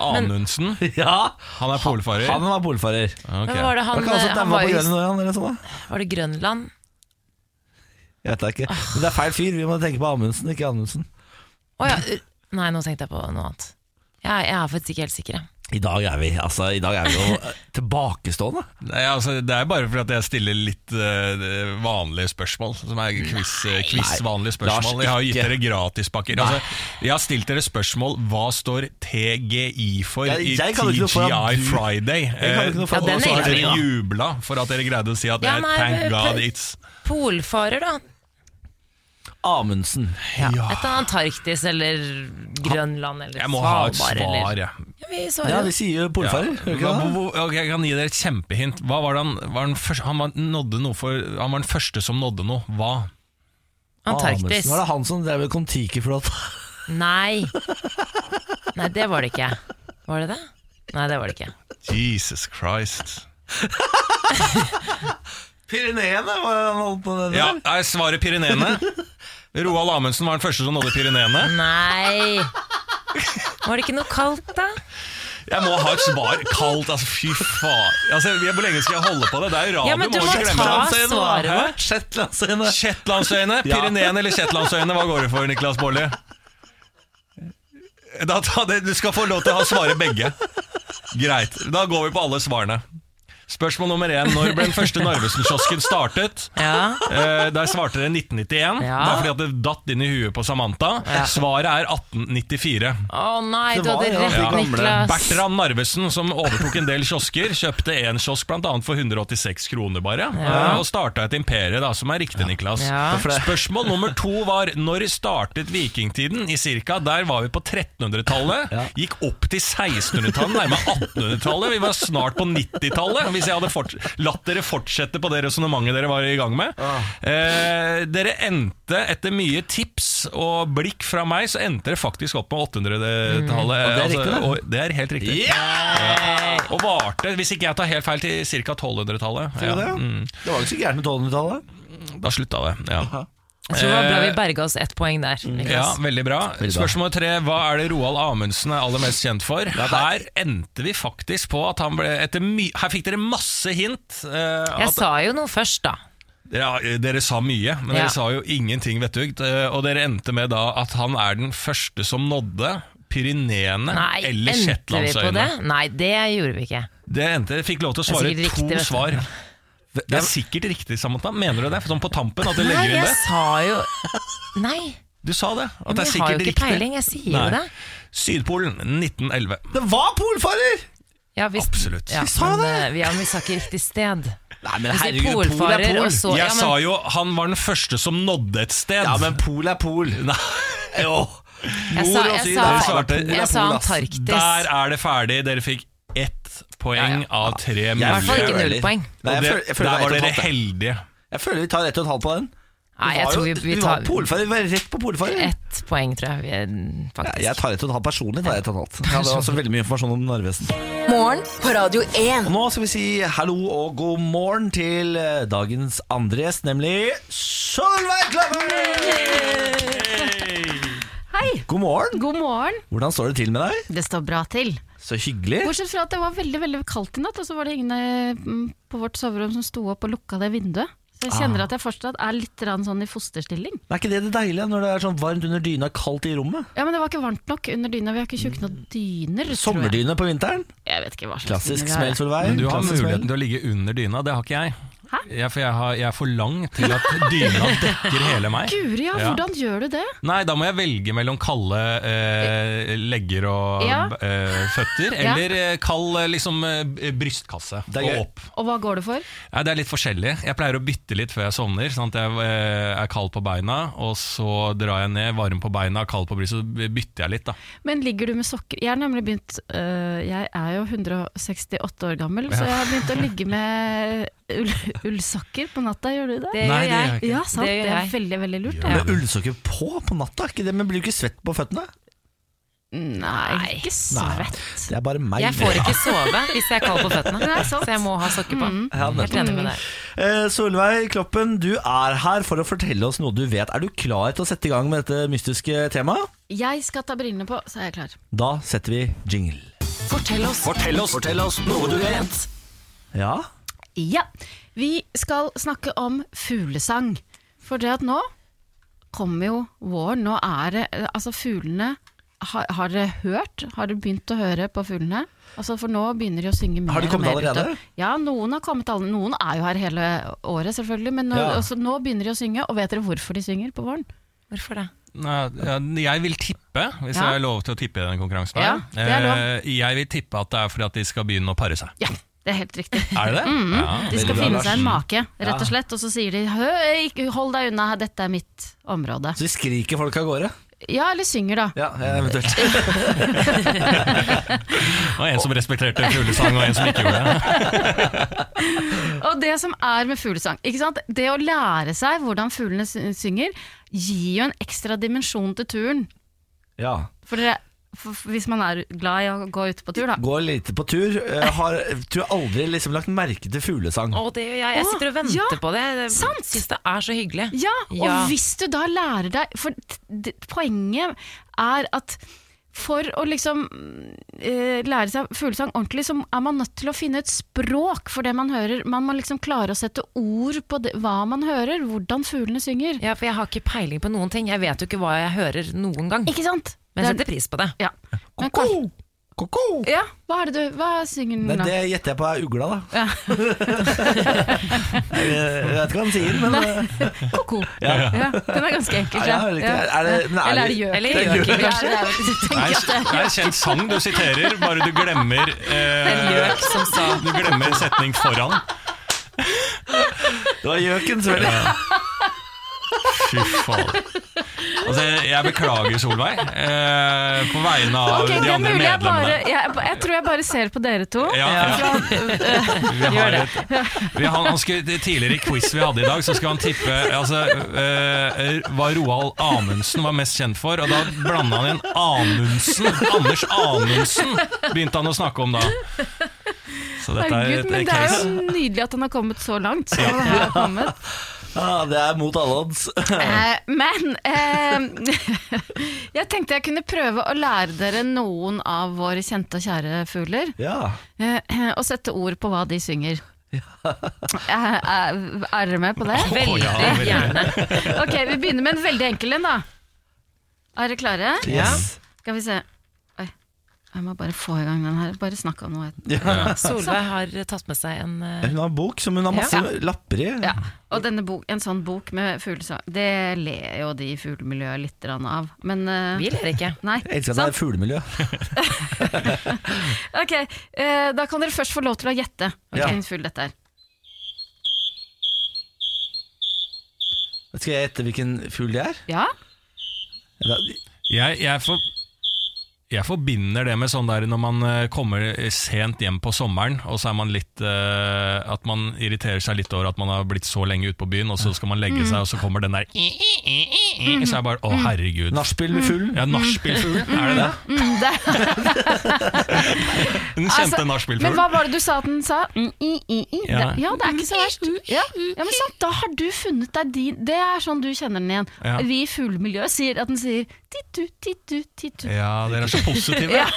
Speaker 2: Anundsen,
Speaker 1: <laughs> ja,
Speaker 2: han er polfarer.
Speaker 1: han var polfarer.
Speaker 3: på.
Speaker 2: Ok.
Speaker 3: Men var det
Speaker 1: Han,
Speaker 3: han, eh,
Speaker 1: kan også
Speaker 3: han
Speaker 1: daua
Speaker 3: var,
Speaker 1: på
Speaker 3: jo,
Speaker 1: Grønland eller noe sånt. da.
Speaker 3: var det Grønland?
Speaker 1: Jeg vet da ikke. Men det er feil fyr. Vi må tenke på Amundsen, ikke Anundsen.
Speaker 3: Å ja. u- Nei, nå tenkte jeg på noe annet. Jeg, jeg er faktisk ikke helt sikker. jeg.
Speaker 1: I dag er vi altså, i dag er vi jo <laughs> eh, tilbakestående.
Speaker 2: Nei, altså, det er bare fordi at jeg stiller litt eh, vanlige spørsmål, som er quiz, eh, quiz-vanlige spørsmål.
Speaker 1: Lars,
Speaker 2: jeg har jo gitt
Speaker 1: ikke.
Speaker 2: dere gratispakker. Altså, jeg har stilt dere spørsmål hva står TGI for
Speaker 1: Jeg-
Speaker 2: i
Speaker 1: jeg kan jo ikke noe for at
Speaker 2: TGI
Speaker 1: du-
Speaker 2: Friday.
Speaker 1: Jeg kan jo ikke noe for
Speaker 2: Eh,
Speaker 1: at- Ja,
Speaker 2: og
Speaker 3: den
Speaker 2: så har
Speaker 3: er
Speaker 2: dere
Speaker 3: jeg
Speaker 2: jubla for at dere greide å si at det
Speaker 3: Ja,
Speaker 2: er
Speaker 3: nei,
Speaker 2: thank
Speaker 3: men-
Speaker 2: god it's
Speaker 3: Polfarer, da.
Speaker 1: Amundsen.
Speaker 2: Ja.
Speaker 3: Et av Antarktis eller Grønland eller
Speaker 2: Jeg må ha et
Speaker 3: Svalbard,
Speaker 2: svar,
Speaker 3: eller
Speaker 2: jeg.
Speaker 3: ja, Vi svarer
Speaker 1: Ja,
Speaker 3: jo.
Speaker 1: vi sier jo
Speaker 2: Ja.
Speaker 1: polfarer. gjør vi ikke
Speaker 2: Hva-
Speaker 1: det?
Speaker 2: hvor- ok, jeg kan gi dere et kjempehint. Hva var det han, var den første, han, var, nådde noe for, han var den første som nådde noe. Hva?
Speaker 3: Antarktis.
Speaker 1: Amundsen. Var det han som drev med Kon-Tiki-flåta?
Speaker 3: Nei. Nei, det var det ikke. Var det det? Nei, det var det ikke.
Speaker 2: Jesus Christ.
Speaker 1: <laughs> Pyreneene, var det han holdt på med?
Speaker 2: Ja, er svaret
Speaker 3: <laughs>
Speaker 2: Pyreneene? Roald Amundsen var den første som nådde Pyreneene.
Speaker 3: Nei. Var det ikke noe kaldt, da?
Speaker 2: Jeg må ha et svar kaldt. Altså, fy faen. Altså, jeg- hvor lenge skal jeg holde på det? Det er jo radio.
Speaker 3: Ja, men du
Speaker 2: må
Speaker 3: må
Speaker 2: ikke glemme
Speaker 3: ta
Speaker 2: det.
Speaker 3: svaret
Speaker 2: Hæ?
Speaker 3: vårt.
Speaker 1: Shetlandsøyene.
Speaker 2: Shetlandsøyene, Pyreneen eller Shetlandsøyene? Hva går det for, Niklas Baarli? Da ta det- Du skal få lov til å ha svare begge. Greit. Da går vi på alle svarene. Spørsmål nummer én. Når ble den første Narvesen-kiosken startet?
Speaker 3: Ja.
Speaker 2: Eh, der svarte dere 1991.
Speaker 3: Ja.
Speaker 2: Det er fordi at det datt inn i huet på Samantha.
Speaker 3: Ja.
Speaker 2: Svaret er 1894.
Speaker 3: Å nei,
Speaker 1: Det
Speaker 3: du
Speaker 1: var
Speaker 3: hadde
Speaker 1: jo
Speaker 3: rett,
Speaker 1: de gamle
Speaker 3: Niklas.
Speaker 2: Bertram Narvesen, som overtok en del kiosker, kjøpte en kiosk bl.a. for 186 kroner bare, eh, og starta et imperie, da, som er riktig, Niklas.
Speaker 3: Ja.
Speaker 2: Spørsmål nummer to var når startet vikingtiden? I cirka, Der var vi på 1300-tallet. Gikk opp til 1600-tallet, nærmere 1800-tallet. Vi var snart på 90-tallet, hvis jeg hadde forts- latt dere fortsette på det resonnementet dere var i gang med. Eh, dere endte, etter mye tips og blikk fra meg, så endte dere faktisk opp med 800-tallet.
Speaker 1: Mm. Og det er riktig, det.
Speaker 2: og det er helt riktig. Og varte, hvis ikke jeg tar helt feil, til ca. 1200-tallet.
Speaker 1: Det
Speaker 2: Ja. Mm,
Speaker 1: var jo ikke så gærent med 1200-tallet.
Speaker 2: da slutta det. Ja.
Speaker 3: Jeg tror det var bra vi berga oss ett poeng der.
Speaker 2: Mm, Ja,
Speaker 3: Niklas.
Speaker 2: Veldig bra.
Speaker 1: bra.
Speaker 2: Spørsmål tre. Hva er det Roald Amundsen er aller mest kjent for? Her endte vi faktisk på at han ble etter my Her fikk dere masse hint. eh,
Speaker 3: Jeg
Speaker 2: at,
Speaker 3: sa jo noe først, da.
Speaker 2: ja, dere sa mye, men
Speaker 3: Ja.
Speaker 2: dere sa jo ingenting vettugt. eh, og dere endte med da at han er den første som nådde Pyreneene
Speaker 3: Nei,
Speaker 2: eller
Speaker 3: endte vi på det?
Speaker 2: Shetlandsøyene.
Speaker 3: Nei, det gjorde vi ikke.
Speaker 2: Det endte, dere fikk lov til å
Speaker 3: Det er
Speaker 2: svare
Speaker 3: sikkert riktig,
Speaker 2: to
Speaker 3: vet du.
Speaker 2: svar. Det er sikkert riktig, Samantha. Mener du det? Sånn på tampen? At du
Speaker 3: Nei,
Speaker 2: legger inn
Speaker 3: jeg
Speaker 2: det?
Speaker 3: sa jo Nei,
Speaker 2: Du sa det. At det
Speaker 3: men
Speaker 2: er
Speaker 3: jeg har jo
Speaker 2: sikkert
Speaker 3: ikke
Speaker 2: riktig.
Speaker 3: peiling. Jeg sier jo
Speaker 2: Nei.
Speaker 3: det.
Speaker 2: Sydpolen 1911.
Speaker 1: Det var polfarer!
Speaker 3: Ja, hvis-
Speaker 2: Absolutt.
Speaker 3: Ja,
Speaker 1: Vi sa
Speaker 3: men,
Speaker 1: det.
Speaker 3: eh, Ja, men vi sa ikke riktig sted.
Speaker 1: Nei, men
Speaker 3: Vi sier polfarer, og så ja,
Speaker 2: Jeg sa
Speaker 3: men,
Speaker 2: jo han var den første som nådde et sted.
Speaker 1: Ja, men pol er pol.
Speaker 2: Nei,
Speaker 1: <laughs> Jo.
Speaker 3: Jeg sa-
Speaker 1: Nord og
Speaker 3: jeg
Speaker 1: syd,
Speaker 3: sa-
Speaker 1: det er svarte.
Speaker 2: jeg
Speaker 1: Pol er
Speaker 3: sa
Speaker 1: pol, ass.
Speaker 3: Antarktis.
Speaker 2: Der er det ferdig. Dere fikk ett poeng
Speaker 3: Ja, ja.
Speaker 2: av tre
Speaker 3: I hvert fall
Speaker 2: mulige.
Speaker 3: ikke null
Speaker 1: ærlig.
Speaker 3: poeng.
Speaker 1: Nei,
Speaker 2: Og
Speaker 1: jeg
Speaker 2: det,
Speaker 1: føler, jeg, føler det
Speaker 2: der var
Speaker 1: er ett og
Speaker 2: dere
Speaker 1: et halvt,
Speaker 2: heldige.
Speaker 1: jeg føler vi tar ett og et halvt på den.
Speaker 3: Nei, jeg
Speaker 1: var
Speaker 3: tror vi,
Speaker 1: jo-
Speaker 3: vi
Speaker 1: var
Speaker 3: tar
Speaker 1: polfarer, vi var rett på polfarer.
Speaker 3: ett poeng, tror jeg. Vi,
Speaker 1: Ja,
Speaker 3: faktisk.
Speaker 1: jeg tar ett og et halvt personlig. Tar jeg ett og et halvt. Ja, det var også veldig mye informasjon om Narvesen.
Speaker 4: Morgen på Radio 1.
Speaker 1: Og nå skal vi si hallo og god morgen til eh, dagens andre gjest, nemlig Solveig Klapper!
Speaker 6: Hei!
Speaker 1: God morgen.
Speaker 6: God morgen.
Speaker 1: Hvordan står det til med deg?
Speaker 6: Det står bra til.
Speaker 1: Så hyggelig.
Speaker 6: Bortsett fra at det var veldig veldig kaldt i natt, og så var det ingen eh, mm, på vårt soverom som sto opp og lukka det vinduet. Så jeg kjenner at jeg fortsatt er litt rann sånn i fosterstilling.
Speaker 1: Er ikke det det deilige når det er sånn varmt under dyna, kaldt i rommet?
Speaker 6: Ja, Men det var ikke varmt nok under dyna. Vi har ikke tjukket nok dyner. tror jeg. sånn.
Speaker 1: Sommerdyne på vinteren?
Speaker 6: Jeg vet ikke hva slags
Speaker 1: Klassisk
Speaker 6: dyner
Speaker 1: smell,
Speaker 6: det er.
Speaker 1: Solveig.
Speaker 2: Men du har
Speaker 1: Klassisk smell.
Speaker 2: muligheten til å ligge under dyna. Det har ikke jeg.
Speaker 6: Hæ?
Speaker 2: Jeg, for jeg, har, jeg er for lang til at
Speaker 1: <laughs>
Speaker 2: dyna dekker hele meg.
Speaker 6: Guri, ja,
Speaker 2: Ja.
Speaker 6: hvordan gjør du det?
Speaker 2: Nei, da må jeg velge mellom kalde eh, legger og
Speaker 6: Ja.
Speaker 2: eh, føtter,
Speaker 6: Ja.
Speaker 2: eller eh, kald eh, liksom, eh, brystkasse
Speaker 1: Det er
Speaker 2: og
Speaker 1: gøy.
Speaker 2: opp.
Speaker 6: Og hva går det for?
Speaker 2: Nei, det er litt forskjellig. Jeg pleier å bytte litt før jeg sovner. Sånn at jeg eh, er kald på beina, og så drar jeg ned, varm på beina, kald på brystet, så bytter jeg litt. da
Speaker 6: Men ligger du med sokker Jeg har nemlig begynt øh, Jeg er jo 168 år gammel, så jeg har begynt å ligge med ull, ullsokker på natta. Gjør du det?
Speaker 3: Det
Speaker 2: Nei,
Speaker 3: gjør
Speaker 2: det gjør jeg
Speaker 3: jeg.
Speaker 2: ikke.
Speaker 6: Ja, sant.
Speaker 3: Det
Speaker 6: Det,
Speaker 3: gjør
Speaker 6: er
Speaker 3: jeg.
Speaker 6: veldig, veldig lurt.
Speaker 1: Ja.
Speaker 6: Ja.
Speaker 1: Med ullsokker på på natta, er ikke det? Men blir du ikke svett på føttene?
Speaker 6: Nei, ikke svett.
Speaker 1: Det er bare meg.
Speaker 3: Jeg får ikke sove hvis jeg er kald på føttene,
Speaker 6: Nei, sant.
Speaker 3: så jeg må ha sokker på.
Speaker 1: Ja, nettopp.
Speaker 3: Helt enig med deg.
Speaker 1: Eh, Solveig Kloppen, du er her for å fortelle oss noe du vet. Er du klar til å sette i gang med dette mystiske temaet?
Speaker 6: Jeg skal ta brillene på, så er jeg klar.
Speaker 1: Da setter vi jingle.
Speaker 3: Fortell oss.
Speaker 1: Ja,
Speaker 6: Ja, Vi skal snakke om fuglesang. For det at nå kommer jo våren. Nå er det Altså, fuglene har, har dere hørt? Har dere begynt å høre på fuglene? Altså, For nå begynner de å synge mer
Speaker 1: Har de
Speaker 6: og
Speaker 1: kommet
Speaker 6: mer
Speaker 1: allerede?
Speaker 6: utover. Ja, noen har kommet alle, noen er jo her hele året, selvfølgelig. Men nå,
Speaker 1: Ja.
Speaker 6: altså, nå begynner de å synge, og vet dere hvorfor de synger på våren?
Speaker 3: Hvorfor det?
Speaker 2: Nei, ja, Jeg vil tippe, hvis jeg
Speaker 6: Ja.
Speaker 2: har lov til å tippe i denne konkurransen.
Speaker 6: Ja,
Speaker 2: her,
Speaker 6: det er lov.
Speaker 2: eh, Jeg vil tippe at det er fordi at de skal begynne å pare seg.
Speaker 6: Ja, det er helt riktig.
Speaker 2: Er det det? ja,
Speaker 6: Mm, De skal
Speaker 1: veldig bra,
Speaker 6: finne
Speaker 1: Lars.
Speaker 6: seg en make, rett og slett. Og så sier de Hø, ikke, 'hold deg unna, dette er mitt område'.
Speaker 1: Så de skriker folk av gårde?
Speaker 6: Ja, eller synger, da.
Speaker 1: Ja, eventuelt.
Speaker 2: Det var en som respekterte fuglesang, og en som ikke gjorde det.
Speaker 6: Og det som er med fuglesang, ikke sant? det å lære seg hvordan fuglene sy- synger, gir jo en ekstra dimensjon til turen.
Speaker 1: Ja.
Speaker 6: For dere, for, for hvis man er glad i å gå ute på tur, da.
Speaker 1: Går lite på tur. eh, Har, tror jeg aldri liksom lagt merke til fuglesang.
Speaker 3: Å, det gjør jeg. Jeg sitter og
Speaker 6: Å, ja,
Speaker 3: venter på det.
Speaker 6: sant.
Speaker 3: Jeg syns det er så hyggelig.
Speaker 6: Ja, og
Speaker 3: Ja.
Speaker 6: hvis du da lærer deg For t- d- poenget er at for å liksom eh, lære seg fuglesang ordentlig, så er man nødt til å finne et språk for det man hører. Man må liksom klare å sette ord på det, hva man hører, hvordan fuglene synger.
Speaker 3: Ja, for jeg har ikke peiling på noen ting. Jeg vet jo ikke hva jeg hører noen gang.
Speaker 6: Ikke sant?
Speaker 3: Men jeg
Speaker 6: Det er-
Speaker 3: setter pris på det.
Speaker 6: ja. Men kan-
Speaker 1: Ko-ko! Ko-ko!
Speaker 6: ja, hva er det du Hva synger
Speaker 1: Nei,
Speaker 6: den da?
Speaker 1: det gjetter jeg på er ugla, <laughs> da. jeg vet ikke hva han sier, men
Speaker 6: Ko-ko. Ja, den er ganske enkel.
Speaker 1: Nei, jeg
Speaker 6: tror jeg.
Speaker 1: vet ikke. Er det- men er
Speaker 6: Eller er det
Speaker 1: det-
Speaker 6: gjøk?
Speaker 3: Eller gjøk,
Speaker 6: Ja,
Speaker 3: kanskje.
Speaker 6: det er vel-
Speaker 3: <laughs>
Speaker 2: Det er en- det er en kjent sang du siterer, bare du glemmer
Speaker 3: Det er
Speaker 2: eh,
Speaker 3: gjøk som sa
Speaker 2: Du glemmer en setning foran.
Speaker 1: det var gjøken, selvfølgelig.
Speaker 2: Fy fader. Altså, jeg beklager, Solveig, eh, på vegne av
Speaker 6: Ok, det
Speaker 2: de
Speaker 6: er
Speaker 2: andre
Speaker 6: mulig jeg bare
Speaker 2: medlemmene.
Speaker 6: jeg, jeg tror jeg bare ser på dere to.
Speaker 2: Ja, ja. Vi har et, vi, han, han skulle, det tidligere i quiz vi hadde i dag, så skulle han tippe altså, eh, hva Roald Amundsen var mest kjent for. Og da blanda han inn Amundsen. Anders Amundsen begynte han å snakke om da. Så dette er
Speaker 6: Herregud,
Speaker 2: et,
Speaker 6: men
Speaker 2: et
Speaker 6: det er jo
Speaker 2: case.
Speaker 6: nydelig at han har kommet så langt. Så
Speaker 1: <laughs>
Speaker 6: han har kommet.
Speaker 1: Ah, det er mot alle odds.
Speaker 6: Eh, men eh, <laughs> jeg tenkte jeg kunne prøve å lære dere noen av våre kjente og kjære fugler.
Speaker 1: ja.
Speaker 6: Eh, og sette ord på hva de synger. Eh, eh, er dere med på det?
Speaker 3: veldig
Speaker 2: ja, veldig.
Speaker 3: gjerne.
Speaker 6: Ok, Vi begynner med en veldig enkel en, da. Er dere klare?
Speaker 1: Yes.
Speaker 6: Skal vi se. Oi, jeg må bare få i gang den her. Bare snakk om noe.
Speaker 1: Ja.
Speaker 3: Solveig har tatt med seg en eh,
Speaker 1: Hun har en bok som hun har masse
Speaker 6: Ja.
Speaker 1: lapper i.
Speaker 6: Ja, og denne bok, en sånn bok med fuglesang, det ler jo de i fuglemiljøet litt grann av. Men eh,
Speaker 3: bil, eller ikke?
Speaker 6: Nei. sånn.
Speaker 1: Jeg elsker at det
Speaker 6: sant?
Speaker 1: er fuglemiljø.
Speaker 6: Ok, eh, da kan dere først få lov til å gjette
Speaker 1: Ja.
Speaker 6: hvilken fugl dette er.
Speaker 1: Skal jeg gjette hvilken fugl det er?
Speaker 6: Ja?
Speaker 1: Eller-
Speaker 2: Jeg, jeg, for, jeg forbinder det med sånn der når man eh, kommer sent hjem på sommeren, og så er man litt eh, At man irriterer seg litt over at man har blitt så lenge ute på byen, og så skal man legge seg, og så kommer den der Så er jeg bare Å, herregud.
Speaker 1: Nachspiel med fuglen.
Speaker 2: Ja, nachspielfugl, er det det?
Speaker 6: Mm, det,
Speaker 2: Den
Speaker 6: altså,
Speaker 2: kjente
Speaker 6: men
Speaker 2: nachspielfuglen.
Speaker 6: hva var det du sa at den sa? Mm, i, i, i. Ja.
Speaker 2: Ja.
Speaker 6: Det, ja, det er ikke så verst. Ja, ja men sant, Da har du funnet deg din Det er sånn du kjenner den igjen.
Speaker 2: Ja.
Speaker 6: Vi i fuglemiljøet sier at den sier tittu, tittu, tittu.
Speaker 2: Ja, dere er så positive.
Speaker 6: Ja.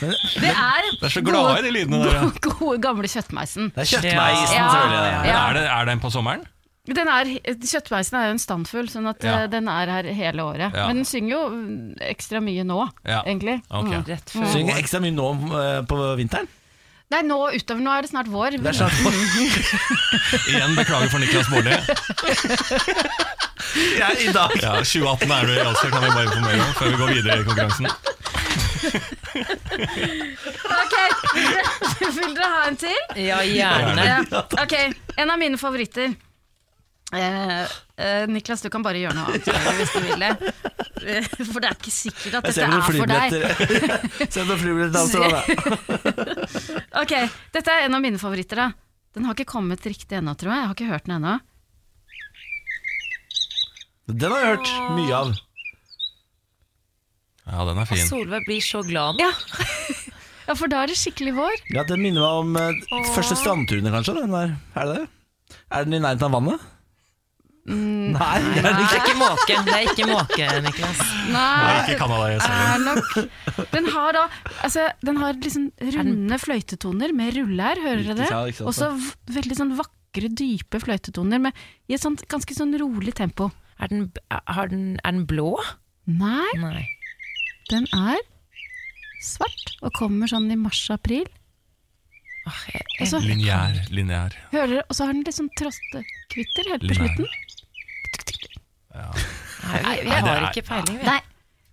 Speaker 6: Det er
Speaker 2: Dere er så glade i de lydene der. ja.
Speaker 6: Gode, gamle kjøttmeisen.
Speaker 1: Det er kjøttmeisen,
Speaker 6: Ja.
Speaker 1: selvfølgelig.
Speaker 6: Ja.
Speaker 2: Er, det, er den på sommeren?
Speaker 6: Den er, kjøttmeisen er jo en standfugl, sånn at
Speaker 2: Ja.
Speaker 6: eh, den er her hele året.
Speaker 2: Ja.
Speaker 6: Men den synger jo mm, ekstra mye nå,
Speaker 2: Ja.
Speaker 6: egentlig.
Speaker 2: Ok.
Speaker 3: Rett før
Speaker 1: Synger ekstra mye nå eh, på vinteren.
Speaker 6: Nei, nå utover, nå er det snart vår.
Speaker 1: Det er sånn,
Speaker 2: Igjen beklager for Niklas Baarli.
Speaker 1: ja, I dag
Speaker 2: Ja, 2018 er du i Alster, kan vi bare informere om før vi går videre i konkurransen.
Speaker 6: Ok, vil dere, <laughs> vil dere ha en til?
Speaker 3: Ja, gjerne.
Speaker 6: Ja. Ok, en av mine favoritter. Eh, eh, Niklas, du kan bare gjøre noe annet hvis du vil det. Eh, For det er ikke sikkert at
Speaker 1: Jeg ser
Speaker 6: <laughs> dette
Speaker 1: på noen
Speaker 6: er for deg.
Speaker 1: flybilletter.
Speaker 6: <laughs>
Speaker 1: Se på noen flybilletter til Amsterdam, ja. altså
Speaker 6: Ok, dette er en av mine favoritter da. Den har ikke kommet riktig ennå, tror jeg. Jeg har ikke hørt den ennå.
Speaker 1: Den har jeg hørt mye av.
Speaker 2: Ja, den er fin.
Speaker 3: Solveig blir så glad nå.
Speaker 6: Ja. ja, for da er det skikkelig vår.
Speaker 1: Ja, Den minner meg om eh, første strandturene, kanskje. Den der. Er det det? Er den i nærheten av vannet?
Speaker 6: Mm,
Speaker 1: Nei, det er den
Speaker 3: Det
Speaker 1: ikke.
Speaker 3: er ikke måke, det er ikke måke, Niklas.
Speaker 2: Det
Speaker 6: Nei,
Speaker 2: er ikke Canada, jeg ser det.
Speaker 6: er nok Den har da altså, Den har liksom runde fløytetoner med rulle her, hører dere det?
Speaker 1: Ja, ikke sant,
Speaker 6: Og så v- veldig sånn vakre, dype fløytetoner med, i et sånt ganske sånn rolig tempo.
Speaker 3: Er den, har den, er den blå?
Speaker 6: Nei,
Speaker 3: Nei.
Speaker 6: den er svart og kommer sånn i mars-april.
Speaker 3: Åh, jeg,
Speaker 6: Og
Speaker 3: jeg,
Speaker 6: så
Speaker 2: Lineær, lineær.
Speaker 6: hører dere, og så har den litt sånn trostekvitter helt på
Speaker 2: Lineær.
Speaker 6: slutten.
Speaker 3: nei, vi
Speaker 2: det
Speaker 3: har
Speaker 2: er-
Speaker 3: ikke peiling, vi.
Speaker 6: Nei,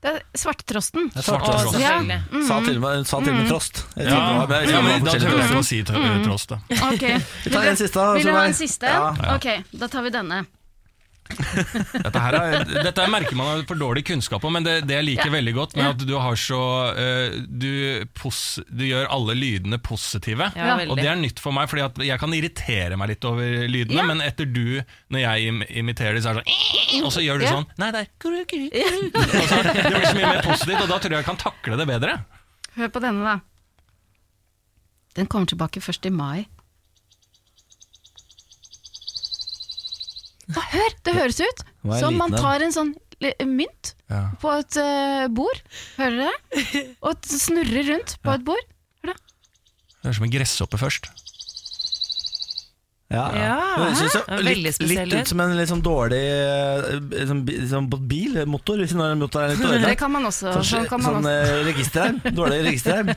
Speaker 6: det er svarttrosten.
Speaker 1: Det er
Speaker 2: Svart
Speaker 1: svart,
Speaker 2: og
Speaker 1: altså.
Speaker 2: blå.
Speaker 3: Selvfølgelig.
Speaker 6: Mhm.
Speaker 1: Sa til og med, sa til og med trost. Jeg
Speaker 2: Ja,
Speaker 1: tenkte, men jeg
Speaker 2: ja,
Speaker 1: skulle
Speaker 2: men
Speaker 1: ha
Speaker 2: da
Speaker 1: forskjellige
Speaker 2: tør jeg
Speaker 1: trost.
Speaker 2: ikke å si tro- tross, da.
Speaker 1: <laughs>
Speaker 6: Ok,
Speaker 1: Vi tar en siste. da,
Speaker 6: Vil du ha
Speaker 1: Solveig.
Speaker 6: en siste?
Speaker 1: Ja.
Speaker 6: Ok, da tar vi denne.
Speaker 2: Dette, her er, dette her merker man har for dårlig kunnskap om, men det, det jeg liker veldig godt med at du har så eh, du, pos, du gjør alle lydene positive.
Speaker 3: Ja, veldig.
Speaker 2: og det er nytt for meg, Fordi at jeg kan irritere meg litt over lydene,
Speaker 6: Ja.
Speaker 2: men etter du, når jeg im imiterer det, så er det sånn Og så gjør du
Speaker 6: Ja.
Speaker 2: sånn Nei, det er kru, kru, kru. Altså, Det blir så mye mer positivt, og da tror jeg jeg kan takle det bedre.
Speaker 6: Hør på denne, da. Den kommer tilbake først i mai. Da, hør! Det høres ut
Speaker 1: var en
Speaker 6: som man
Speaker 1: liten en.
Speaker 6: tar en sånn li- mynt
Speaker 2: Ja.
Speaker 6: på et eh, bord, hører dere det? Og t- snurrer rundt på et bord.
Speaker 2: Det er som en gresshoppe først.
Speaker 1: Ja,
Speaker 3: Ja,
Speaker 1: Men det synes jeg
Speaker 3: hæ? Veldig
Speaker 1: litt,
Speaker 3: spesiell
Speaker 1: litt ut som en litt sånn dårlig eh, liksom, bi- liksom, bil, motor, hvis når
Speaker 6: <laughs>
Speaker 1: motoren er litt
Speaker 6: Det
Speaker 1: ødelagt.
Speaker 6: kan man også.
Speaker 1: Sånn,
Speaker 6: Sånn kan man
Speaker 1: sånn
Speaker 6: også.
Speaker 1: eh, registerarm. Dårlig
Speaker 6: <laughs>
Speaker 1: registerarm.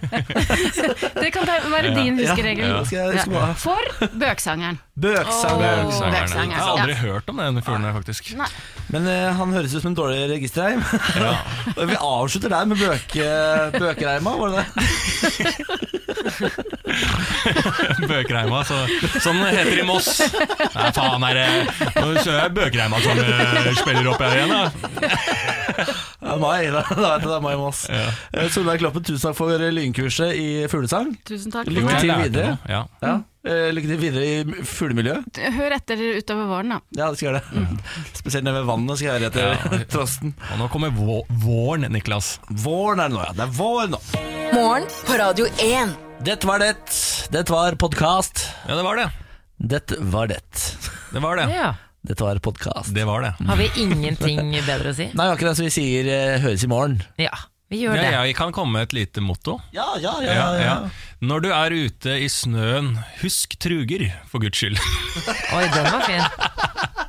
Speaker 6: Det kan være din huskeregel.
Speaker 1: eh, Ja, skal jeg- skal jeg
Speaker 6: Ja.
Speaker 1: bare-
Speaker 6: For bøksangeren.
Speaker 1: Bøksang.
Speaker 6: Bøksangeren.
Speaker 2: Jeg har aldri hørt om den fuglen her, faktisk.
Speaker 6: Nei.
Speaker 1: Men eh, han høres ut som en dårlig registerarm. <laughs> Og Vi avslutter der med bøke, bøkereima, var det
Speaker 2: <laughs>
Speaker 1: det?
Speaker 2: <laughs> Bøkreima. Så, sånn heter det i Moss. Nei, faen er det Nå ser jeg Bøkreima som eh, spiller opp her igjen, da.
Speaker 1: Ja, mai, da, da vet jeg det er Mai Moss. Eh, Solveig Kloppen, tusen takk for kurset i fuglesang.
Speaker 6: Tusen takk.
Speaker 1: Lykke
Speaker 2: Jeg
Speaker 1: til
Speaker 2: lærte
Speaker 1: videre.
Speaker 2: noe, Ja.
Speaker 1: Ja. eh, Lykke til videre i fuglemiljøet.
Speaker 6: Hør etter utover våren, da.
Speaker 1: Ja, det skal jeg gjøre det. <laughs> Spesielt nede ved vannet skal jeg gjøre det etter <laughs> trosten.
Speaker 2: Og nå kommer vå- våren, Niklas.
Speaker 1: Våren er det nå, ja. Det er vår nå.
Speaker 4: Morgen på Radio 1.
Speaker 1: Dette var det. Dette var podkast.
Speaker 2: Ja, det var det.
Speaker 1: Dette var det.
Speaker 2: Det var det.
Speaker 3: Ja.
Speaker 1: Dette var podkast.
Speaker 2: Det var det.
Speaker 3: Har vi ingenting bedre å si?
Speaker 1: Nei, akkurat som vi sier eh, høres i morgen.
Speaker 3: Ja, vi gjør det.
Speaker 2: Ja, jeg kan komme med et lite motto.
Speaker 1: Ja, ja, ja.
Speaker 2: Ja,
Speaker 1: ja.
Speaker 2: ja. Når du er ute i snøen, husk truger, for guds skyld.
Speaker 3: Oi, den var fin.